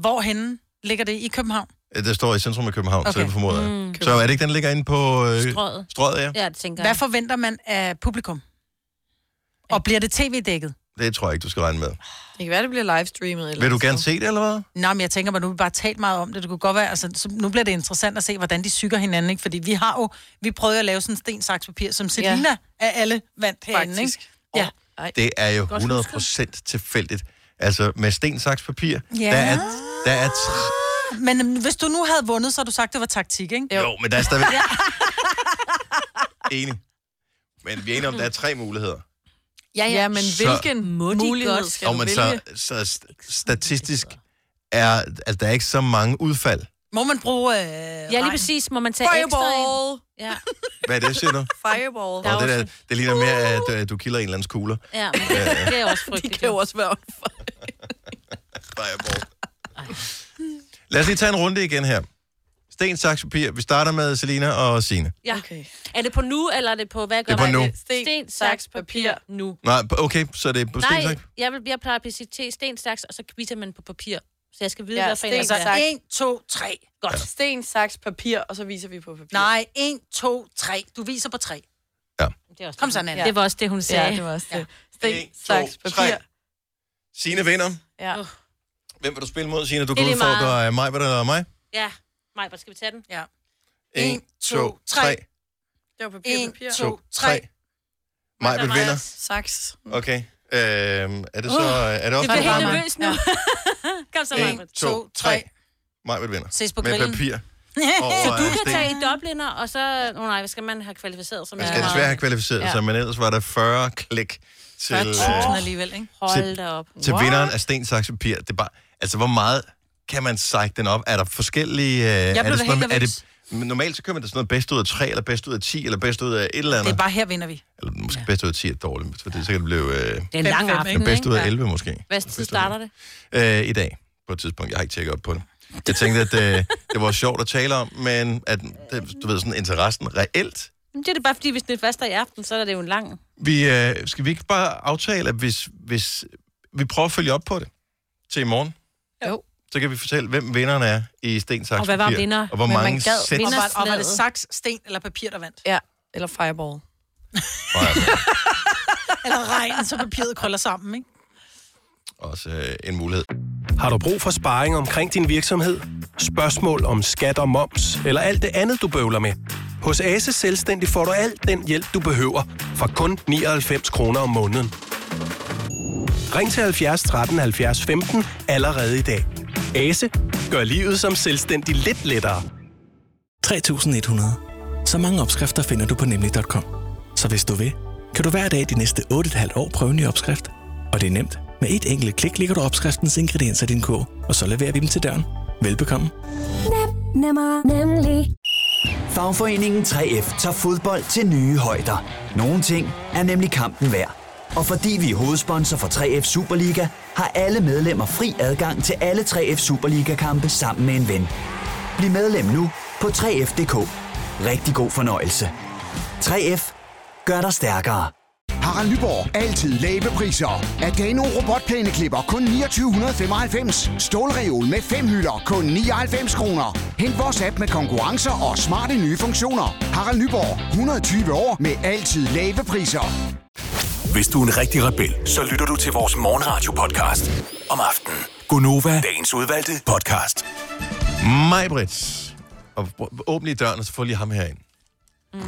[SPEAKER 2] Hvorhenne ligger det? I København?
[SPEAKER 1] Øh, Det står i centrum af København, okay. så
[SPEAKER 2] Okay.
[SPEAKER 1] det formoder jeg.
[SPEAKER 2] Mm.
[SPEAKER 1] Mm, så er det ikke, den ligger inde på... Øh, Strøget, ja.
[SPEAKER 3] det tænker
[SPEAKER 2] Hvad forventer man af publikum? Og bliver det tv-dækket?
[SPEAKER 1] Det tror jeg ikke, du skal regne med.
[SPEAKER 2] Det kan være, det bliver livestreamet.
[SPEAKER 1] Vil du gerne se det, eller hvad?
[SPEAKER 2] Nej, men jeg tænker, man nu har vi bare talt meget om det. Det kunne godt være, altså, så nu bliver det interessant at se, hvordan de syger hinanden, ikke? Fordi vi har jo, vi prøvede at lave sådan en sten, saks, papir, som Selina af alle vandt herinde, ikke? Ja.
[SPEAKER 1] Det er jo
[SPEAKER 2] Godt
[SPEAKER 1] 100% tilfældigt. Altså, med sten, saks, papir,
[SPEAKER 2] Ja.
[SPEAKER 1] der er... Der er tr-
[SPEAKER 2] Men øhm, hvis du nu havde vundet, så havde du sagt, det var taktik, ikke?
[SPEAKER 1] Jo, men der er stadigvæk... Enig. Men vi er enige om, der er tre muligheder.
[SPEAKER 4] Ja, ja. ja men
[SPEAKER 1] Så-
[SPEAKER 4] hvilken
[SPEAKER 3] Må de
[SPEAKER 4] mulighed
[SPEAKER 3] godt?
[SPEAKER 4] skal
[SPEAKER 1] Og
[SPEAKER 4] du
[SPEAKER 1] man
[SPEAKER 4] vælge?
[SPEAKER 1] så, så st- statistisk er... Altså, der er ikke så mange udfald.
[SPEAKER 2] Må man bruge... Øh, ja,
[SPEAKER 3] lige præcis. Må man tage
[SPEAKER 4] Fireball.
[SPEAKER 3] ekstra en? Ja.
[SPEAKER 1] Hvad er det, siger du?
[SPEAKER 4] Fireball.
[SPEAKER 1] Nå, det, der, det ligner mere, at
[SPEAKER 3] Uh!
[SPEAKER 1] øh, du kilder en eller andens kugler.
[SPEAKER 3] Ja,
[SPEAKER 1] Ja.
[SPEAKER 3] det er også frygteligt. Det kan jo
[SPEAKER 4] også være
[SPEAKER 1] Fireball. Lad os lige tage en runde igen her. Sten, saks, papir. Vi starter med Selina og Sine.
[SPEAKER 3] Ja. Okay. Er det på nu, eller er det på, hvad
[SPEAKER 1] Det er
[SPEAKER 3] gør
[SPEAKER 1] på
[SPEAKER 3] man?
[SPEAKER 1] nu.
[SPEAKER 3] Sten, sten, saks, papir, nu.
[SPEAKER 1] Nej, okay, så det er på sten,
[SPEAKER 3] Nej,
[SPEAKER 1] saks.
[SPEAKER 3] jeg, vil, jeg plejer at sige sten, saks, og så kvitter man på papir. Så jeg skal vide,
[SPEAKER 4] Ja,
[SPEAKER 3] ja, hvad for en
[SPEAKER 4] sten,
[SPEAKER 3] altså,
[SPEAKER 4] saks.
[SPEAKER 2] En, to, tre.
[SPEAKER 3] Godt. Ja.
[SPEAKER 4] Sten, saks, papir, og så viser vi på papir.
[SPEAKER 2] Nej, en, to, tre. Du viser på tre.
[SPEAKER 3] Ja.
[SPEAKER 2] Kom så, Nanna.
[SPEAKER 3] Det var også det, hun sagde.
[SPEAKER 4] Ja, det var også det.
[SPEAKER 1] En,
[SPEAKER 4] Sten,
[SPEAKER 1] to,
[SPEAKER 4] saks, papir.
[SPEAKER 1] tre. Signe vinder.
[SPEAKER 4] Ja.
[SPEAKER 1] Hvem vil du spille mod, Signe? Du
[SPEAKER 3] Det
[SPEAKER 1] kan
[SPEAKER 3] er lige
[SPEAKER 1] udfordre
[SPEAKER 3] meget.
[SPEAKER 1] øh, mig, hvad der er mig.
[SPEAKER 3] Ja, Maj, skal vi tage den?
[SPEAKER 2] Ja.
[SPEAKER 1] En, to, tre.
[SPEAKER 4] Det var papir,
[SPEAKER 2] En,
[SPEAKER 4] papir.
[SPEAKER 1] To, tre. Mig vil vinder.
[SPEAKER 4] Saks.
[SPEAKER 1] Okay. Øhm, er det så... Er det også
[SPEAKER 3] jeg
[SPEAKER 1] mig?
[SPEAKER 3] Uh, bliver helt nervøs nu. Kom så, Maj.
[SPEAKER 1] En, to, tre. Mig vil vinder.
[SPEAKER 3] Ses på
[SPEAKER 1] Med
[SPEAKER 3] grillen.
[SPEAKER 1] papir. Og,
[SPEAKER 3] så du
[SPEAKER 1] øh,
[SPEAKER 3] kan
[SPEAKER 1] sten.
[SPEAKER 3] tage i Dubliner, og så... Oh, nej, hvad skal man have kvalificeret? Som
[SPEAKER 1] Man skal desværre have kvalificeret sig, men ellers var der 40 klik til, øh,
[SPEAKER 2] 40.000 alligevel, ikke?
[SPEAKER 3] Hold da op.
[SPEAKER 1] til vinderen af sten, saks, papir. Det er bare, altså, hvor meget kan man sejke den op? Er der forskellige... Øh, er
[SPEAKER 2] blev da
[SPEAKER 1] det
[SPEAKER 2] helt
[SPEAKER 1] noget, er det, men normalt så kører man da sådan noget bedst ud af 3, eller bedst ud af 10, eller bedst ud af et eller
[SPEAKER 2] Det
[SPEAKER 1] andet.
[SPEAKER 2] er bare her vinder vi.
[SPEAKER 1] Eller måske bedst ud af 10 er dårligt, for det, så kan det blive... Øh, det
[SPEAKER 3] er en lang aften, ikke?
[SPEAKER 1] Bedst ud af
[SPEAKER 3] Ja.
[SPEAKER 1] 11 måske.
[SPEAKER 3] Hvad tid starter det?
[SPEAKER 1] øh, i dag på et tidspunkt. Jeg har ikke tjekket op på det. Jeg tænkte, at øh, det var sjovt at tale om, men at, det, du ved, sådan interessen reelt.
[SPEAKER 3] Jamen, det er det bare, fordi hvis det er først er i aften, så er det jo en lang...
[SPEAKER 1] Vi, øh, skal vi ikke bare aftale, at hvis, hvis vi prøver at følge op på det til i morgen?
[SPEAKER 3] Jo.
[SPEAKER 1] Så kan vi fortælle, hvem vinderen er i Sten Saks
[SPEAKER 3] Og hvad var
[SPEAKER 1] Papir,
[SPEAKER 3] vinder?
[SPEAKER 1] Og hvor
[SPEAKER 3] Men man
[SPEAKER 1] mange
[SPEAKER 3] gad
[SPEAKER 1] sæt...
[SPEAKER 2] Og var, og var det
[SPEAKER 3] Slaget.
[SPEAKER 2] saks, sten eller papir, der vandt?
[SPEAKER 4] Ja, eller fireball.
[SPEAKER 2] eller regn, så papiret krøller sammen, ikke?
[SPEAKER 1] Også øh, en mulighed.
[SPEAKER 15] Har du brug for sparring omkring din virksomhed? Spørgsmål om skat og moms, eller alt det andet, du bøvler med? Hos Ase Selvstændig får du alt den hjælp, du behøver, for kun 99 kroner om måneden. Ring til 70 13 70 15 allerede i dag. Ase gør livet som selvstændig lidt lettere.
[SPEAKER 16] 3100. Så mange opskrifter finder du på nemlig.com. Så hvis du vil, kan du hver dag de næste 8,5 år prøve en ny opskrift. Og det er nemt. Med et enkelt klik ligger du opskriftens ingredienser i din kog, og så leverer vi dem til døren. Velbekomme.
[SPEAKER 11] Nem, nemmer, nemlig. Fagforeningen 3F tager fodbold til nye højder. Nogle ting er nemlig kampen værd. Og fordi vi er hovedsponsor for 3F Superliga, har alle medlemmer fri adgang til alle 3F Superliga-kampe sammen med en ven. Bliv medlem nu på 3F.dk. Rigtig god fornøjelse. 3F gør dig stærkere.
[SPEAKER 7] Harald Nyborg. Altid lave priser. Adano robotplæneklipper kun 2995. Stålreol med fem hylder kun 99 kroner. Hent vores app med konkurrencer og smarte nye funktioner. Harald Nyborg. 120 år med altid lave priser.
[SPEAKER 6] Hvis du er en rigtig rebel, så lytter du til vores morgenradio-podcast om aftenen. Gunova, dagens udvalgte podcast.
[SPEAKER 1] Mig, Brits. Og br- åbn lige døren, og så få lige ham herind. Mm.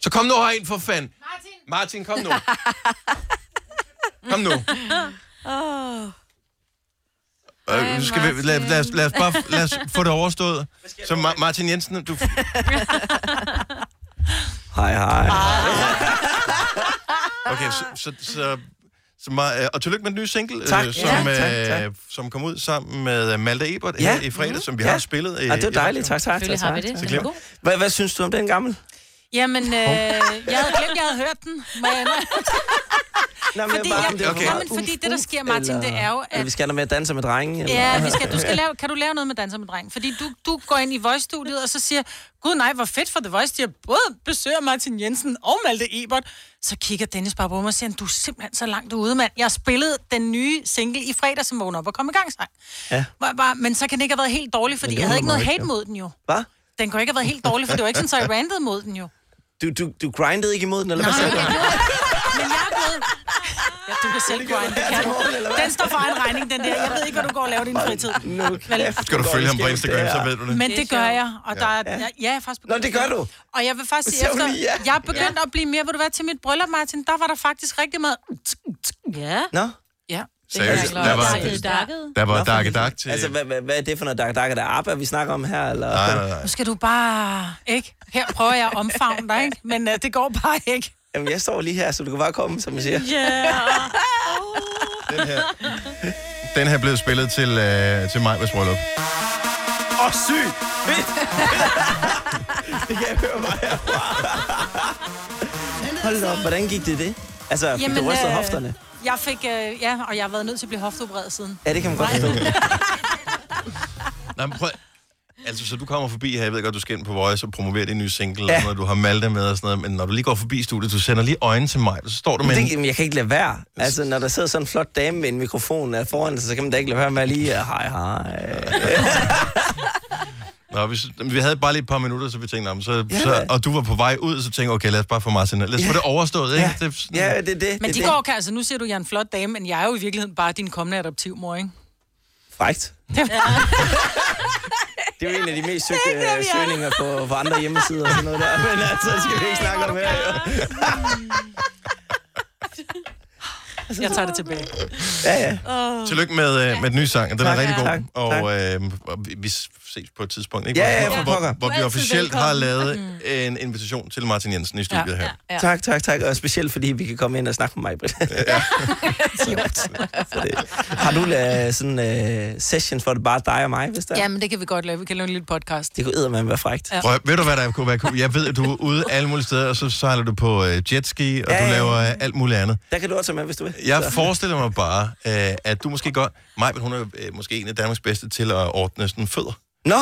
[SPEAKER 1] Så kom nu herind, for fanden. Martin. Martin, kom nu. kom nu.
[SPEAKER 3] Åh.
[SPEAKER 1] Øh, skal vi, lad, lad, os, lad, os bare, lad os få det overstået. Så Ma- Martin Jensen, du...
[SPEAKER 14] Hej, hej.
[SPEAKER 1] Okay, så... så, så så meget, øh, og tillykke med den nye single,
[SPEAKER 14] Tak.
[SPEAKER 1] som,
[SPEAKER 14] Ja, tak, tak.
[SPEAKER 1] øh, som kom ud sammen med øh, Malte Ebert
[SPEAKER 14] Ja.
[SPEAKER 1] her i fredag, som vi
[SPEAKER 14] Ja.
[SPEAKER 1] har spillet. øh,
[SPEAKER 14] Ja, det var dejligt. Tak, tak,
[SPEAKER 2] Selvfølgelig
[SPEAKER 14] tak,
[SPEAKER 2] har vi
[SPEAKER 14] tak.
[SPEAKER 2] det.
[SPEAKER 14] tak.
[SPEAKER 2] Den er god.
[SPEAKER 14] Hvad, hvad synes du om den gamle?
[SPEAKER 2] Jamen, øh, jeg havde glemt, jeg havde hørt den. Men,
[SPEAKER 14] Nå, men
[SPEAKER 2] fordi,
[SPEAKER 14] bare, om
[SPEAKER 2] jeg,
[SPEAKER 14] det var
[SPEAKER 2] okay. jamen, fordi det, der sker, Martin, det er jo,
[SPEAKER 14] Eller vi
[SPEAKER 2] at...
[SPEAKER 14] skal have noget med at danse med drenge? Eller?
[SPEAKER 2] Ja, vi skal, du skal lave, kan du lave noget med Danser med Dreng? Fordi du, du går ind i Voice-studiet, og så siger, gud nej, hvor fedt for The Voice, de har både besøger Martin Jensen og Malte Ebert. Så kigger Dennis bare på mig og siger, du er simpelthen så langt ude, mand. Jeg spillede den nye single i fredag, som vågner op og kom i gang sang.
[SPEAKER 14] Ja.
[SPEAKER 2] Hvor jeg Bare, men så kan det ikke have været helt dårlig,
[SPEAKER 14] Men
[SPEAKER 2] fordi
[SPEAKER 14] det
[SPEAKER 2] jeg
[SPEAKER 14] må
[SPEAKER 2] havde ikke
[SPEAKER 14] man
[SPEAKER 2] noget
[SPEAKER 14] ikke,
[SPEAKER 2] hate
[SPEAKER 14] jo.
[SPEAKER 2] mod den jo.
[SPEAKER 14] Hvad?
[SPEAKER 2] Den kunne ikke have været helt dårlig, for det var ikke sådan, så jeg randede mod den jo.
[SPEAKER 14] Du, du, du grindede ikke imod den, eller hvad sagde du?
[SPEAKER 2] Men jeg er blevet... Ja, du kan selv grinde, det kan du. Den står for en regning, den der. Jeg ved ikke, hvor du går og laver din fritid. Vel,
[SPEAKER 1] Skal du følge ham på Instagram, så ved du det.
[SPEAKER 2] men det gør jeg, og der er, ja. jeg, jeg er faktisk begyndt.
[SPEAKER 14] Nå, det gør du.
[SPEAKER 2] Og jeg vil faktisk
[SPEAKER 14] Så
[SPEAKER 2] sige
[SPEAKER 14] er hun
[SPEAKER 2] efter,
[SPEAKER 14] lige, ja.
[SPEAKER 2] jeg er begyndt at blive mere, hvor du var til mit bryllup, Martin, der var der faktisk rigtig meget... Ja.
[SPEAKER 14] Nå?
[SPEAKER 2] Ja.
[SPEAKER 1] Seriøst, der var, der var dakke dak til...
[SPEAKER 14] Altså, hvad, hvad, hvad er det for noget dakke dakke, der er ABBA, vi snakker om her? Eller?
[SPEAKER 1] Nej, nej, nej.
[SPEAKER 2] Nu skal du bare... Ikke? Her prøver jeg at omfavne dig, ikke? Men uh, det går bare ikke.
[SPEAKER 14] Jamen, jeg står lige her, så du kan bare komme, som jeg siger.
[SPEAKER 1] Den her, den her blev spillet til, øh, til mig med bryllup.
[SPEAKER 14] Åh, oh, syg! Fedt! det kan jeg høre mig herfra. Hold da op, hvordan gik det det? Altså, fik du rystet
[SPEAKER 2] øh,
[SPEAKER 14] hofterne?
[SPEAKER 2] Jeg fik... Øh, ja, og jeg har været nødt til at blive hofteopereret siden.
[SPEAKER 14] Ja, det kan man godt forstå.
[SPEAKER 1] Nej, men prøv. Altså, så du kommer forbi her, jeg ved godt, du skal ind på Voice og promovere din nye single, ja. og du har Malte med og sådan noget, men når du lige går forbi studiet, du sender lige øjnene til mig, så står du med
[SPEAKER 14] Men det,
[SPEAKER 1] en...
[SPEAKER 14] jamen, jeg kan ikke lade være. Altså, når der sidder sådan en flot dame med en mikrofon øh, foran sig, så kan man da ikke lade være med at lige... øh, Hej, hej.
[SPEAKER 1] Nå, vi, vi havde bare lige et par minutter, så vi tænkte, "Nå, men så,
[SPEAKER 14] Ja.
[SPEAKER 1] så, og du var på vej ud, så tænkte jeg, okay, lad os bare få Martin, lad os få det overstået, ikke? Det, er sådan-
[SPEAKER 14] Ja, det er det.
[SPEAKER 2] Men de
[SPEAKER 14] det.
[SPEAKER 2] går kan, altså, nu siger du, at jeg er en flot dame, men jeg er jo i virkeligheden bare din kommende adoptivmor, ikke?
[SPEAKER 14] Frækt. Det er jo en af de mest søgte
[SPEAKER 2] Det er ikke
[SPEAKER 14] øh,
[SPEAKER 2] det, vi er.
[SPEAKER 14] søgninger på, på andre hjemmesider og sådan noget der. Men altså, det skal vi ikke snakke om her. jo.
[SPEAKER 2] Jeg tager det tilbage.
[SPEAKER 14] Ja, ja.
[SPEAKER 1] Tillykke med, øh, med den nye sang, den
[SPEAKER 14] Tak.
[SPEAKER 1] er rigtig god.
[SPEAKER 14] Tak.
[SPEAKER 1] Og, øh, og vi- vi ses på et tidspunkt, ikke?
[SPEAKER 14] Ja, ja,
[SPEAKER 1] hvor,
[SPEAKER 14] for
[SPEAKER 1] hvor,
[SPEAKER 14] pokker.
[SPEAKER 1] hvor
[SPEAKER 14] Du er
[SPEAKER 1] vi
[SPEAKER 14] altid
[SPEAKER 1] officielt har
[SPEAKER 14] velkommen. Mm.
[SPEAKER 1] lavet en invitation til Martin Jensen i studiet her.
[SPEAKER 14] Ja. Tak, tak, tak. Og specielt fordi vi kan komme ind og snakke med mig, Britt. Ja. Har du uh, sådan en uh, session for det bare dig og mig, hvis der?
[SPEAKER 2] Ja, men det kan vi godt lave. Vi kan lave en lille podcast.
[SPEAKER 14] Det kunne eddermame være frækt.
[SPEAKER 2] Ja.
[SPEAKER 1] Prøv, ved du, hvad der kunne være cool? Jeg ved, at du er ude alle mulige steder, og så sejler du på øh, jetski, og
[SPEAKER 14] Ja,
[SPEAKER 1] ja, du
[SPEAKER 14] ja.
[SPEAKER 1] laver øh, alt muligt andet.
[SPEAKER 14] Der kan du også tage med, hvis du vil.
[SPEAKER 1] Jeg
[SPEAKER 14] Så-
[SPEAKER 1] forestiller mig bare, øh, at du måske godt... Maj, hun er øh, måske en af Danmarks bedste til at ordne sådan fødder.
[SPEAKER 14] Nå!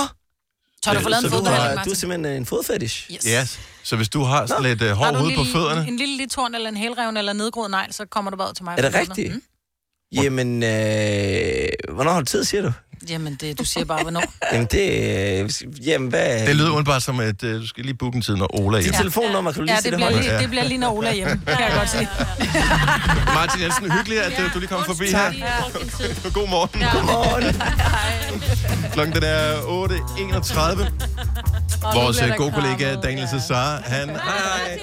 [SPEAKER 2] Tør du få lavet en
[SPEAKER 14] Så du,
[SPEAKER 2] fodbehandling,
[SPEAKER 14] har, du
[SPEAKER 2] Martin?
[SPEAKER 14] er simpelthen øh, en fodfetish?
[SPEAKER 2] Yes.
[SPEAKER 1] Ja, yes. så hvis du har sådan lidt øh,
[SPEAKER 2] Har
[SPEAKER 1] hård
[SPEAKER 2] du
[SPEAKER 1] hud
[SPEAKER 2] en
[SPEAKER 1] på
[SPEAKER 2] lille-
[SPEAKER 1] fødderne...
[SPEAKER 2] En, en lille lille eller en helreven eller nedgroet negl, så kommer du bare ud til mig.
[SPEAKER 14] Er det
[SPEAKER 2] på fødderne.
[SPEAKER 14] rigtigt?
[SPEAKER 4] Mm.
[SPEAKER 14] Jamen, øh, hvornår har du tid, siger du?
[SPEAKER 2] Jamen, det, du siger bare, hvornår.
[SPEAKER 14] Jamen, det... Øh, jamen, hvad...
[SPEAKER 1] Det lyder udenbart som, at øh, du skal lige booke en tid, når Ola er
[SPEAKER 14] Dit
[SPEAKER 1] hjemme.
[SPEAKER 14] telefonnummer, kan du lige
[SPEAKER 2] ja,
[SPEAKER 14] sige
[SPEAKER 2] det
[SPEAKER 14] det
[SPEAKER 2] bliver,
[SPEAKER 14] højt?
[SPEAKER 2] lige,
[SPEAKER 1] Ja.
[SPEAKER 2] det bliver lige, når Ola er hjemme. Kan jeg godt sige.
[SPEAKER 1] Martin Jensen, hyggeligt, at øh, du lige kom forbi her. God morgen.
[SPEAKER 2] Ja.
[SPEAKER 14] Godmorgen.
[SPEAKER 1] Klokken den er 8.31. Vores øh, gode kollega Daniel Cesar, han... Hej.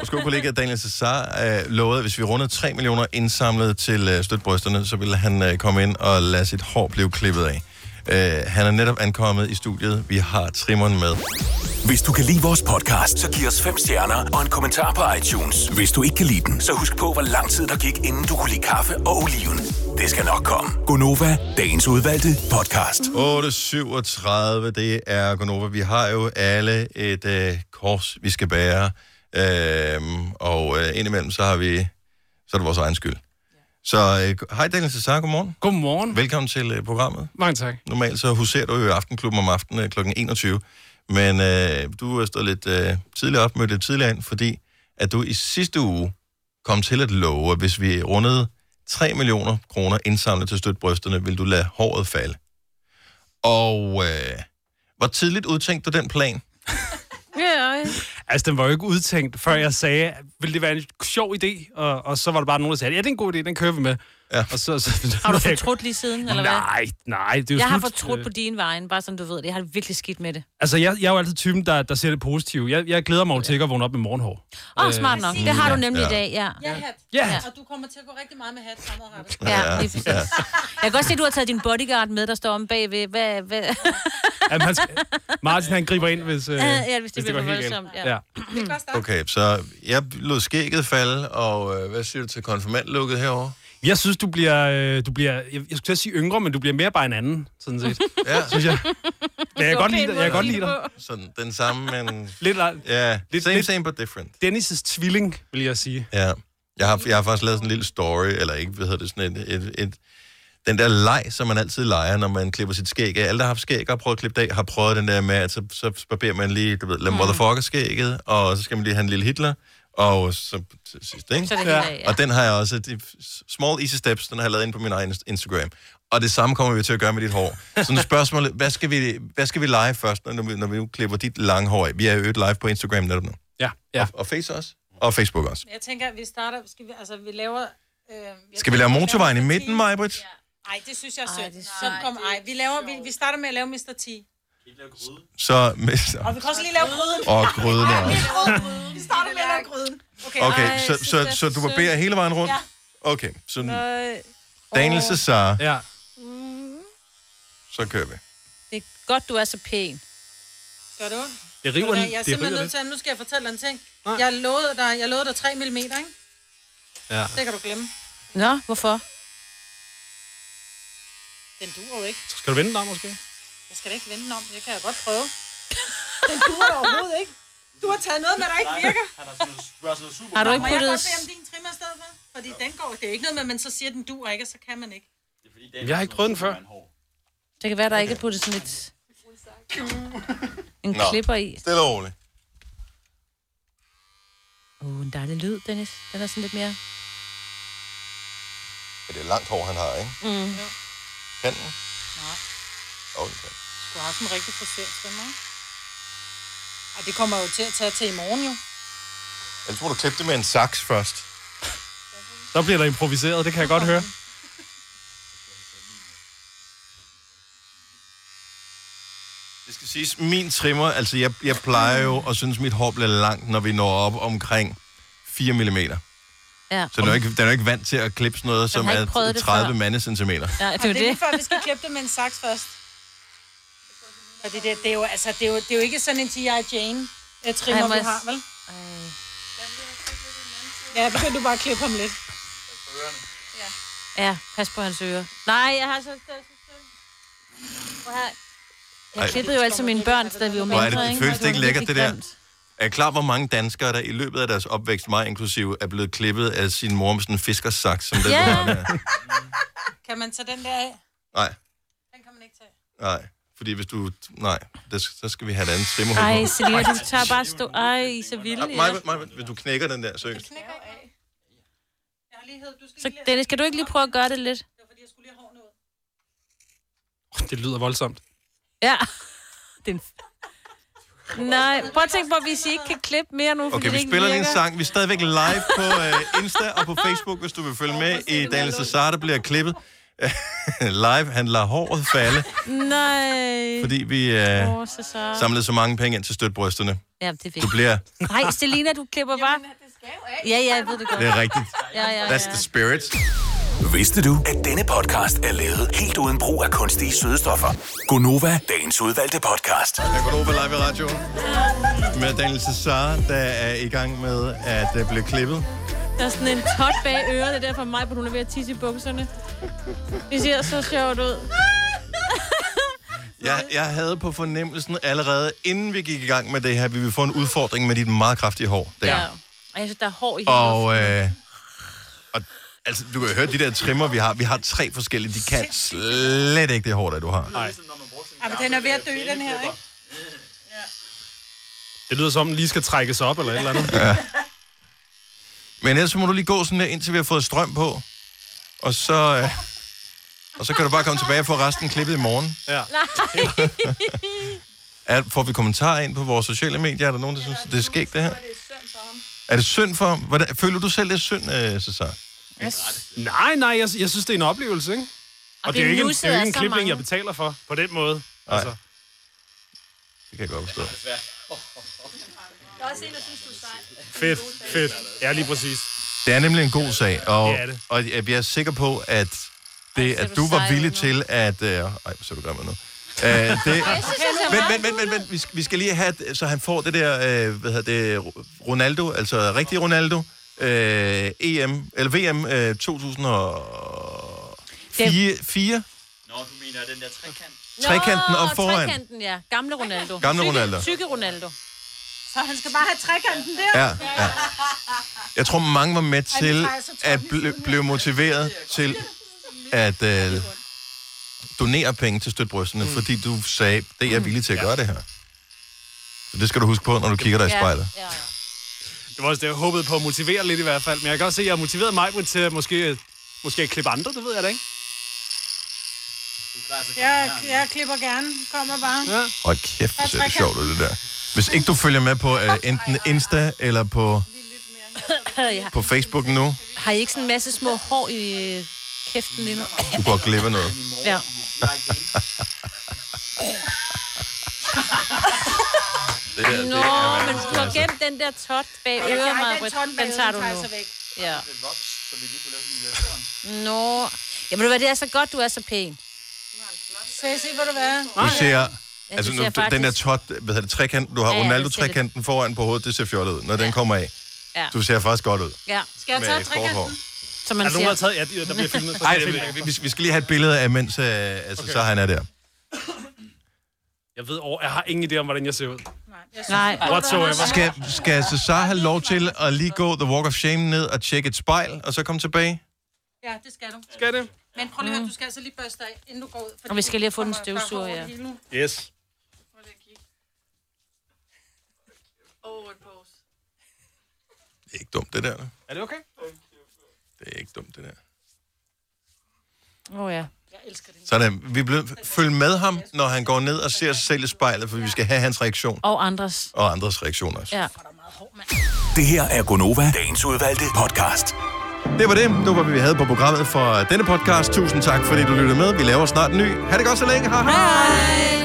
[SPEAKER 1] Vores gode kollega Daniel Cesar øh, lovede, at hvis vi rundede 3 millioner indsamlet til øh, støtbrysterne, så ville han øh, komme ind og lade sit hår blive klippet af. Øh, han er netop ankommet i studiet. Vi har trimmeren med.
[SPEAKER 6] Hvis du kan lide vores podcast, så giv os fem stjerner og en kommentar på iTunes. Hvis du ikke kan lide den, så husk på, hvor lang tid der gik, inden du kunne lide kaffe og oliven. Det skal nok komme.
[SPEAKER 1] Gonova, dagens udvalgte podcast. 8.37, det er Gonova. Vi har jo alle et øh, kors, vi skal bære. Øhm, og øh, indimellem, så har vi... Så er det vores egen skyld. Så øh, hej Daniel Cesar, godmorgen.
[SPEAKER 17] Godmorgen.
[SPEAKER 1] Velkommen til øh, programmet.
[SPEAKER 17] Mange tak.
[SPEAKER 1] Normalt så huserer du jo i Aftenklubben om aftenen øh, kl. 21. Men øh, du er stået lidt øh, tidligere op, mødt lidt tidligere ind, fordi at du i sidste uge kom til at love, at hvis vi rundede 3 millioner kroner indsamlet til støtbrysterne, vil du lade håret falde. Og øh, hvor tidligt udtænkte du den plan?
[SPEAKER 17] Ja, altså, den var jo ikke udtænkt, før jeg sagde, vil det være en sjov idé? Og, og så var der bare nogen, der sagde, ja, det er en god idé, den kører vi med.
[SPEAKER 1] Ja.
[SPEAKER 17] Og så, så,
[SPEAKER 3] Har du fortrudt lige siden, eller hvad?
[SPEAKER 17] Nej, nej. Det er jo
[SPEAKER 3] jeg har
[SPEAKER 17] slut.
[SPEAKER 3] fortrudt på din vejen, bare som du ved det. Jeg har det virkelig skidt med det.
[SPEAKER 17] Altså, jeg, jeg er jo altid typen, der, der ser det positive. Jeg, jeg glæder mig jo til ikke at vågne op med morgenhår.
[SPEAKER 3] Åh, oh, smart
[SPEAKER 17] mm,
[SPEAKER 3] nok. Det har du nemlig i dag, ja.
[SPEAKER 2] Ja, hat.
[SPEAKER 3] Ja.
[SPEAKER 2] Og du kommer til at gå rigtig meget med hat fremadrettet.
[SPEAKER 3] Ja, lige præcis. Jeg kan godt se, at du har taget din bodyguard med, der står om bagved. Hvad, hvad?
[SPEAKER 17] Jamen, han skal, Martin, han griber ind, hvis, øh,
[SPEAKER 3] ja, hvis det
[SPEAKER 17] går
[SPEAKER 3] bliver for
[SPEAKER 17] helt galt.
[SPEAKER 3] voldsomt. Ja.
[SPEAKER 1] Okay, så jeg lod skægget falde, og øh, hvad siger du til konfirmandlukket herover?
[SPEAKER 17] Jeg synes, du bliver, øh, du bliver jeg, jeg skulle til at sige yngre, men du bliver mere bare en anden, sådan set.
[SPEAKER 1] Ja.
[SPEAKER 17] Synes jeg. Men jeg kan godt lide dig. Jeg kan godt lide dig.
[SPEAKER 1] Sådan den samme, men...
[SPEAKER 17] Lidt,
[SPEAKER 1] ja,
[SPEAKER 17] lidt-
[SPEAKER 1] same,
[SPEAKER 17] lidt-
[SPEAKER 1] same, but different.
[SPEAKER 17] Dennis' tvilling, vil jeg sige.
[SPEAKER 1] Ja. Jeg har, jeg har faktisk lavet sådan en lille story, eller ikke, hvad hedder det, sådan et, et, et, den der leg, som man altid leger, når man klipper sit skæg af. Alle, der har haft skæg og har prøvet at klippe det af, har prøvet den der med, at så, så barberer man lige, du ved, lad
[SPEAKER 17] Mm.
[SPEAKER 1] motherfucker skægget, og så skal man lige have en lille Hitler, og så til sidst, ikke?
[SPEAKER 17] Så er det helt
[SPEAKER 3] Altså,
[SPEAKER 17] af, ja.
[SPEAKER 1] Og den har jeg også, de small easy steps, den har jeg lavet ind på min egen Instagram. Og det samme kommer vi til at gøre med dit hår. Så nu er spørgsmålet, hvad skal vi, hvad skal vi lege først, når vi, når vi nu klipper dit lange hår af? Vi er jo øget live på Instagram netop nu.
[SPEAKER 17] Ja, ja.
[SPEAKER 1] Og, og Face også. Og Facebook også.
[SPEAKER 2] Jeg tænker, at vi starter... Skal vi, altså, vi laver... Øh, jeg
[SPEAKER 1] Skal vi lave motorvejen i midten, Majbrit?
[SPEAKER 2] Ej, det synes jeg er sødt. Så kom, ej. Vi, laver, vi, vi starter med at lave Mr. T.
[SPEAKER 1] Så...
[SPEAKER 2] Og vi kan også lige lave gryden.
[SPEAKER 1] Og gryden
[SPEAKER 2] Ej,
[SPEAKER 1] også.
[SPEAKER 2] vi laver gryden. Vi starter med at lave gryden.
[SPEAKER 1] Okay, så, så, så, du barberer hele vejen rundt? Okay, så Daniel
[SPEAKER 3] Åh.
[SPEAKER 1] Cesar,
[SPEAKER 17] Ja.
[SPEAKER 1] så kører vi.
[SPEAKER 3] Det er godt, du er så pæn.
[SPEAKER 2] Gør det ondt?
[SPEAKER 17] Det
[SPEAKER 2] Ved du hvad, Jeg er simpelthen nødt til, at- nu skal jeg fortælle dig en ting. Jeg lovede dig, jeg lovede dig 3 mm, ikke?
[SPEAKER 17] Ja.
[SPEAKER 2] Det kan du glemme.
[SPEAKER 3] Nå, hvorfor?
[SPEAKER 2] Den duer jo ikke.
[SPEAKER 17] Skal du vende dig, måske?
[SPEAKER 2] Jeg skal da ikke vende den om. Jeg kan jeg godt prøve. Den duer da overhovedet ikke. Du har taget noget med, der ikke virker.
[SPEAKER 3] Har du ikke
[SPEAKER 2] Må jeg
[SPEAKER 3] puttet...
[SPEAKER 2] godt bede om din trimmer i stedet for? Fordi den går, det er ikke noget med, at man så siger, at den duer ikke, og så kan man ikke.
[SPEAKER 17] Jeg har ikke prøvet den før.
[SPEAKER 3] Det kan være, der ikke er puttet sådan lidt... En
[SPEAKER 1] Nå.
[SPEAKER 3] klipper i.
[SPEAKER 1] Stille og roligt.
[SPEAKER 3] Uh, en dejlig lyd, Dennis. Den er sådan lidt mere...
[SPEAKER 1] Ja, Det er langt hår, han har, ikke?
[SPEAKER 3] Mm.
[SPEAKER 1] Kan den? Okay.
[SPEAKER 2] Du har sådan en rigtig frisør stemme, ikke? Ej, det kommer jeg jo til at tage til i morgen, jo.
[SPEAKER 1] Ellers må du klippe det med en saks først.
[SPEAKER 17] Så bliver der improviseret, det kan jeg godt høre.
[SPEAKER 1] Det skal siges, min trimmer, altså jeg, jeg plejer jo at synes, mit hår bliver langt, når vi når op omkring 4 mm.
[SPEAKER 3] Ja.
[SPEAKER 1] Så den er, jo ikke, den er jo ikke vant til at klippe sådan noget, som
[SPEAKER 2] har ikke
[SPEAKER 1] er
[SPEAKER 2] prøvet det
[SPEAKER 1] 30
[SPEAKER 2] før.
[SPEAKER 1] mandecentimeter.
[SPEAKER 3] Ja,
[SPEAKER 2] Ej, det er lige før, vi skal klippe det med en saks først. Og det, der, det, er jo, altså, det, er jo, det er jo ikke sådan en G.I. Jane øh, trimmer,
[SPEAKER 3] Ej, må
[SPEAKER 2] vi
[SPEAKER 3] jeg-
[SPEAKER 2] har, vel? Ja, begynd du bare at klippe ham lidt.
[SPEAKER 3] Ja, pas på hans ører. Nej, jeg har så... Prøv her. Jeg
[SPEAKER 1] Ej.
[SPEAKER 3] klippede jo altid mine børn, da vi var
[SPEAKER 1] Hvor
[SPEAKER 3] mindre,
[SPEAKER 1] er det, det
[SPEAKER 3] ikke?
[SPEAKER 1] føles det ikke
[SPEAKER 3] var
[SPEAKER 1] lækkert, det
[SPEAKER 3] virkelig
[SPEAKER 1] der?
[SPEAKER 3] grimt.
[SPEAKER 1] Er I klar, hvor mange danskere, der i løbet af deres opvækst, mig inklusive, er blevet klippet af sin mor med sådan en fiskersaks, som den,
[SPEAKER 2] Ja.
[SPEAKER 1] du har der?
[SPEAKER 2] Kan man tage den der af?
[SPEAKER 1] Nej,
[SPEAKER 2] Den kan man ikke tage.
[SPEAKER 1] nej. Fordi hvis du... Nej, det, så skal vi have et andet trimmerhul.
[SPEAKER 3] Ej, Selina, du tager bare stå... Ej, I er så vilde.
[SPEAKER 1] Maja, Maja, hvis du knækker den der, seriøst.
[SPEAKER 3] Så Dennis, kan du ikke lige prøve at gøre det lidt?
[SPEAKER 17] Det lyder voldsomt.
[SPEAKER 3] Ja. Den... Nej, prøv at tænke på, hvis I ikke kan klippe mere nu, fordi
[SPEAKER 1] Okay,
[SPEAKER 3] det
[SPEAKER 1] vi
[SPEAKER 3] ikke
[SPEAKER 1] spiller lige en
[SPEAKER 3] virker.
[SPEAKER 1] sang. Vi er stadigvæk live på øh, Insta og på Facebook, hvis du vil følge med i Daniel Cesar, der bliver klippet. live, han lader håret falde,
[SPEAKER 3] Nej.
[SPEAKER 1] fordi vi øh,
[SPEAKER 3] Åh, så så.
[SPEAKER 1] samlede så mange penge ind til støtbrysterne.
[SPEAKER 3] Ja, det er vigtigt.
[SPEAKER 1] Du bliver...
[SPEAKER 3] Nej, Selina, du klipper bare. Ja, ja, jeg ved det godt.
[SPEAKER 1] Det er rigtigt.
[SPEAKER 3] Ja, ja, ja.
[SPEAKER 1] That's the spirit.
[SPEAKER 6] Vidste du, at denne podcast er lavet helt uden brug af kunstige sødestoffer? Gonova, dagens udvalgte podcast.
[SPEAKER 1] Jeg går over live i radioen med Daniel Cesar, der er i gang med at øh, blive klippet.
[SPEAKER 3] Der er sådan en tot bag øret, det er derfor mig, på hun er ved at tisse i bukserne. Det ser så sjovt ud.
[SPEAKER 1] Jeg, jeg havde på fornemmelsen allerede, inden vi gik i gang med det her, vi ville få en udfordring med dit meget kraftige hår. Der.
[SPEAKER 3] Ja. Og jeg synes, der er hår i hele
[SPEAKER 1] Og, øh, og altså, du kan jo høre, de der trimmer, vi har, vi har tre forskellige, de kan slet ikke det hår, der du har.
[SPEAKER 17] Nej.
[SPEAKER 2] Ej, men den er ved at dø, den her, ikke?
[SPEAKER 17] Det lyder som, den lige skal trækkes op eller et eller andet.
[SPEAKER 1] Ja. Men ellers så må du lige gå sådan der, indtil vi har fået strøm på. Og så, øh, og så kan du bare komme tilbage og få resten klippet i morgen.
[SPEAKER 17] Ja.
[SPEAKER 1] Er, får vi kommentarer ind på vores sociale medier? Er der nogen, der synes, det er skægt, det her? Er det synd for ham? Hvordan, føler du selv, det er synd, øh, Cesar?
[SPEAKER 17] Nej, nej, jeg, jeg synes, det er en oplevelse, ikke? Og, og det er jo ikke en, det er jo ikke en klipning, mange. jeg betaler for, på den måde.
[SPEAKER 1] Nej.
[SPEAKER 17] Altså.
[SPEAKER 1] Det kan jeg godt forstå.
[SPEAKER 12] Der er også en, der synes, du er sej.
[SPEAKER 17] Fedt, fedt. Ja, lige præcis.
[SPEAKER 1] Det er nemlig en god sag, og,
[SPEAKER 17] Det er det.
[SPEAKER 1] og jeg jeg er sikker på, at det, at du var villig til at... Øh, ej, hvor ser du gammel ud nu. Øh, det, men, men, men, men, men vi, skal, vi skal lige have, så han får det der, øh, hvad hedder det, Ronaldo, altså rigtig Ronaldo, øh, EM, eller VM øh, 2004, fire,
[SPEAKER 18] Nå, du mener den der trekant.
[SPEAKER 1] trekanten op foran.
[SPEAKER 3] trekanten, ja. Gamle Ronaldo.
[SPEAKER 1] Gamle
[SPEAKER 3] Tykke-
[SPEAKER 1] Ronaldo.
[SPEAKER 3] Tykke Ronaldo.
[SPEAKER 2] Så han skal bare have trekanten der?
[SPEAKER 1] Ja, ja. Jeg tror, mange var med til at bl- blive motiveret til at øh, donere penge til støtbrystene, mm. fordi du sagde, det
[SPEAKER 3] Mm.
[SPEAKER 1] er jeg villig til at gøre det her. Så det skal du huske på, når du kigger dig i spejlet.
[SPEAKER 17] Det var også det, jeg håbede på at motivere lidt i hvert fald. Men jeg kan også se, at jeg har motiveret mig til at måske, måske at klippe andre, det ved jeg da ikke.
[SPEAKER 2] Jeg, jeg klipper gerne. Kommer bare.
[SPEAKER 17] Ja.
[SPEAKER 1] Hold kæft, hvor ser det sjovt ud, det der. Hvis ikke du følger med på øh, enten Insta eller på,
[SPEAKER 3] ja.
[SPEAKER 1] på Facebook nu,
[SPEAKER 3] Har I ikke sådan en masse små hår i øh, kæften lige nu?
[SPEAKER 1] du går glip af noget.
[SPEAKER 3] Ja.
[SPEAKER 1] Det der, det
[SPEAKER 3] Nå,
[SPEAKER 1] er
[SPEAKER 3] men du har gemt den der tot bag
[SPEAKER 2] Ja, jeg
[SPEAKER 3] øret,
[SPEAKER 2] har den
[SPEAKER 3] Marbrit.
[SPEAKER 2] tot bag
[SPEAKER 3] Den tager
[SPEAKER 2] øret,
[SPEAKER 3] du
[SPEAKER 2] den tager jeg så
[SPEAKER 3] nu.
[SPEAKER 2] væk.
[SPEAKER 3] Ja. Nå. Ja, men du hvad, det er så godt, du er så pæn.
[SPEAKER 2] Skal jeg se, hvor du er?
[SPEAKER 1] Du ser...
[SPEAKER 3] Ja,
[SPEAKER 1] Altså
[SPEAKER 3] det
[SPEAKER 1] nu,
[SPEAKER 3] ser faktisk-
[SPEAKER 1] den der tot, hvad hedder det, trekant, du har
[SPEAKER 3] Ja, ja, det ser
[SPEAKER 1] Ronaldo-trekanten foran på hovedet, det ser fjollet ud, når den kommer af.
[SPEAKER 3] Ja.
[SPEAKER 1] Du ser faktisk godt ud.
[SPEAKER 3] ja.
[SPEAKER 2] Skal jeg tage trekanten?
[SPEAKER 3] Som man
[SPEAKER 17] er der nogen, der har
[SPEAKER 3] siger.
[SPEAKER 17] taget? Ja, de- der bliver filmet.
[SPEAKER 1] Nej, vi, vi- vi skal lige have et billede af, mens øh, altså, okay. så han er der.
[SPEAKER 17] Jeg ved over, jeg har ingen idé om, hvordan jeg ser ud.
[SPEAKER 3] Nej.
[SPEAKER 17] Whatsoever.
[SPEAKER 1] Skal, skal Cesar have lov til at lige gå The Walk of Shame ned og tjekke et spejl, og så komme tilbage?
[SPEAKER 2] Ja, det skal du.
[SPEAKER 17] Skal det?
[SPEAKER 2] Men prøv lige at høre, du skal altså lige børste dig, inden du går ud. fordi
[SPEAKER 3] Mm. Og vi skal lige have fundet en
[SPEAKER 2] du kommer
[SPEAKER 3] støvsuger,
[SPEAKER 2] bare
[SPEAKER 3] ja.
[SPEAKER 2] over hele nu.
[SPEAKER 17] Yes.
[SPEAKER 1] Det er ikke dumt, det der. da.
[SPEAKER 17] Er det okay?
[SPEAKER 1] Det er ikke dumt, det der.
[SPEAKER 3] Åh oh, ja.
[SPEAKER 1] Sådan, vi bliver, følg med ham, når han går ned og ser sig selv i spejlet, for vi skal have hans reaktion
[SPEAKER 3] Og andres.
[SPEAKER 1] og andres reaktioner.
[SPEAKER 3] Ja.
[SPEAKER 6] Det her er Gonova, dagens udvalgte podcast.
[SPEAKER 1] Det var det. Det var, hvad vi havde på programmet for denne podcast. Tusind tak, fordi du lyttede med. Vi laver snart en ny. Ha' det godt så længe. Hej hej.
[SPEAKER 3] Hej.